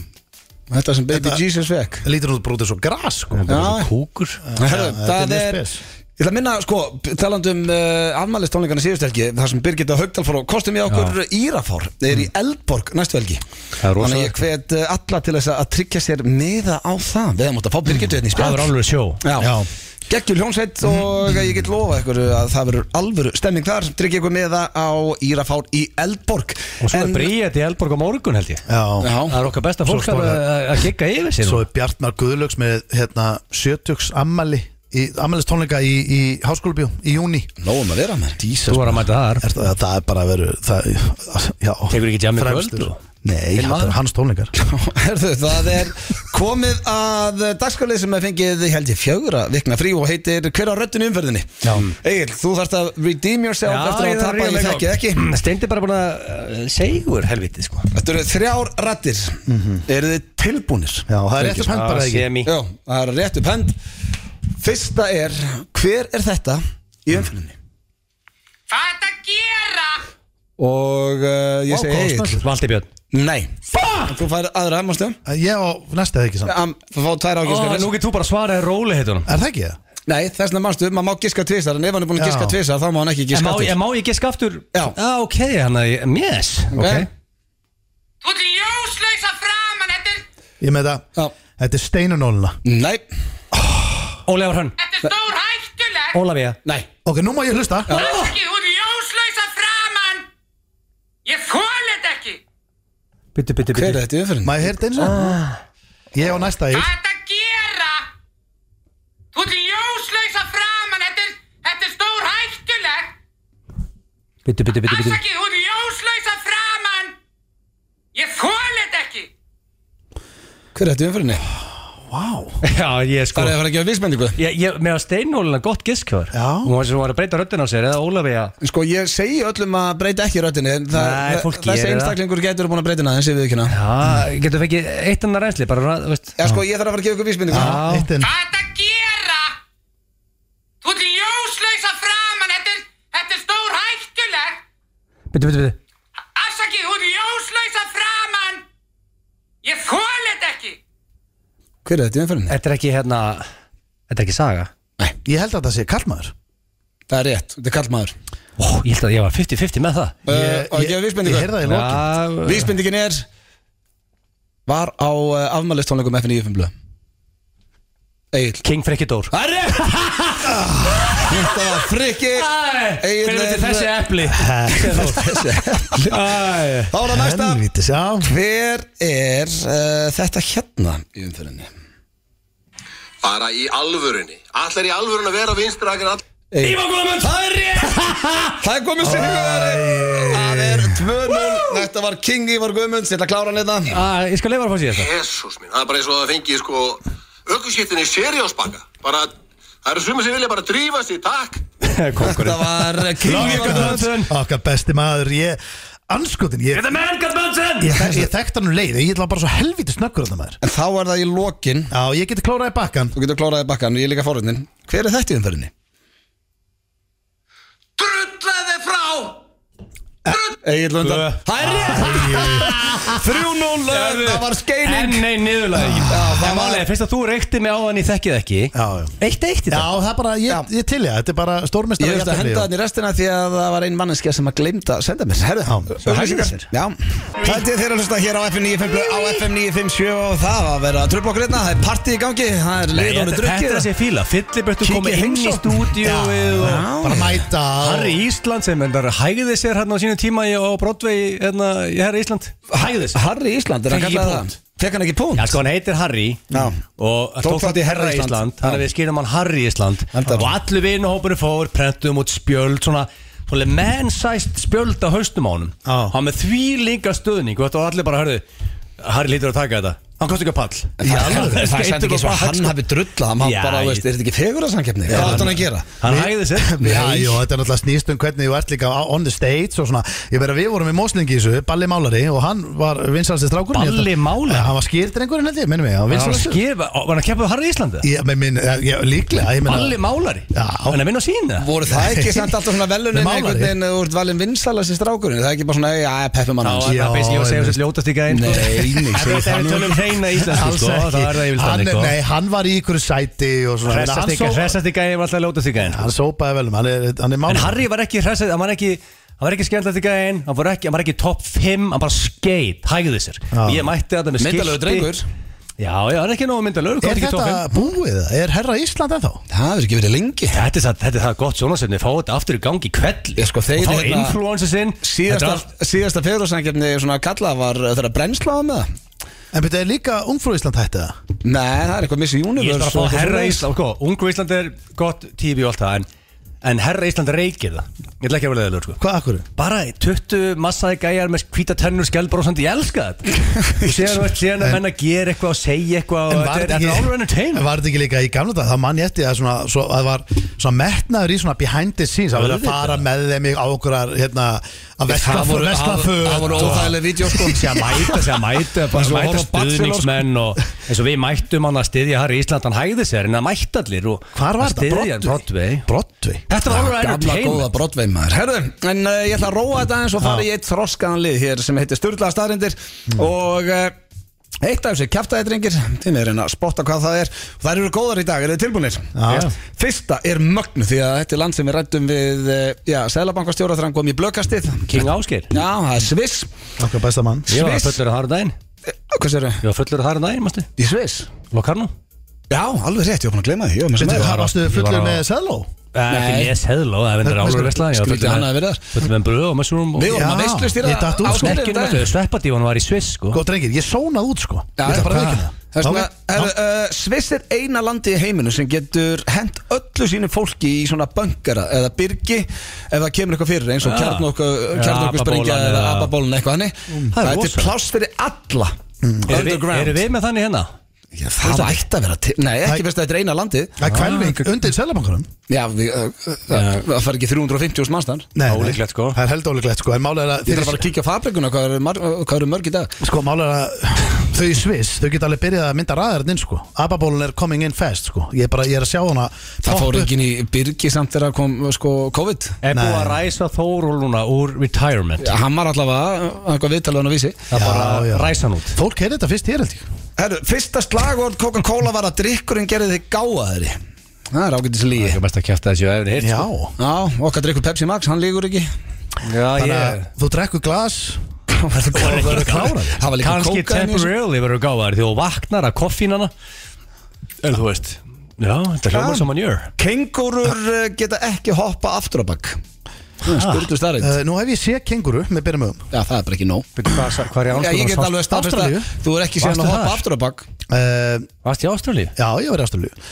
A: Þetta sem Baby
C: Þetta-
A: Jesus fekk
C: Það lítur nú brútið svo gras sko
A: Já.
B: Kúkur
A: Herra,
C: þetta er
A: það
C: mjög
A: er
C: spes.
H: Ég ætla að minna, sko, talandi um uh, afmælistónleikana síðust helgi, þar sem Birgitta Haugdal fór og kostum í Mm. okkur Írafár, er í Eldborg næstu helgi.
B: Það er rosalegt.
H: Þannig að ég hvet uh, alla til þess að að tryggja sér miða á það. Við hefum átt að fá Birgittu hérna í spjall.
B: Það er alveg sjó
H: Já. Mm. Geggjul hljómsveit og ég get lofa ykkur að það verður alvöru stemming þar sem tryggja ykkur með það á Írafár í Eldborg
B: Og svo er Bríett í Elborg á morgun held ég
C: Já,
H: Já,
B: Það er okkar besta fólk
C: Svo
B: að
C: stóra-
B: að gigga yfir sér
C: Svo er Bjartmar Guðlöks með hérna, 70 ammali í, ammælistónleika í, í háskólubjó í júni
H: nógum um að vera með
B: Þú var að mæta þar
C: er, það, það er bara að veru það, já,
B: Tekur ekki jammið
C: fremstur.
B: kvöld og-
C: Nei,
B: Hinn
C: já, það
B: maður?
C: er hans tónleikar
H: Herðu, það er komið að dagskalið sem er fengið held ég fjögra vikna frí og heitir Hver á röddun umferðinni Mm.
C: Já.
H: Egil, þú þarft að redeem yourself eftir að tapa ég þekkið ekki
B: Steindi bara búin að uh, segur helviti sko
H: Þetta eru þrjár rattir mm Eru þið tilbúnir?
C: Já, það er rétt að pænt bara ekki
B: Semi
H: Já, það er rétt upp hend Fyrsta er, hver er þetta í umferðinni? Hvað er þetta að gera? Og uh, ég segi Egil
B: Valdi Björn
H: Nei Fuck! Þú fær aðra hemmastjón
C: Eh, Ég á næsta eða ekki samt
H: Am- Þú fá tvær
B: Ó,
H: ágjörskarins
B: Nú getur þú bara að svara þér róli heitunum
C: Er það ekki það?
H: Nei, þess vegna mannstu, maður má giska tvisar En ef hann er búin að
C: Já.
H: giska tvisar, þá má hann ekki
B: En
H: giska
B: má,
H: aftur
B: en má ég giska aftur? Ah,
H: Já.
B: ok, hann að ég, yes
H: Ok.
F: Þú ert ljóslaus að framan, þetta er,
C: Ég með það
H: Já.
C: Þetta er steinunóluna
H: Nei,
B: Ólafur Hrönn
F: þetta er stór hættulegt.
B: Ólafía
H: nei
C: Ok, nú má ég hlusta
H: Ah.
F: Ekki, þú ert ljóslaus að framan. Ég þóla þetta ekki.
B: Byttu, byttu,
H: Hver er
B: byttu
H: þetta í umferðinni?
C: Má ég heyrta eins og Ég á næsta eða
F: Hvað er þetta að gera? Þú ert ljóslaus að framan, þetta er, þetta er stór hættulegt.
B: Byttu, byttu, byttu, byttu
F: Afsakið, þú ert ljóslaus að framan. Ég þóla þetta ekki.
H: Hver er þetta í umferðinni?
B: Já, ég sko
H: Það er að fara að gefa vísbendingu
B: Ég, ég, með að steinhóluna gott giskhör
C: Já.
B: Hún var sem hún var að breyta röddina á sér eða Ólafía
H: Sko, ég segi öllum að breyta ekki röddinni en það,
B: Nei, fólk
H: það, Ah. Þessi
B: gerir það.
H: einstaklingur getur búin að breyta hana, en sé við ekki hana
B: Já, getur fengið eitt annar reynsli bara, ra- þú veist
H: Já, sko, ég þarf að fara að gefa ykkur vísbendingu
B: Já.
C: Eitt en
F: Hvað er þetta að gera? Þú ert ljóslaus að framan, þetta er, þetta er stór hættulegt.
B: Byttu, byttu, byttu
F: Afsakið, þú ert ljóslaus að framan! Ég þóla þetta ekki!
H: Hver er þetta í umferðinni?
B: Þetta er ekki hérna Þetta er ekki saga
C: Ég held að það sé kallmaður
H: Það er rétt, þetta er kallmaður Eh,
B: Ó, ég held að ég var 50-50 með það
H: Og að gefa
C: Ég
H: vísbendingu?
C: heyrða í lokin
H: Vísbendingin er Var á uh, afmælistónleikum FNÍ blöð Egil
B: King Freki Dór
H: Það er rétt Þetta var frikki
B: Fyrir
H: Egill er-
B: þetta þessi epli Æ.
H: Þá er það næsta
C: Helvítis, já
H: Hver er uh, þetta hérna í umfyrinni?
I: Bara í alvörunni Allar í alvörunni að vera vinstra akkur all
H: Ívar Guðmund Það er rétt Það er komið sigur Það er 2-0 Þetta var King Ívar Guðmund Ég ætla að klára hann hérna
B: Æ, Ég skal leifa að fá sér þetta
I: Jésús minn, það er bara eins og það fengi sko Ökkusýttinni seriásbaka Bara, það eru sumir sem vilja bara drífa sig, takk
H: Þetta var King Ívar Guðmund
B: Björnsson.
C: Okkar besti maður Ég, anskotin Ég,
B: Þetta menn Gart Bönsson
C: ég, þek- ég þekkt hann um leið Ég ætla bara svo helvítið snöggur þarna maður
H: En þá er það í lokin
C: Já, ég geti klórað í bakkan
H: Þú getur kláraðið bakkan Ég er líka forutnin Hver er þetta í umfyrinni?
I: Drullaði frá
H: Egil Lundar Eh, Það er rétt 3-0 Það var
B: En
H: skeining
B: nei, niðurlega
H: það
B: En
H: var-
B: málega, fyrst að þú reykti mig á hann í þekkið ekki
C: Já, já
B: Eitt eitt í
C: Já,
B: dag
C: það er bara,
H: Já.
C: ég, ég til ég Þetta er bara stórmestari
H: Ég höfði að henda hann í restina því að það var ein manneskja sem að gleymda að senda mér Herðu,
C: svo hægir
H: auglýsingar.
C: sér.
H: Já, það er þeirra hlusta hér á FM 95 á FM 957 og það var að vera að tröfla okkur hérna það er party í gangi, það er lið og
B: Þetta
H: með
B: þetta
H: drukkið
B: er þessi fíla Fylliböttu
H: Kíkja
B: komið
H: í
B: inn í
H: heimsókn.
B: stúdíóið og
C: Bara mæta á-
B: Harry Ísland sem endar hægði sér hérna á sínum tíma í- á Broadway hérna í Harry Ísland hægði sér
H: Harry Ísland, er hann
B: Fekk ekki
H: kallað
B: punkt.
H: það? Fekk hann ekki punkt?
B: Já sko hann heitir Harry
H: Já.
B: og
H: Tók þátt í Herra Ísland.
B: þannig að við skýrum hann Harry Ísland
H: Enda.
B: og allir vinahópurinn fór, prentum út spjöld svona, svona man-sized spjöld á haustum á honum
C: Já.
B: hann með því líka stuðning og þetta var allir bara hörðu Harry lítur að taka þetta, hann kosti ekki að pall
H: Það er
B: Skeytur
H: sænt ekki
B: og
H: svo að
B: bara-
H: hann hafi drullað hann
B: Já,
H: bara,
B: ég-
H: veist, er þetta ekki fegur að samkeppni? Hvað átt hann að gera?
B: hann hægði sér
C: Já, jú, þetta er náttúrulega snýst um hvernig þú ert líka á- on the stage og svona Ég verið að við vorum í Móslingi í þessu, Balli Málari og hann var vinsalstir strákurinn ég held að-
B: Balli Málari?
C: Já, Hann var skýrdrengurinn held ég, minnum ég, hann var
B: Hann var að
C: vinsalstur
B: skipa, var hann að keppa við Harry Íslandi?
C: Já, menn, minn, ég, líklega, ég menna
B: Allir málari?
C: Já.
B: Hann er minn á sína?
H: Voru það ekki samt alltaf svona
C: Með
H: velunin
C: málari?
H: einhvern veginn þú ert valin vinsalast í strákurinn? Það er ekki bara svona, já, peppum hann
B: Já,
H: hans
B: það er
C: Já,
B: basically að segja þessu ljótast í gæðin
H: Nei, nei,
B: segir
H: segir
B: það
H: það
B: nú
H: nú.
B: sko. Þetta er tölum reyna íslensku
C: Alls
B: sko,
C: ekki.
B: það er það yfirleitt
C: Hann-
B: þannig sko.
C: Nei, hann var í ykkur sæti og svona Hann
B: Hressasti
C: só-
B: gæ- Hressasti gæði var alltaf að lóta því gæðin
C: Hann sópaði vel um, hann er, hann er
B: En
C: mála
B: Harry var ekki hressast, hann var ekki Hann var ekki skemmtilegt í gæðin, hann var ekki, hann var ekki top 5, hann bara skeit, hægði sér.
C: Já.
B: Ég mætti þetta með skilti.
H: Myndalögur drengur
B: Já, já, hann er ekki nógu myndalögur, hann
C: Er
B: er ekki top
C: þetta
B: 5.
C: búið? Er herra Ísland ennþá?
H: Það hefur ekki verið lengi
B: Þetta er það, þetta er það gott sjónasefni, fá þetta aftur í gangi kvelli.
H: Ég sko, þeir
B: Og
H: hérna-
B: þá influencer sinn.
H: Síðasta, síðasta fegurðarsangefni svona kalla var uh, þegar að brennslaða með það
C: En betur er líka ungfrú Ísland hætti það?
H: Nei, það er eitthvað Miss
B: Ég er bara
H: Universe
B: að
H: og
B: fá
H: eitthvað
B: herra
H: svoleiðis.
B: Ísland, sko, ungu Ísland er gott TV og allt það, en, en herra Ísland reykir það. Ég ætla ekki að vera leðilegur, sko.
C: Hvað akkur?
B: bara 20 massaði gæjar með hvíta tennur skjálbrósandi, ég elska þetta og síðan, þú veist, síðan að menna gera eitthvað og segja eitthvað og þetta er- þetta er alveg
C: en
B: entertainment
C: var þetta ekki líka í gamla dag? Það mann ég eftir að svona, svo, að var svona metnaður í svona behind the scenes að vera að fara með þeim í- á okkur að, hérna, að
H: Það voru-
C: vesla
H: það-
C: föt
H: Það voru óþægileg vídeo sko
B: Sér að mæta, sér að mæta, bara
H: Eins og
B: mæta
H: horfa á Bachelor,
B: stuðningsmenn og eins og við mættum hann að styðja Harry Ísland, hann hægði sér en að mæta allir og
C: Hvar var þetta?
B: þetta? Broadway
C: Brottvi
B: Þetta var alveg
H: Gamla góða
B: entertainment
H: brotveimaður Herðu, en uh, ég ætla að róa þetta eins og fara í eitt þroskaðan lið hér sem heitir Sturlaða staðrindir og uh, eitt af þessu kjaftaði drengir þið með reyna að spotta hvað það er og þær eru góðar í dag, eru þið tilbúinir?
C: Já.
H: Fyrsta er mögnu því að þetta er land sem við rættum við uh, já, Sælabankastjóra þegar hann kom í blökastið
B: King Ásgeir
H: Já, það er Sviss
C: Okkar besta mann
B: Ég var
H: Sviss.
B: fullur að harða daginn
H: Eh, Hvers eru?
B: Ég var fullur að harða daginn, mástu
H: Í Sviss?
B: Lokarno
H: Já, alveg rétt, ég var búin að gleyma því Ég var með sem
C: Veitir,
H: er.
C: það varstu fullur
B: var á-
C: með Sæðló
B: Eh, Ekki
H: Nei.
B: ég seðló, það vendur álur vesla Ég var
H: Skrítið
B: fullur
H: hann
B: með-
H: að vera þar.
B: fullur með um bröð og mössurum og-
H: Við vorum að
C: Já,
H: veistlustýra
C: ég datt út, sko.
H: Ásgeiri um
B: Snerkjum
H: daginn.
B: öllu, sveppadívan var í Sviss sko
C: Góð drengir, ég sónað út sko
H: Já,
C: Ég
H: það er
C: ætla
H: bara
C: að
H: veikina
C: viðurkenna
H: Það er svona,
C: Já,
H: herru, uh, Sviss er eina landi í heiminu sem getur hent öllu sínu fólki í svona böngara eða byrgi ef það kemur eitthvað fyrir eins og
B: Ja.
H: kjarnorku,
B: Ja,
H: kjarnorku
B: apabólan
H: springja eða
B: eða-
H: ababólan eitthvað hannig
B: það er
H: Það er til
B: rosa.
H: pláss fyrir alla
B: Eru við,
H: Underground
B: eru við með þannig hérna?
H: Já, Það ætti að vera til Nei, ekki fyrst að þetta er eina landi
C: Það er kvelving undir Sæðlabankarum
H: Já, við, uh, uh, það það fær ekki 350.000 mannstann
B: Ólíklegt, sko.
C: Það er held ólíklegt sko En málega er að
H: Ég
C: þeir-
H: þarf bara að kíkja á fabrikuna hvað eru mar- hvað eru mörg í dag
C: Sko málega er að þau í Sviss Þau geta alveg byrjað að mynda ræðarinn inn sko Ababólun er coming in fast sko Ég er bara, ég er að sjá hana
H: Það
C: poppa
H: fór
C: upp.
H: enginn í byrgi samt þegar kom sko, COVID
B: Er búið
C: Nei.
B: að ræsa Þórul núna úr retirement?
H: Já, Hann var allavega, uh, eitthvað viðtalið hann að vísi
B: Það er bara
C: Já, já.
B: að ræsa hann út
C: Fólk heyrði þetta fyrst hér held ég
H: Herru, fyrsta slagvort Coca-Cola var að drikkurinn gerði þig gáðaðri Það er ágætis lígi
B: Ég mest að kjæfta þessu efni hitt
C: Já
H: Já, okkar drikkur Pepsi Max, hann lígur ekki
B: Já,
C: Þannig að
B: ég
C: þú drekkur glas
H: Það var Það var líka
B: Kanski
H: kókaín í þessu.
B: temporarily verður gáðar því þú vaknar að koffínana En þú veist Já, þetta
H: Já.
B: hljómar sem hann gjör
H: Kengúrur uh, geta ekki hoppa aftur á bakk Spurtu starrið
C: uh, Nú hef ég séð kenguru með byrjum um. ögum
H: Já, það er bara ekki nóg
B: Hvað er í
H: Já, ég get alveg staðfest að
C: Ástralíu?
H: þú er ekki síðan
B: Varstu
H: að hoppa
B: þar?
H: aftur á bakk
C: uh,
B: Varst í Ástralíu?
C: Já, ég var í Ástralíu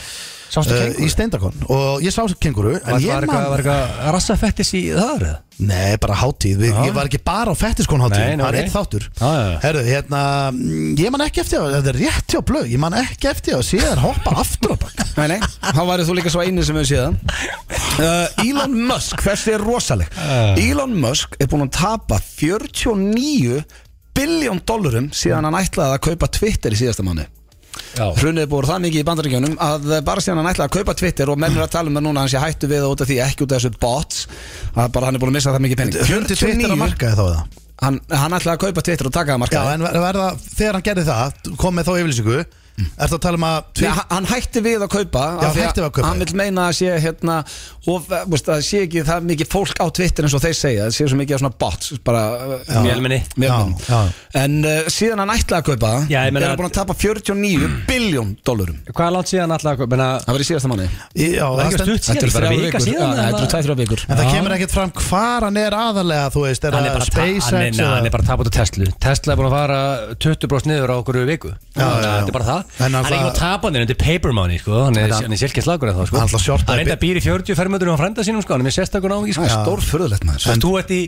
B: Sástu
C: uh, Í
B: kengur?
C: Steindakon Og ég sá þessu kenguru En
B: Var
C: ég
B: eitthvað- var
C: man
B: eitthvað rassafettis í þar? eða?
C: Nei, bara hátíð Við, Ég var ekki bara á fettiskon
B: Nei,
C: hátíð
B: nei,
C: Það er
B: ok.
C: einn þáttur
B: Já, já, já.
C: Herðu, hérna mm, Ég man ekki eftir að Þetta er rétt hjá blöð Ég man ekki eftir að sé þær hoppa aftur á bak
H: Nei, nei, þá værið þú líka svo eini sem við séðan uh, Elon Musk, þessi er rosaleg Elon Musk er búinn að tapa 49 biljón dollurum síðan hann ætlaði að kaupa Twitter í síðasta mánu
B: Já
H: Hrunið er búið það mikið í bandaríkjónum að bara síðan hann ætlaði að kaupa Twitter og menn er að tala um það núna að hann sé hættu við það út af því ekki út af þessu bots að bara hann er búin að missa það mikið penning
C: Hrundi Twitter að
H: 49,
C: markaði þá það
H: hann, hann ætlaði að kaupa Twitter og taka það
C: Já,
H: markaði
C: en ver- verða Þegar hann gerði það Kom með þá yfirlýsingu Ertu að tala um að
H: Nei,
C: Twitter
H: hann- hann hætti við að kaupa
C: Já,
H: af því
C: hætti við að kaupa.
H: Hann vil meina að sé hérna og veist, að sé ekki það mikið fólk á Twitter eins og þeir segja, það sé svo mikið af svona bots bara uh,
B: Vélmenni.
H: vélmenni.
C: Já, já.
H: En uh, síðan hann ætlaði að kaupa það
B: Já, ég
H: er
B: meina-
H: hann búin að tapa 49 biljón dollurum
B: Hvað er langt síðan alltaf að menna-
H: Það var í síðasta manni
C: Já,
B: Var
C: það
B: ekki
C: stend-
B: stutt síðan,
H: Þetta er bara
B: þrjár
H: vikur
B: vikur síðan,
H: Já,
B: eða?
H: Þetta eru tæð þrjá vikur
C: En það kemur ekkert fram hvar hann er aðalega, þú veist, er
B: hann er
C: það
B: bara að ta-
C: SpaceX
B: hann er, neða,
C: eða-
B: hann er bara að tapa út á Tesla Tesla er búin að fara 20% niður á okkur viku
C: Já, já, já.
B: þetta er bara það
C: En
B: hann er
C: alltaf-
B: ekki búin að tapa niður undir paper money sko. hann er, hann er sjálfkinn slagur en þá sko.
C: Hann alltaf shortaði
B: hann reynda að býri 40 fermöndur á frænda sínum sko. hann er með sérstakun áhengi sko.
H: Það er stórfurðulegt maður
B: Þú- þú ert í,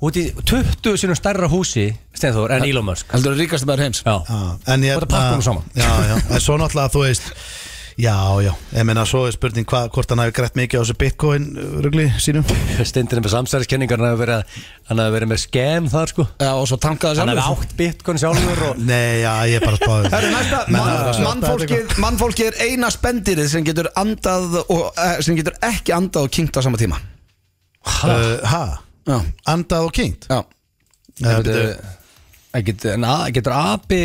B: út í 20 sínum stærra húsi Steinþór en Elon Musk
H: Heldur þú ríkast maður heims
B: já.
C: Já, en ég
B: Og þetta pakkar honum saman.
C: Já, já, en svo náttúrulega, þú veist Já, já, ég meina svo er spurning hva, hvort hann hafi grætt mikið á þessu bitcoin uh, rugli sínum
B: Steindir er með samsæðiskenningar hann hefur verið, hann hefur verið með scam þar sko.
H: Já, og svo tankaði
B: hann
H: sjálfur
B: hefur átt bitcoin sjálfur og
C: Nei, já, ég er bara spáði
H: Það eru næsta, mann, mannfólkið, mannfólkið er eina spendirið sem getur andað og, eh, sem getur ekki andað og kynkt á sama tíma
C: Ha? Uh, ha?
H: Já,
C: Andað og kynnt
H: já
C: Nei,
B: Getur-
C: byrju,
B: Getur, en að- getur api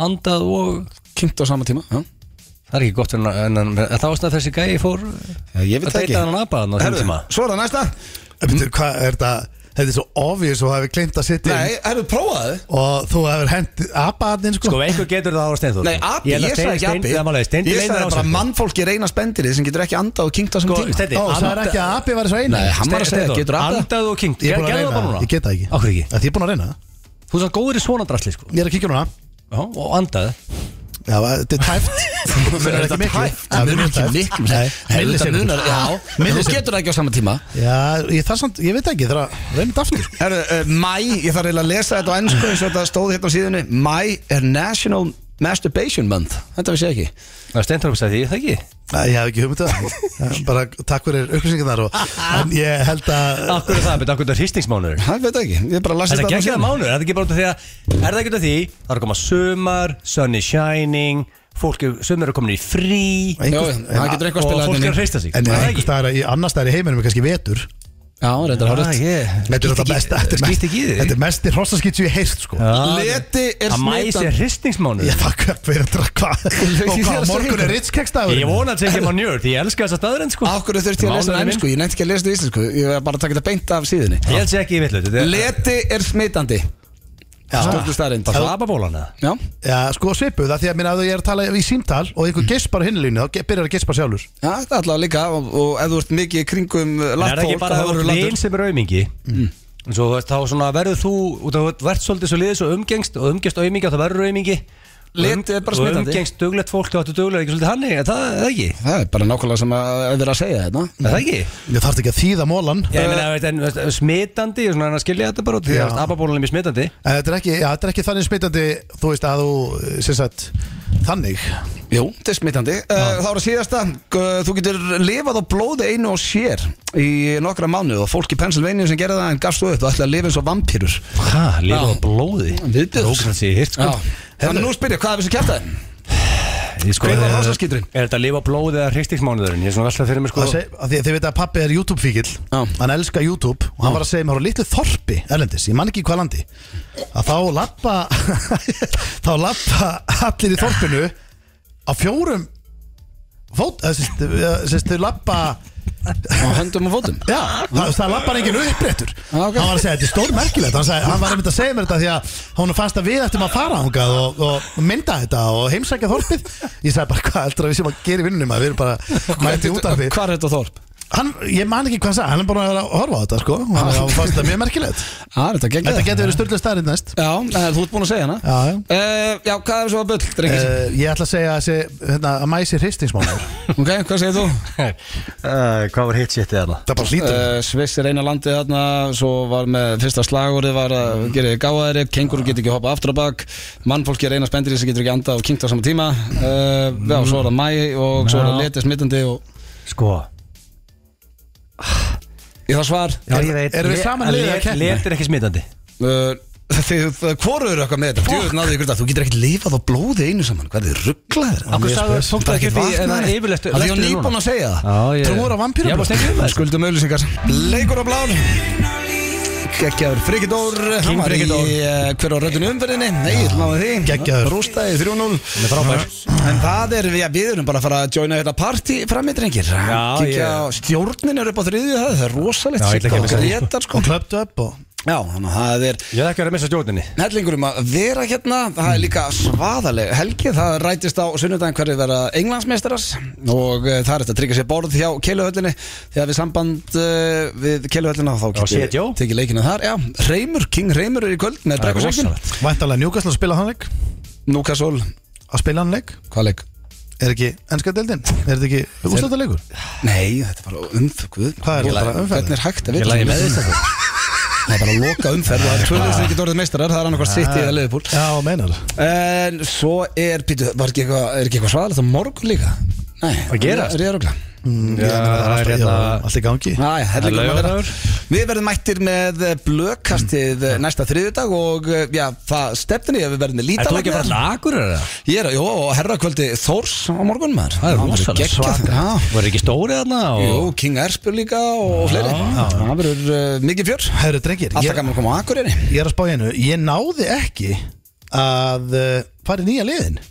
B: andað og
H: kynnt á sama tíma já.
B: það er ekki gott en, en, en er það ástæða þessi gæi fór
H: Já, ég veit
B: að
H: það ekki.
B: deyta hann apa þannig á þessum
H: Herðu,
B: tíma
H: Svo er það næsta
C: Betur, hvað er þetta? Þetta er svo obvious og hafi klimt að sitja
H: Nei, herru, prófaðu
C: og þú hefur hendt abaðin sko.
B: Sko, einhver getur það ára steinþór
H: Nei, abi, ég, sagði ekki abi Ég sagði bara mannfólki reyna spendir sem getur ekki andað og kynnt á
B: Sko,
H: sama tíma
B: Steindi,
C: Ó, það er
B: anda-
C: ekki að abi væri svo einu
H: Nei, hann var að segja,
B: Steinþór,
H: getur andað?
B: Andaðu og kynnt,
C: Ég er búin
B: gerðu
C: að
B: það bara
C: reyna,
B: núna
C: ég get það ekki
B: Af hverju ekki?
C: Af því Ég er búin að reyna það.
B: Þú er svona góður í svona drasli sko
C: Ég er að kíkja núna
B: Já, og andaðu
C: Já, þetta er tæft Það munar ekki miklu
H: Það munar ekki miklu
C: Nei,
H: Helvita
C: millisekúndur.
H: munar, já Þú
C: Millisekúndur.
H: getur það ekki á sama tíma
C: Já, ég, það samt, ég veit ekki, það er að reyna þetta aftur sko.
H: Herru, uh, mæ, ég þarf eiginlega að lesa þetta á ennsku eins og þetta stóð hérna á síðunni Mæ er National Masturbation Month Þetta vissi ég ekki
B: Það er steinþór að segja því, er það ekki
C: Æ, Ég hef ekki hugmynd að það Bara takk fyrir upplýsingarnar og, En ég held að
B: Af hverju er það, betur af hverju er hristingsmánuður
H: Það Ah, veit það ekki, ég bara lasi
B: Þetta er
H: þetta hérna. á
B: geggjaða
H: síðunni.
B: mánuður, þetta er ekki bara út af því að Er það ekki út af því, það er að koma sumar, sunny shining Fólk, er- sumir eru komin í frí
H: Jó,
C: einhver-
H: það getur eitthvað
B: Og
H: að spila
B: fólk
H: þarna
B: er að
H: inni.
B: hrista sig
C: En
B: Er það
C: einhver
B: ekki?
C: staðar í annars staðar í heiminum er kannski vetur
H: Já,
B: Ah,
H: reyndar hárið
B: ég-
C: Þetta er
B: skýt
C: þetta
B: ekki-
C: besta Þetta er
B: skýt
C: mest-
B: ekki í því.
C: þetta er mest í hrossaskýt sem ég heist sko
B: Já,
H: Leti er
B: Að mæs
H: smitandi
B: er hristingsmánuður
C: Ég takk fyrir að drakka Og
H: Ég er að
C: hvað,
H: segja
C: morgun
H: ykkur.
C: er ritskekstaður
B: Ég vona að segja maður njör, því ég elska þessa staðurinn sko
H: Akkur þurfti ég að lesa
B: Mánuðurinn
H: þetta á
B: minn.
H: ennsku Ég nefndi ekki að lesa þetta á íslensku Ég var bara að taka þetta beint af síðunni
B: Ég held sé ekki í vitlut
H: Leti er smitandi Stöldu starrend
B: Bara svababólan eða?
H: Já,
C: Já, sko svipuð, það því að minna að ég er að tala í símtal og einhver gespar á hinlínu, þá ge- byrjar að gespa sjálfur
H: já þetta er allavega líka og, og ef þú ert mikið í kringum
B: En er
H: lagt
B: það ekki
H: fólk
B: bara
H: þá
B: að
H: verður
B: það
H: latur.
B: vin sem er aumingi
C: Mm.
B: En svo þú veist, þá svona verður þú út af verðt svolítið svo liðis og umgengst og umgengst aumingi og það verður aumingi
H: Lit er bara
B: Og
H: smitandi.
B: umgengst duglegt fólk og áttu duglegt ekki svolítið hannig er Það er það ekki
H: Það er bara nákvæmlega sem að að vera að segja
B: Er
H: þetta
B: það ekki?
C: Ég þarf ekki að þýða mólan
B: Já, ég meina, veit, en veist, smitandi, ég er svona hann að skilja þetta bara út Því
C: Eh. Já.
B: að ababólan er mjög smitandi
C: En Eh, þetta er ekki, já, þetta er ekki þannig smitandi, þú veist að þú, sem sagt, þannig
H: Jú, þetta er smitandi uh, Þá er að síðasta G- Þú getur lifað á blóði einu og sér í nokkra mánuð og fólk í Pennsylvania sem gerði það en gafst þú upp og ætlaði að lifa eins og vampýrur
B: Hæ, lífa á
H: Já.
B: blóði
H: Viðbjóðs.
B: Það er ógrann sér hirt sko
H: Þannig nú spyr ég, hvað er þessi kjartaði?
B: Ég sko,
H: Hver var
B: er-
H: rosaskíturinn?
B: Er þetta lífa á blóði eða hristingsmánuðurinn? Ég er svona veltað fyrir mér sko
C: Það seg- af því að Þið veit að pappi er YouTube-fíkil
H: Já.
C: Hann elskar YouTube og hann var að segja mér á litlu þorpi Erlendis, ég man ekki í hvað landi að þá lappa þá lappa allir í þorpinu á fjórum fót, eða sem sagt, eða sem sagt, þau lappa
H: Á höndum og fótum
C: Já, það, það lappar enginn uppréttur
H: Ah, ok.
C: Hann var að segja, þetta er stór merkilegt hann, sagði, hann var einmitt að segja mér þetta því að hún fannst að við ættum að fara ángað og, og mynda þetta og heimsækja þorpið Ég sagði bara, hvað heldur að við sem að gera í vinnunum að við erum bara mæti út af því
H: Hvað er þetta þorp?
C: hann, Ég man ekki hvað hann sagði, hann er bara að horfa á þetta sko og hann hann fannst þetta mjög merkilegt
H: Á, þetta geggjað.
C: Þetta getur verið styrlega stærinn næst
H: Já, eh, þú ert búin að segja hana
C: Já, já.
H: Eh, já Eh, hvað er svo að bull, drengir?
C: Uh, ég ætla að segja að, sé, hérna, að mæsi hristingsmánar
H: Ok, hvað segir þú?
B: Uh, Hvað var hitt séttið þarna? Eh,
C: Það bara hlýtur
H: Uh, Sviss er eina landið þarna Svo var með fyrsta slagorið var að gera þið gáðari Kenguru getur ekki hoppa aftur á bak Mannfólki er eina spendir sem getur ekki andað og kynkt á sama tíma uh, Já, svo er það mæ og svo er það
B: Já.
H: leti smittandi og
B: Sko,
H: ég þarf svar
B: Já, ég veit
C: erum við
B: Le-
C: saman liðið að keppni?
B: Let er ekki smitandi
H: uh, Þið hvoru eru eitthvað með þetta Djöfull náðu ykkur þetta, þú getur ekkert lifað á blóði einu saman Hvað er þið rugglaðir?
B: Akkur sagði
C: spes.
B: tók það ekki upp í en það yfirleitt
H: Það er ég nýbúin að segja það
B: Já, ég-
H: Trúur á
B: Ég er bara að stengja um
H: vampýrum
B: það.
H: Skuldum auðlýsingar Leikur á blán Gekkjaður Frikidór Hann var í
B: Frikidór.
H: eh, hver á röddun umferðinni Nei, ég náði því
C: Geggjaður.
H: Rústaði 3-0 En það er, já, við erum bara að fara að joina þetta party fram í drengir
B: Já,
H: Kíkja
B: ég-
H: á- Stjórnin er upp á þriðju það Það er rosalegt
B: Já, ég ætla ekki að missa því, sko.
H: Grétar, sko.
C: og klöptu upp og
H: Já, þannig að það er
B: Ég er ekki að vera að missa stjórninni
H: Hellingur um að vera hérna, það er líka svaðaleg helgi, það rætist á sunnudaginn hverju vera englandsmeistaras og uh, það er þetta að tryggja sér borð hjá keiluhöllinni þegar við samband uh, við keiluhöllina þá
B: sé, Jó.
H: tekið leikina þar, já, Reymur, King Reymur er í kvöld
B: Það
H: með
B: er
H: brekkursökin,
B: rosalegt
C: Væntalega njúkast að spila hann leik
H: Núkasól,
C: Að spila hann leik
H: hvað leik?
C: Er ekki ennska deildin? Er þetta ekki úrstöldaleikur?
H: Nei, þetta er bara umfökuð,
C: Hvað er þetta, bara umferð?
H: Hvernig er hægt að
B: Ég
H: vita
B: lagi með
H: svona?
B: þess að það
H: Það er bara að loka umferð og það er tvölið sem ekki orðið meistarar, það er annarkvært sitt í eða leðupúl.
C: Já, meinar
H: En svo er, býtu, var ekki eitthvað, er ekki eitthvað svaðalegt á morgun líka? Nei,
B: Að gerast?
H: Er ég að rugla?
B: Já,
C: Mm, Það er alltaf, já, allt í gangi
H: Næ, hellingur um að vera
B: Laugardagur.
H: Við verðum mættir með eh, blökkastið eh, næsta þriðjudag og eh, já, það stefnir ég að við verðum með
B: Er Mm. þú ekki
H: lítalag
B: að fara lagur eða?
H: Ég er, að- jú, og herrakvöldi Þórs á morgun maður
B: Það er
H: verður
B: rosalegt
H: geggjað. Já.
B: Var ekki stórið þarna? og-
H: Jú, King Erspur líka og fleiri Það verður uh, mikið fjör
C: Herru drengir,
H: Alltaf
C: ég,
H: gaman að koma á Akureyri
C: ég er að spá í einu Ég náði ekki að uh, farið nýja liðin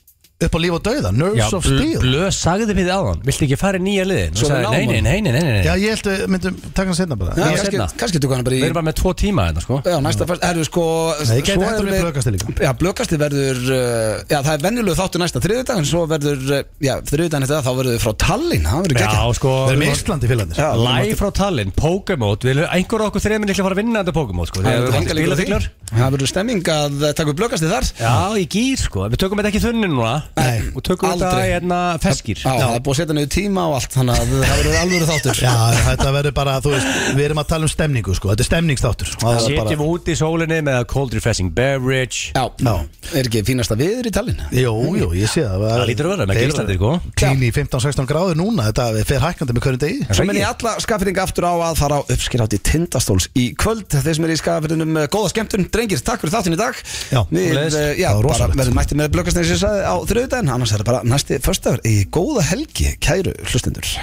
C: upp á líf og dauða, Nerves of
B: bl-
C: Steel
B: blöð sagði við áðan Viltu ekki fara í nýja liðin? Svo
H: Svo við náum
B: sagði, nei, nei,
H: honum.
B: nei, nei, nei, nei.
C: Já, ég held við myndum taka hann setna bara
H: Já,
B: Ég-
H: kannski-
B: seinna.
H: Kannski tökum hann bara í
B: Við erum bara með tvo tíma hérna, sko
H: Já, næsta fyrst, erum við sko
C: Nei, ég gæti
H: svo
C: hætt
H: erum
C: með blökastið líka.
H: Já, blökasti verður uh, Já, það er venjulegu þáttu næsta þriðudag En svo verður, uh, já, þriðudag eftir það Þá verður við frá Tallinn, það verður
B: Já,
H: gekkja
B: sko
C: Við erum í Íslandi félagarnir
H: Já,
B: Live frá Tallinn, Pokémon Við erum einhver af okkur þreiminn ekki að fara að vinna þetta Pokémon, sko
H: Það
B: Þegar
H: verður
B: við erum
H: enga líkur á því.
B: spilafíklar
H: Það verður stemming að eh, taka upp blökasti þar
B: Já, í gýr, sko Við tökum þetta ekki í þunni núna
H: Nei,
B: Og tökum þetta
H: aldrei.
B: hérna feskir
H: Já, það er búið að setja niður tíma og allt Þannig að það verður alvöru þáttur
C: Já, þetta verður bara, þú veist, við erum að tala um stemningu sko, þetta er stemningstáttur og það er
B: Sitjum
C: bara,
B: úti í sólinni með cold refreshing beverage
H: Já,
C: Já.
H: er ekki fínasta viður í Tallinn
C: Jú, jú, ég sé það
B: Það lítur að vera, með
C: Þeir
B: Íslandi,
C: eru
B: sko.
C: Klín í 15-16 gráður núna, þetta fer hækkandi með hverjum degi
H: Svo minn ég alla skaffirðinga aftur á að fara á uppskirátti tindastóls í kvöld Þeir sem eru í skaffirðinum góða skemmtun Drengir, takk fyrir þáttin í dag
C: Já,
H: Við
B: sömuleiðis.
H: eh, já,
C: Það var
H: bara
C: rosalegt.
H: verðum mætti með blökastnæði sem ég sagði á þriðudaginn Annars er það bara næsti föstaður í góða helgi, kæru hlustendur